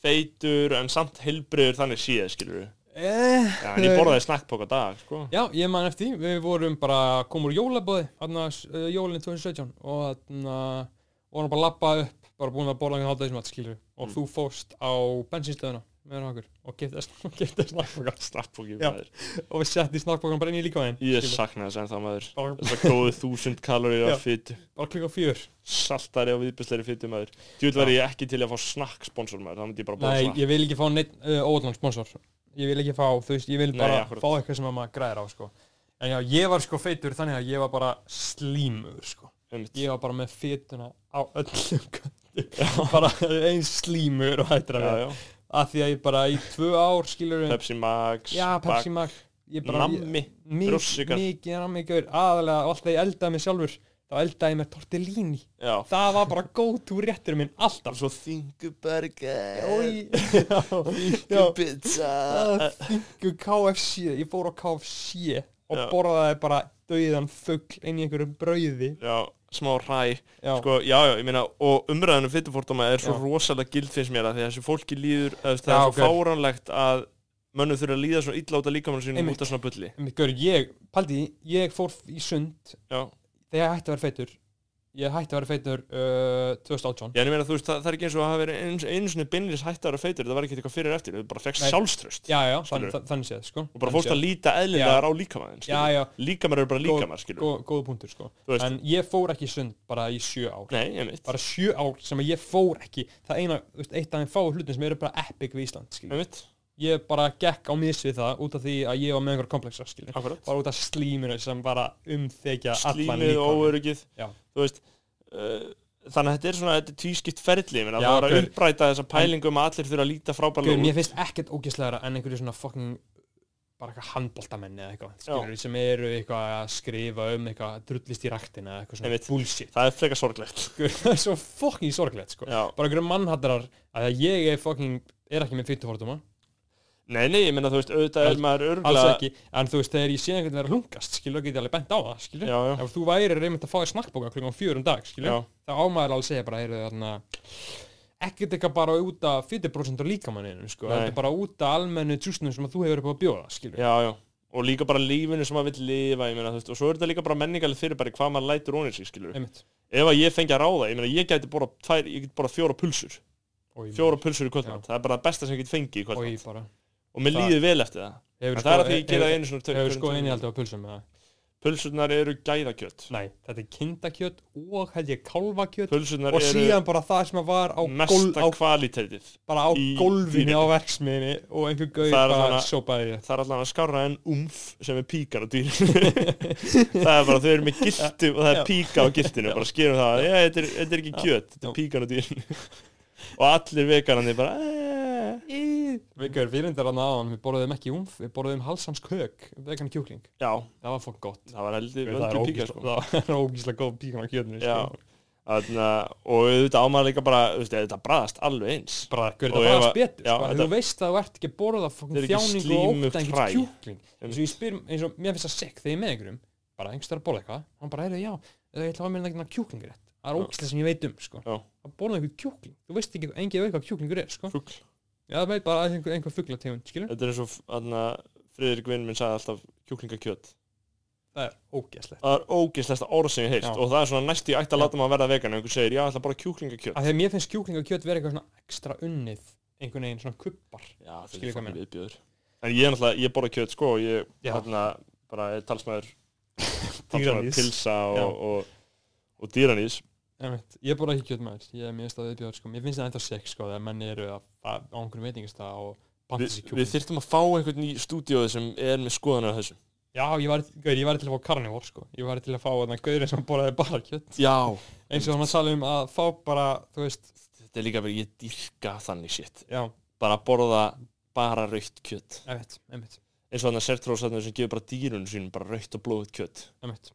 Speaker 1: feitur en samt heilbriður þannig séð, skilur við
Speaker 2: eh,
Speaker 1: Já,
Speaker 2: [LAUGHS]
Speaker 1: en ég borðaði snakkpók á dag, sko
Speaker 2: Já, ég man eftir, því, við vorum bara komur jólabóði, hann að uh, jólinn 2017 og hann að vorum bara að labba upp, bara búin að borða hann hátæðismat, skilur og
Speaker 1: Mm.
Speaker 2: þú fóst á bensinstöðuna með okkur [LAUGHS] og getið snakkbókan
Speaker 1: Snakkpóki,
Speaker 2: Já.
Speaker 1: maður
Speaker 2: og við setti snakkbókan bara inn í líka þeim
Speaker 1: Ég sakna þess en það maður
Speaker 2: bara,
Speaker 1: Þessar góðu þúsund kaloríur
Speaker 2: Já.
Speaker 1: af fytu
Speaker 2: bara klukka fjör
Speaker 1: Saltari og viðbjörsleiri fytu maður Djúvel væri ég ekki til að fá snakksponsor maður Það myndi ég bara bóða
Speaker 2: Nei,
Speaker 1: snakk
Speaker 2: ég vil ekki fá neitt uh, óallan sponsor Ég vil ekki fá, þú veist, ég vil
Speaker 1: Nei,
Speaker 2: bara
Speaker 1: akkúrat.
Speaker 2: fá eitthvað sem að maður græðir á, sko En já, ég var sko feitur þannig að ég var bara slímur, sko
Speaker 1: Einmitt.
Speaker 2: Ég var bara með feituna á öllum [LAUGHS] kantum Bara eins slímur og hættur að
Speaker 1: Já,
Speaker 2: vera
Speaker 1: já.
Speaker 2: Af því að ég bara í tvö ár skilur
Speaker 1: Pepsi Max
Speaker 2: Já, Pepsi
Speaker 1: Bak-
Speaker 2: Mac Ég bara,
Speaker 1: Nammi
Speaker 2: mikið,
Speaker 1: brjóssykur.
Speaker 2: mikið, nammi, gaur Aðalega, alltaf ég eldaði mig sjálfur Þá eldaði ég með tortellini
Speaker 1: Já
Speaker 2: Það var bara go to réttur minn alltaf
Speaker 1: Svo þingu burger
Speaker 2: Oj, já, já,
Speaker 1: Þingu pizza
Speaker 2: Þingu KFC, ég fór á KFC og
Speaker 1: Já.
Speaker 2: borðaði bara dauðan fugg inn í einhverju brauði
Speaker 1: Já, smá ræ
Speaker 2: Já,
Speaker 1: Sko, já, já, ég meina Og umræðanum fytufórtóma er svo
Speaker 2: Já.
Speaker 1: rosalega gild finnst mér að Því að þessu fólki líður eða, þú veist,
Speaker 2: Já,
Speaker 1: Það er
Speaker 2: ok.
Speaker 1: svo fáránlegt að Mönnum þurfa að líða svona illa út af líkamann sínum
Speaker 2: Einmitt.
Speaker 1: út af svona bulli
Speaker 2: Einmitt, Gaur, ég, paldi, ég fór í sund
Speaker 1: Já
Speaker 2: þegar ég hætti að vera feitur ég hætti að vera feitur uh, 2018
Speaker 1: Já, en ég meina, þú veist, það, það er ekki eins og að hafa verið eins, einu sinni beinlis hættar og feitur, það var ekki eitthvað fyrir og eftir, þú bara fekst
Speaker 2: Nei.
Speaker 1: sjálfströst
Speaker 2: Já, já,
Speaker 1: Skilurðu?
Speaker 2: þann, þann- þannig séð, sko
Speaker 1: og bara fórst að líta eðlilegar á líkamæðin,
Speaker 2: Já, já,
Speaker 1: Líkamæður eru bara
Speaker 2: Góð-
Speaker 1: líkamæður, skilur.
Speaker 2: góð, góð punktur, sko
Speaker 1: Þú veist.
Speaker 2: En ég fór ekki í sund bara í sjö ár
Speaker 1: Nei, ég mitt.
Speaker 2: bara sjö ár sem að ég fór ekki það eina, þú veist, eitt af þeim fáu hlutin sem eru bara epic við Ísland, skilur
Speaker 1: Ég mitt,
Speaker 2: ég bara gekk á mis við það út af því að ég var með einhver kompleksa skilur
Speaker 1: akkurat.
Speaker 2: bara út af slíminu sem bara umþekja
Speaker 1: Slímið
Speaker 2: allan
Speaker 1: og
Speaker 2: líkamann.
Speaker 1: óöryggið,
Speaker 2: Já.
Speaker 1: þú veist, uh, þannig að þetta er svona, þetta er tvískipt ferli, ég meina,
Speaker 2: Já,
Speaker 1: það var að
Speaker 2: gaur.
Speaker 1: uppræta þessa pælingum að allir þurfa að líta
Speaker 2: Guð,
Speaker 1: frábærlega
Speaker 2: mér
Speaker 1: út.
Speaker 2: finnst ekkert ógislegra en einhverju svona fucking bara eitthvað handboltamenni eða eitthvað skilur, sem eru eitthvað að skrifa um eitthvað drullist í raktina eða eitthvað svona
Speaker 1: Einmitt.
Speaker 2: bullshit
Speaker 1: Það er frekar sorglegt.
Speaker 2: Guð, [LAUGHS] það er svo fucking sorglegt sko
Speaker 1: Já.
Speaker 2: bara einhverju mannhattarar að því að ég er fucking er ekki með fytufórtuma
Speaker 1: Nei, nei, ég meina, þú veist, auðvitað
Speaker 2: Alls-
Speaker 1: er maður
Speaker 2: alls
Speaker 1: örgulega...
Speaker 2: ekki en þú veist þegar ég sé einhvern vera að lungast skilur þá get ég alveg bent á það skilur
Speaker 1: Já, já.
Speaker 2: ef þú væri reynd að fá þér snakkbóka klukkan fjör um dag skilur
Speaker 1: Já,
Speaker 2: þá ámæður alveg að segja bara heyrðu þarna ekkert eitthvað bara út af 40% á líkamanninu sko,
Speaker 1: Nei.
Speaker 2: þetta er bara út af almennu tjúsnum sem að þú hefur upp á að bjóða skilur
Speaker 1: já, já. Og líka bara lífinu sem maður vill lifa, ég meina, þú veist, og svo er þetta líka bara menningalið fyrir bara hvað maður lætur ónir sig, skilur.
Speaker 2: einmitt
Speaker 1: ef að ég fengi að ráða, ég meina ég gæti bara, tvær, ég geti bara fjóra pulsur
Speaker 2: og ég,
Speaker 1: fjóra pulsur í kvöldmatt, það er bara það besta sem ég geti fengið í
Speaker 2: og
Speaker 1: kvöldmatt
Speaker 2: ég bara
Speaker 1: og mér
Speaker 2: það-
Speaker 1: líður vel eftir það,
Speaker 2: hefur sko-
Speaker 1: en það er að því ég gera það einu svona
Speaker 2: hefur sko innihaldi á pulsum eða?
Speaker 1: pulsurnar eru gæðakjött
Speaker 2: nei, þetta er kindakjöt og held ég kálvakjöt
Speaker 1: pulsurnar
Speaker 2: og
Speaker 1: eru
Speaker 2: síðan bara það sem að var á, gól,
Speaker 1: mesta
Speaker 2: á,
Speaker 1: kvalitetið
Speaker 2: bara á
Speaker 1: í
Speaker 2: gólfinu
Speaker 1: dýrinu.
Speaker 2: á verksmiðinni og einhver gauð
Speaker 1: Það er
Speaker 2: bara
Speaker 1: þarna-
Speaker 2: sópaði ég
Speaker 1: það er allan að skára en umf sem er píkar á dýrinu [LAUGHS] það er bara, þau eru með giltu og það er
Speaker 2: Já.
Speaker 1: píka á giltinu, bara skerum það já, þetta er, þetta er ekki
Speaker 2: Já.
Speaker 1: kjött, þetta
Speaker 2: Já.
Speaker 1: er píkan á dýrinu og allir veganandi bara "Eh,
Speaker 2: Vikaður fyririndar hann aðan, við borðum ekki umf, við borðum halsans kök, vegan kjúkling.
Speaker 1: já,
Speaker 2: Það var fokk gott.
Speaker 1: það var heldur
Speaker 2: Það er
Speaker 1: völdu píka sko.
Speaker 2: ógísla, [LAUGHS] það er ógísla góð píkan á kjötinu. sko.
Speaker 1: Já. Þarna, og auðvitað ámar líka bara þú veist, þetta bræðast alveg eins
Speaker 2: Bara, gaur,
Speaker 1: Og
Speaker 2: þetta
Speaker 1: ef
Speaker 2: bara
Speaker 1: að-
Speaker 2: betur.
Speaker 1: já, þetta-
Speaker 2: sko, Þú veist að þú ert ekki að borða
Speaker 1: Þetta er
Speaker 2: fokkin
Speaker 1: ekki
Speaker 2: þjáningu og
Speaker 1: slímugt
Speaker 2: óta
Speaker 1: fræ.
Speaker 2: einhvern kjúkling. eins og ég spyr, eins og mér finnst það sekk þegar ég er með einhverjum bara einhvers þar að borða eitthvað hann bara er það já, ég ætla að hafa mér einhvern kjúklingur rétt það er
Speaker 1: Já.
Speaker 2: ógæslega sem ég veit um sko.
Speaker 1: Já.
Speaker 2: að borða einhvern kjúkling, þú veist ekki engið veit hvað kjúklingur er sko.
Speaker 1: Fugl.
Speaker 2: já, það veit bara að einhver, einhver fuglategund skilur,
Speaker 1: þetta er eins og þarna, Friðrik vinn minn sagði alltaf kjúklingakjöt
Speaker 2: það er ógæslegt
Speaker 1: það er ógeðslegsta orð sem ég heilt
Speaker 2: Já.
Speaker 1: og það er svona næst í ætti að
Speaker 2: Já. Ah,
Speaker 1: láta maður verða vegan ef einhver segir, já, ég ætla bara kjúklingakjöt
Speaker 2: af því að mér finnst kjúkling og kjöt vera eitthvað svona ekstra unnið einhvern veginn svona kubbar
Speaker 1: já, það
Speaker 2: Skil ég
Speaker 1: er
Speaker 2: hvað
Speaker 1: fannig
Speaker 2: meina.
Speaker 1: viðbjöður en ég er náttúrulega, ég borða kjöt sko og ég,
Speaker 2: Já.
Speaker 1: þarna, bara er
Speaker 2: [LAUGHS]
Speaker 1: talsmaður talsmaður
Speaker 2: Dýralífs.
Speaker 1: pilsa
Speaker 2: Já.
Speaker 1: og, og, og dýranís
Speaker 2: Einmitt. ég borða ekki kjöt maður, ég er mér stað viðbjóður sko. mér finnst það eitthvað sekk sko, þegar menn eru að, að, á einhverjum veitingastað og panta
Speaker 1: við,
Speaker 2: sér
Speaker 1: við
Speaker 2: kjúkling
Speaker 1: þyrftum að fá einhvern í stúdíóði sem er með skoðanar þessu
Speaker 2: já, ég var, gaur, ég var til að fá karnivor sko. ég var til að fá þannig að gaurið sem borðaði bara kjöt
Speaker 1: já,
Speaker 2: eins og hann að tala um að fá bara þú veist,
Speaker 1: þetta er líka verið, ég dýrka þannig shit
Speaker 2: já,
Speaker 1: bara borða bara raukt kjöt
Speaker 2: einmitt, einmitt,
Speaker 1: eins og þannig að sertrósarnir sem gefur bara dýrun sínum bara raukt og blóðut kjöt
Speaker 2: einmitt.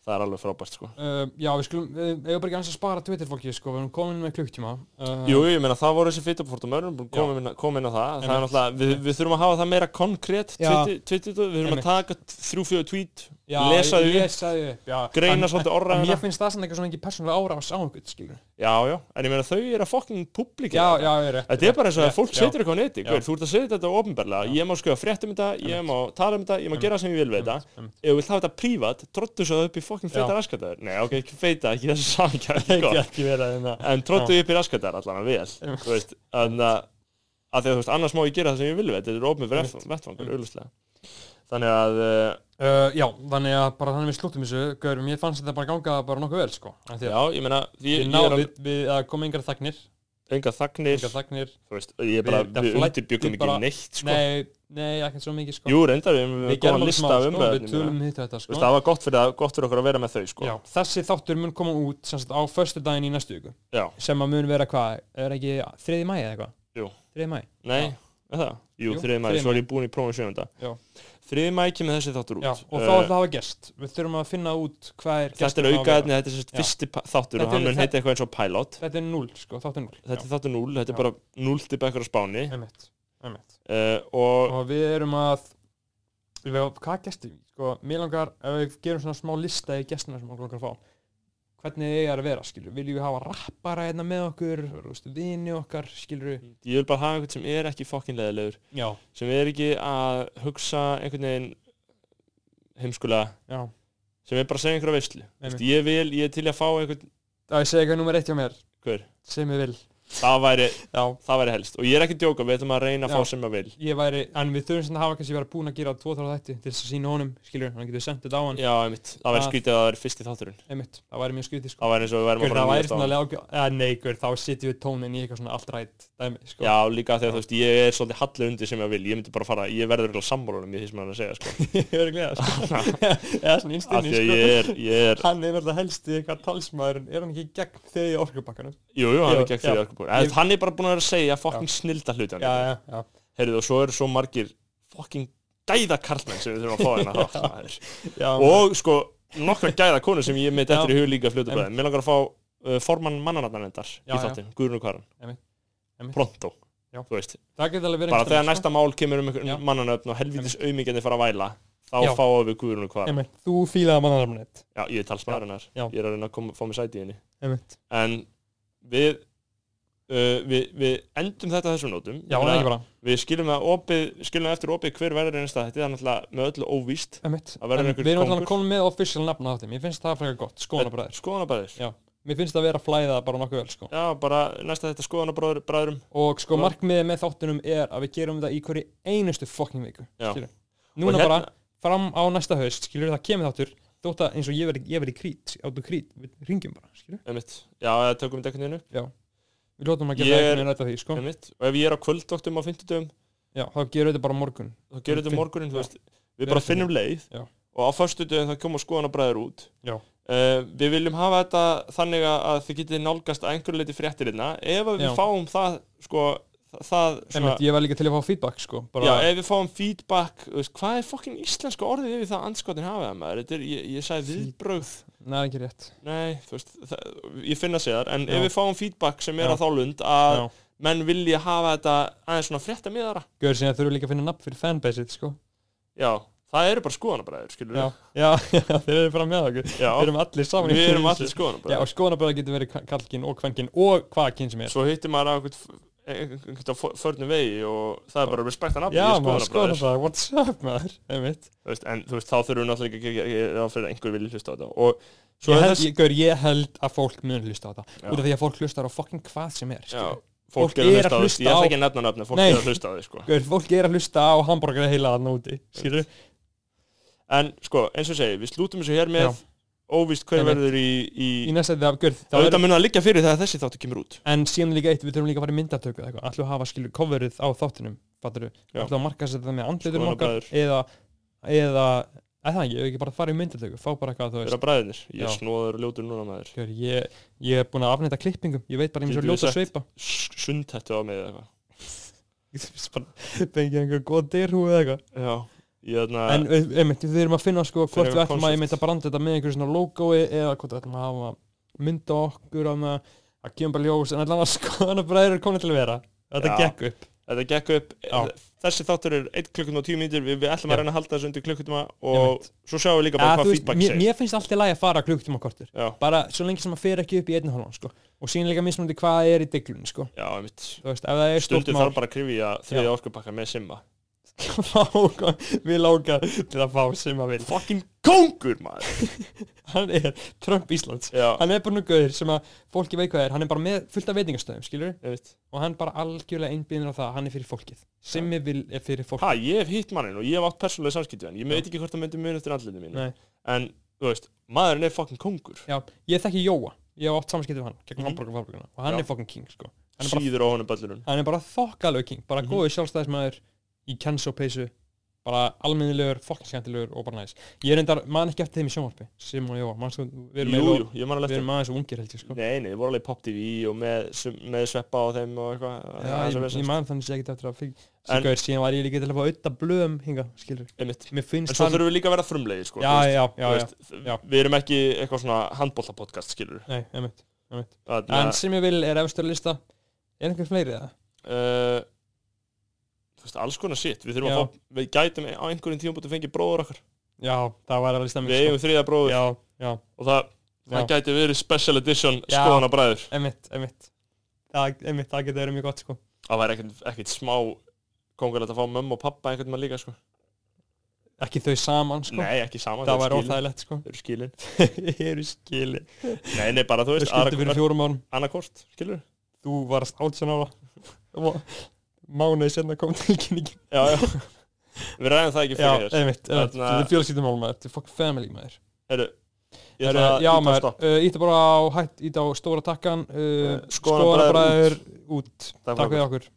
Speaker 1: það er alveg frábært sko
Speaker 2: Uh, já, við skulum, við við eigum bara ekki aðeins að spara Twitter fólki, sko, við erum komin með klukktíma uh,
Speaker 1: Jú, jú, ég meina það voru þessi fytabórtum öðrum komin, komin á það, það er
Speaker 2: Einmitt.
Speaker 1: náttúrulega við, við þurfum að hafa það meira konkrétt
Speaker 2: Já.
Speaker 1: tweetið- tweetið, við þurfum að
Speaker 2: Einmitt.
Speaker 1: taka þrjú fjöðu tweet,
Speaker 2: já,
Speaker 1: lesa þau upp,
Speaker 2: lesaðu upp já.
Speaker 1: greina
Speaker 2: En-
Speaker 1: svolítið
Speaker 2: en
Speaker 1: orðaðina
Speaker 2: Mér finnst það sem eitthvað svona ekki persónulega árás á einhvern, skilur
Speaker 1: já, já, en ég meina þau eru að fokkin publika
Speaker 2: Já, já, ég er rétt
Speaker 1: þetta er bara eins og að
Speaker 2: rétt,
Speaker 1: fólk
Speaker 2: já.
Speaker 1: setur eitthvað á neti,
Speaker 2: Já.
Speaker 1: hver, þú ert að setja þetta ofinberlega,
Speaker 2: Já.
Speaker 1: ég má skrifa frétt um þetta ég
Speaker 2: Einmitt.
Speaker 1: má tala um þetta, ég má
Speaker 2: Einmitt.
Speaker 1: gera sem ég vil við þetta
Speaker 2: Einmitt, einmitt.
Speaker 1: ef þú vilt hafa þetta prívat, trottu svo það upp í fokkin
Speaker 2: Já.
Speaker 1: feita raskataður, nei ok, ekki feita, ekki sko. þessi samkjæð
Speaker 2: Ekki ekki vera þeim það
Speaker 1: en tróttu upp í raskatar allan að vel
Speaker 2: Einmitt.
Speaker 1: þú veist, en að að því að þú veist, annars má ég gera það sem ég vil við þetta er ofnir
Speaker 2: Einmitt.
Speaker 1: vettfangur, auðvitað þannig að uh,
Speaker 2: uh, Já, þannig að bara þannig við slúttum þessu Gaur, mér fannst þetta bara ganga bara nokkuð vel, sko Af því
Speaker 1: já,
Speaker 2: að
Speaker 1: ég meina því
Speaker 2: Við
Speaker 1: ég, ég er
Speaker 2: náðum
Speaker 1: alveg,
Speaker 2: við, við að koma yngar þagnir
Speaker 1: enga þagnir
Speaker 2: Yngar þagnir
Speaker 1: þú veist, ég er bara,
Speaker 2: Við- það
Speaker 1: við
Speaker 2: flæddi
Speaker 1: undirbjökum ekki
Speaker 2: bara-
Speaker 1: neitt, sko
Speaker 2: Nei, nei, ekkert svo mikið, sko
Speaker 1: jú, reyndar við erum
Speaker 2: Við
Speaker 1: með
Speaker 2: gerum
Speaker 1: góðan
Speaker 2: alveg
Speaker 1: lista um
Speaker 2: smá, sko, við
Speaker 1: umræðin, ég meina.
Speaker 2: tölum hitt þetta,
Speaker 1: Þú veist,
Speaker 2: sko
Speaker 1: það var gott fyrir, gott fyrir okkur að vera með þau, sko
Speaker 2: Já, þessi þáttur mun koma út sem sagt, á förstu daginn í næstu viku
Speaker 1: Já.
Speaker 2: sem að mun vera hvað, er ekki 3. mæ eða eitthvað?
Speaker 1: Jú.
Speaker 2: 3. mæ,
Speaker 1: nei,
Speaker 2: Já.
Speaker 1: er það, jú,
Speaker 2: Jú,
Speaker 1: 3. mæ,
Speaker 2: þriðji
Speaker 1: svo er ég búin í prófum 7.
Speaker 2: Já.
Speaker 1: 3. mæ kemur þessi þáttur út
Speaker 2: já, og
Speaker 1: Eh,
Speaker 2: þá er það að hafa gest Við þurfum að finna út hvað er
Speaker 1: Þetta er
Speaker 2: gesturinn á að vera.
Speaker 1: aukaðni, þetta er sérst
Speaker 2: Já.
Speaker 1: fyrsti pa- þáttur og
Speaker 2: Þetta er-
Speaker 1: hann mun
Speaker 2: þetta-
Speaker 1: heita eitthvað eins og pilot
Speaker 2: Þetta er 0, sko, þáttur 0
Speaker 1: þetta er þáttu 0, þetta er
Speaker 2: Já.
Speaker 1: bara 0 til bekkur á Spáni
Speaker 2: er emitt, emitt.
Speaker 1: uh, og
Speaker 2: Og við erum að við, Hvað gestum við? Sko, mér langar, ef við gerum svona smá lista í gestina sem okkur langar að fá hvernig þið er að vera, skilur, viljum við hafa rappara hérna með okkur, þú veist, vini okkar, skilur
Speaker 1: ég vil bara hafa einhvern sem er ekki fokkin leðilegur
Speaker 2: Já,
Speaker 1: sem er ekki að hugsa einhvern veginn heimskulega
Speaker 2: já,
Speaker 1: sem er bara að segja einhverja veislu
Speaker 2: Einmitt.
Speaker 1: Vist, ég vil, ég er til í að fá einhvern
Speaker 2: það er segja eitthvað nummer eitt hjá mér
Speaker 1: hver,
Speaker 2: sem ég vil,
Speaker 1: það væri,
Speaker 2: já
Speaker 1: það væri helst og ég er ekki að djóka, við ætlum að reyna að
Speaker 2: Já.
Speaker 1: fá sem að vil
Speaker 2: ég væri, en við þurfum sem að hafa kannski verið búin að gera tvo þára þætti til þess að sína honum, skilur, hann getur sendt þetta á hann
Speaker 1: já, einmitt, það væri
Speaker 2: Það-
Speaker 1: skrítið að það væri fyrsti þátturinn
Speaker 2: einmitt, það væri mjög skrítið sko
Speaker 1: það væri eins og við værum
Speaker 2: Hver,
Speaker 1: að
Speaker 2: það
Speaker 1: fara
Speaker 2: væri
Speaker 1: nýjast á
Speaker 2: svona
Speaker 1: hann.
Speaker 2: lega ágjör, eða neikur, þá sitjum við tónin í eitthvað svona allt rætt dæmi, sko.
Speaker 1: Já, líka þegar
Speaker 2: Já.
Speaker 1: þú veist, ég er svolítið hallur undir sem ég vil, ég myndi bara fara, ég verður eitthvað sammálunum í því sem hann er að segja,
Speaker 2: [LAUGHS]
Speaker 1: sko.
Speaker 2: [LAUGHS] ég verður gleða, sko. eða svona
Speaker 1: Af
Speaker 2: innstinni,
Speaker 1: því að
Speaker 2: sko.
Speaker 1: ég er, ég er,
Speaker 2: Hann er verður helsti eitthvað talsmaðurinn, er hann ekki í gegn þegar í orkubakkanum?
Speaker 1: jú, jú, hann
Speaker 2: Já,
Speaker 1: er gegn
Speaker 2: já.
Speaker 1: því orkubúr.
Speaker 2: Ég-
Speaker 1: Hann er bara búin að vera að segja fokkin snilda hluti hann.
Speaker 2: Já, já, já.
Speaker 1: Heyrðu, og svo eru svo margir fucking gæða karlmenn sem við þurfum að fá hérna
Speaker 2: [LAUGHS]
Speaker 1: þátt maður.
Speaker 2: já
Speaker 1: og sko nokkra gæða konur sem ég meit eftir
Speaker 2: Já.
Speaker 1: í hug líka fljótu bræðin mér langar að fá uh, formann mannanarnarnendar
Speaker 2: Já,
Speaker 1: í
Speaker 2: já.
Speaker 1: þáttin, Guðrun og Karan
Speaker 2: Einmitt. Einmitt.
Speaker 1: pronto,
Speaker 2: Já.
Speaker 1: þú veist
Speaker 2: það getur alveg verið
Speaker 1: bara
Speaker 2: einstaklega,
Speaker 1: þegar næsta mál kemur um
Speaker 2: Já.
Speaker 1: einhver mannanöfn og helvitis aumingjandi fara að væla þá
Speaker 2: Já.
Speaker 1: fáum við Guðrun og
Speaker 2: sko.
Speaker 1: Karan
Speaker 2: Einmitt, þú fílaði mannarafnett,
Speaker 1: já, ég er talsmaður hennar,
Speaker 2: Já.
Speaker 1: ég er að reyna að koma, fá mér sæti í henni
Speaker 2: einmitt.
Speaker 1: en við Uh, við, við endum þetta á þessum nótum Ég
Speaker 2: Já, það
Speaker 1: meina,
Speaker 2: er ekki bara,
Speaker 1: við skilum, það opið, skilum það eftir opið hver verður einasta þetta er náttúrulega með öllu óvíst
Speaker 2: einmitt.
Speaker 1: Það verður
Speaker 2: En
Speaker 1: einhver
Speaker 2: Við erum alltaf
Speaker 1: kóngur.
Speaker 2: komin með official nafna á þeim, ég finnst það frekar gott, skoðanabræðir.
Speaker 1: skoðanabræður
Speaker 2: Já. Mér finnst það vera að flæða bara nokkuð vel, sko.
Speaker 1: já, bara næsta þetta skoðanabræðurum
Speaker 2: og sko
Speaker 1: Já.
Speaker 2: markmiðið með þáttunum er að við gerum þetta í hverju einustu fucking viku
Speaker 1: Já.
Speaker 2: skilur. núna
Speaker 1: Og hérna-
Speaker 2: bara fram á næsta haust skilur það kemur þáttur þótt að eins og ég verði, ég verði krít áttu krít, við ringjum bara skilur
Speaker 1: Einmitt. Já, eða tökum þetta einhvern veginn upp
Speaker 2: við lótum að
Speaker 1: Ég
Speaker 2: gera
Speaker 1: er- Hérna-
Speaker 2: það einhvern veginn rætt af því sko.
Speaker 1: Einmitt. Og ef ég er á kvöldvaktum á fimmtudögum
Speaker 2: já, þá gerum við þetta bara á morgun
Speaker 1: þá gerum
Speaker 2: Finn-
Speaker 1: þetta morgunin, þú
Speaker 2: já.
Speaker 1: veist Við
Speaker 2: Við
Speaker 1: bara
Speaker 2: erum
Speaker 1: finnum leið
Speaker 2: Já.
Speaker 1: og á föstudögum þá koma skoðanabræður út
Speaker 2: Já.
Speaker 1: Eh, Við viljum hafa þetta þannig að að þið getið nálgast að einhverju leiti fréttirina hérna. ef að við
Speaker 2: Já.
Speaker 1: fáum það sko Þa- það svona,
Speaker 2: Einmitt, ég var líka til að fá feedback sko
Speaker 1: já,
Speaker 2: bara,
Speaker 1: ef við fáum feedback þú veist, hvað er fokkin íslenska orðið yfir það anskotin hafið það maður, þetta er, ég, ég sagði
Speaker 2: Feed-
Speaker 1: viðbrögð
Speaker 2: neða ekki rétt
Speaker 1: nei, þú veist, það, ég finna sér þar en
Speaker 2: Já.
Speaker 1: ef við fáum feedback sem er
Speaker 2: Já.
Speaker 1: á þá lund að
Speaker 2: Já.
Speaker 1: menn vilja hafa þetta aðeins svona frétta miðara
Speaker 2: Gauður sinni þurfum líka að finna nafn fyrir fanbaseið sko
Speaker 1: já, það eru bara skoðanabræður, skilur
Speaker 2: Já,
Speaker 1: [LAUGHS]
Speaker 2: já, þeir eru bara með okkur
Speaker 1: já.
Speaker 2: Við erum allir saman í
Speaker 1: við erum
Speaker 2: þessu.
Speaker 1: allir sko,
Speaker 2: Já,
Speaker 1: skoðanabræður
Speaker 2: og skoðanabræða getur verið ka- karlkyn og kvenkin og hvaða kyn sem er
Speaker 1: svo hittir maður á einhvern- einhvern á förnum vegi og það er bara respektan af
Speaker 2: Já, maður skoðanabræða, what's up maður Einmitt
Speaker 1: Þú veist, en þú veist, þá þurfum við náttúrulega ekki að gera- gera ráð fyrir að einhver vilja hlusta á þetta og svo
Speaker 2: Ég
Speaker 1: er
Speaker 2: held,
Speaker 1: þess
Speaker 2: ég, gaur, ég held að fólk mun hlusta á það
Speaker 1: Já.
Speaker 2: Út af því að fólk hlustar á fucking hvað sem er
Speaker 1: já,
Speaker 2: skilur.
Speaker 1: fólk, er að hlusta á þetta, ég ætla
Speaker 2: á-
Speaker 1: ekki að nefna nafni fólk
Speaker 2: Nei.
Speaker 1: er að hlusta á þetta sko.
Speaker 2: Gaur, fólk er að hlusta á hambúrgar heila að nóti Skilur
Speaker 1: en sko, eins og ég segi, við slútum þessu hér með
Speaker 2: Já.
Speaker 1: óvíst hver
Speaker 2: Einmitt.
Speaker 1: verður í, í,
Speaker 2: Í næsta þetta, gaur, þá
Speaker 1: auðvitað
Speaker 2: er
Speaker 1: mun að liggja fyrir þegar þessi þáttu kemur út
Speaker 2: En síðan líka eitt, við þurfum líka að fara í myndatöku eða eitthvað Ætlum við að hafa skilur coverið á þáttunum Fattur við,
Speaker 1: Já.
Speaker 2: ætlum við að marka sér þetta með andlitunum okkar
Speaker 1: Skoðanabræður.
Speaker 2: Eða, eða, eða það ekki, ef við ekki bara fara í myndatöku Fá bara eitthvað, þú veist
Speaker 1: vera bræðinir, ég
Speaker 2: Já.
Speaker 1: er snóður og ljótur núna maður
Speaker 2: Gjör, ég, ég er búin að afnæta klippingum Ég veit bara eins og
Speaker 1: Getum við
Speaker 2: ljóta að sveipa [LAUGHS]
Speaker 1: sundhættu á mig eða eitthvað
Speaker 2: Ég finnst bara- Fengið einhver góð dyrhú eða eitthvað
Speaker 1: já, ég hérna, þarna
Speaker 2: En við- einmitt, við erum að finna sko
Speaker 1: Fyrir
Speaker 2: Hvort við ætlum að
Speaker 1: concept.
Speaker 2: ég að branda þetta með einhverjum svona logoi Eða hvort við ætlum að hafa mynda okkur Þannig að að kemur bara ljós En allan að [LAUGHS] skoðan að bræður er komin til að vera Þetta
Speaker 1: Já.
Speaker 2: gekk upp
Speaker 1: þetta gekk upp,
Speaker 2: Já.
Speaker 1: þessi þáttur er 1 klukkutum og 10 mínútur, við, við ætlum
Speaker 2: Já.
Speaker 1: að reyna að halda þessu undir klukkutum og svo sjáum við líka
Speaker 2: Eða,
Speaker 1: bara
Speaker 2: þú
Speaker 1: hvað
Speaker 2: veist,
Speaker 1: feedback
Speaker 2: mér,
Speaker 1: segir
Speaker 2: mér finnst alltaf lægi að fara klukktum á kortur
Speaker 1: já,
Speaker 2: Bara svo lengi sem að fer ekki upp í einu hálfan sko. Og sínilega mismunandi hvað er í deglun sko.
Speaker 1: já, einmitt
Speaker 2: Þú veist, ef það er stórt
Speaker 1: Stundum
Speaker 2: mál [LAUGHS]
Speaker 1: þarf bara að krifja þriðja orkupakka með Simba
Speaker 2: fá- sko, Við láka til að fá sem að vil
Speaker 1: Fucking kóngur maður
Speaker 2: hann er Trump Íslands
Speaker 1: Já,
Speaker 2: hann er bara nú gauður sem að fólki veit hvað er hann er bara með fullt af veitingastöðum, skilur
Speaker 1: ég veit
Speaker 2: og hann bara algjörlega einbýðin á það að hann er fyrir fólkið Simmi vil er fyrir
Speaker 1: Ha,
Speaker 2: fólkið
Speaker 1: ég hef hitt mannin og ég hef átt persónulega samskipti við hann Ég
Speaker 2: Já.
Speaker 1: veit ekki hvort það myndi mun eftir andlinu mínu
Speaker 2: Nei.
Speaker 1: En, þú veist, maðurinn er fucking kóngur
Speaker 2: Já, ég þekki Jóa, ég hef átt samanskiptið við hann gegn
Speaker 1: Mhm.
Speaker 2: mm -hmm. og hann
Speaker 1: Já.
Speaker 2: er fucking king sko. hann, er bara,
Speaker 1: Síður á honum böllunum
Speaker 2: hann er bara þokkalög king bara mm
Speaker 1: Mhm.
Speaker 2: -hmm. góðu sjálfstæðismæður í kennsópeisu bara almennilegur, fokkin skemmtilegur og bara næs ég er endar, man ekki eftir þeim í sjónvarpi Simmi og Jóa, manstu, við erum,
Speaker 1: Jú,
Speaker 2: eiginlega-
Speaker 1: jú, ég man alveg
Speaker 2: við
Speaker 1: eftir
Speaker 2: erum aðeins og ungir held ég sko.
Speaker 1: Nei, nei, þið voru alveg í Pop TV og með, með sveppa á þeim og eitthvað
Speaker 2: Já,
Speaker 1: Það er svo
Speaker 2: ég, ég
Speaker 1: vesens.
Speaker 2: man þannig sé ekki eftir að fyrir
Speaker 1: En-
Speaker 2: Sigur, síðan var ég líka til að fá auðta blöðum hinga, skilur
Speaker 1: Einmitt.
Speaker 2: Mér finnst
Speaker 1: En svo þurfum við líka að vera frumlegir, sko
Speaker 2: Já,
Speaker 1: þú veist,
Speaker 2: já, já,
Speaker 1: þú
Speaker 2: já,
Speaker 1: veist,
Speaker 2: já.
Speaker 1: Við erum ekki eitthvað svona handbóltapodcast, skilur
Speaker 2: Nei, einmitt, einmitt. En
Speaker 1: Þannig
Speaker 2: sem ég vil er efstur á lista Er einhver fleiri það?
Speaker 1: að uh, Þú veist, alls konar shit Við þurfum
Speaker 2: Já.
Speaker 1: að fá, við gætum á einhverjum tíum búin að fengi bróður okkar
Speaker 2: Já, það var að lista sko.
Speaker 1: Við eigum þriða bróður
Speaker 2: Já, já,
Speaker 1: og það, það
Speaker 2: Já.
Speaker 1: gæti verið special edition
Speaker 2: Já.
Speaker 1: skoðanabræður
Speaker 2: einmitt, einmitt Það, einmitt, það getur verið mjög gott sko
Speaker 1: það væri ekkert, ekkert smá kongulegt að fá mömmu og pappa einhvern veginn líka sko.
Speaker 2: Ekki þau saman sko
Speaker 1: nei ekki saman,
Speaker 2: Það var
Speaker 1: eru skilin,
Speaker 2: óþægilegt [LAUGHS] sko
Speaker 1: þau eru skilin.
Speaker 2: Þau Eru skili
Speaker 1: nei nei bara þú
Speaker 2: Þau
Speaker 1: veist
Speaker 2: skildi fyrir fjórum árum
Speaker 1: annarkort skilur
Speaker 2: Þú varst átján
Speaker 1: [LAUGHS]
Speaker 2: ára Og Mánuði senna kom tilkynning
Speaker 1: já,
Speaker 2: [LAUGHS]
Speaker 1: já. við ræðum það ekki
Speaker 2: Já,
Speaker 1: fyrir þér
Speaker 2: einmitt, einmitt
Speaker 1: Þarna-
Speaker 2: Þetta er fjölskyldumál maður Þetta er fuck family maður
Speaker 1: Heru, ég
Speaker 2: Heru,
Speaker 1: ætla að
Speaker 2: já
Speaker 1: ýta á
Speaker 2: maður,
Speaker 1: stopp.
Speaker 2: uh, ítta bara á hætt, ítta á stóra takkan uh,
Speaker 1: Skoðanabræður
Speaker 2: Skoðanabræður út,
Speaker 1: Takk
Speaker 2: takk,
Speaker 1: fyrir
Speaker 2: fyrir okkur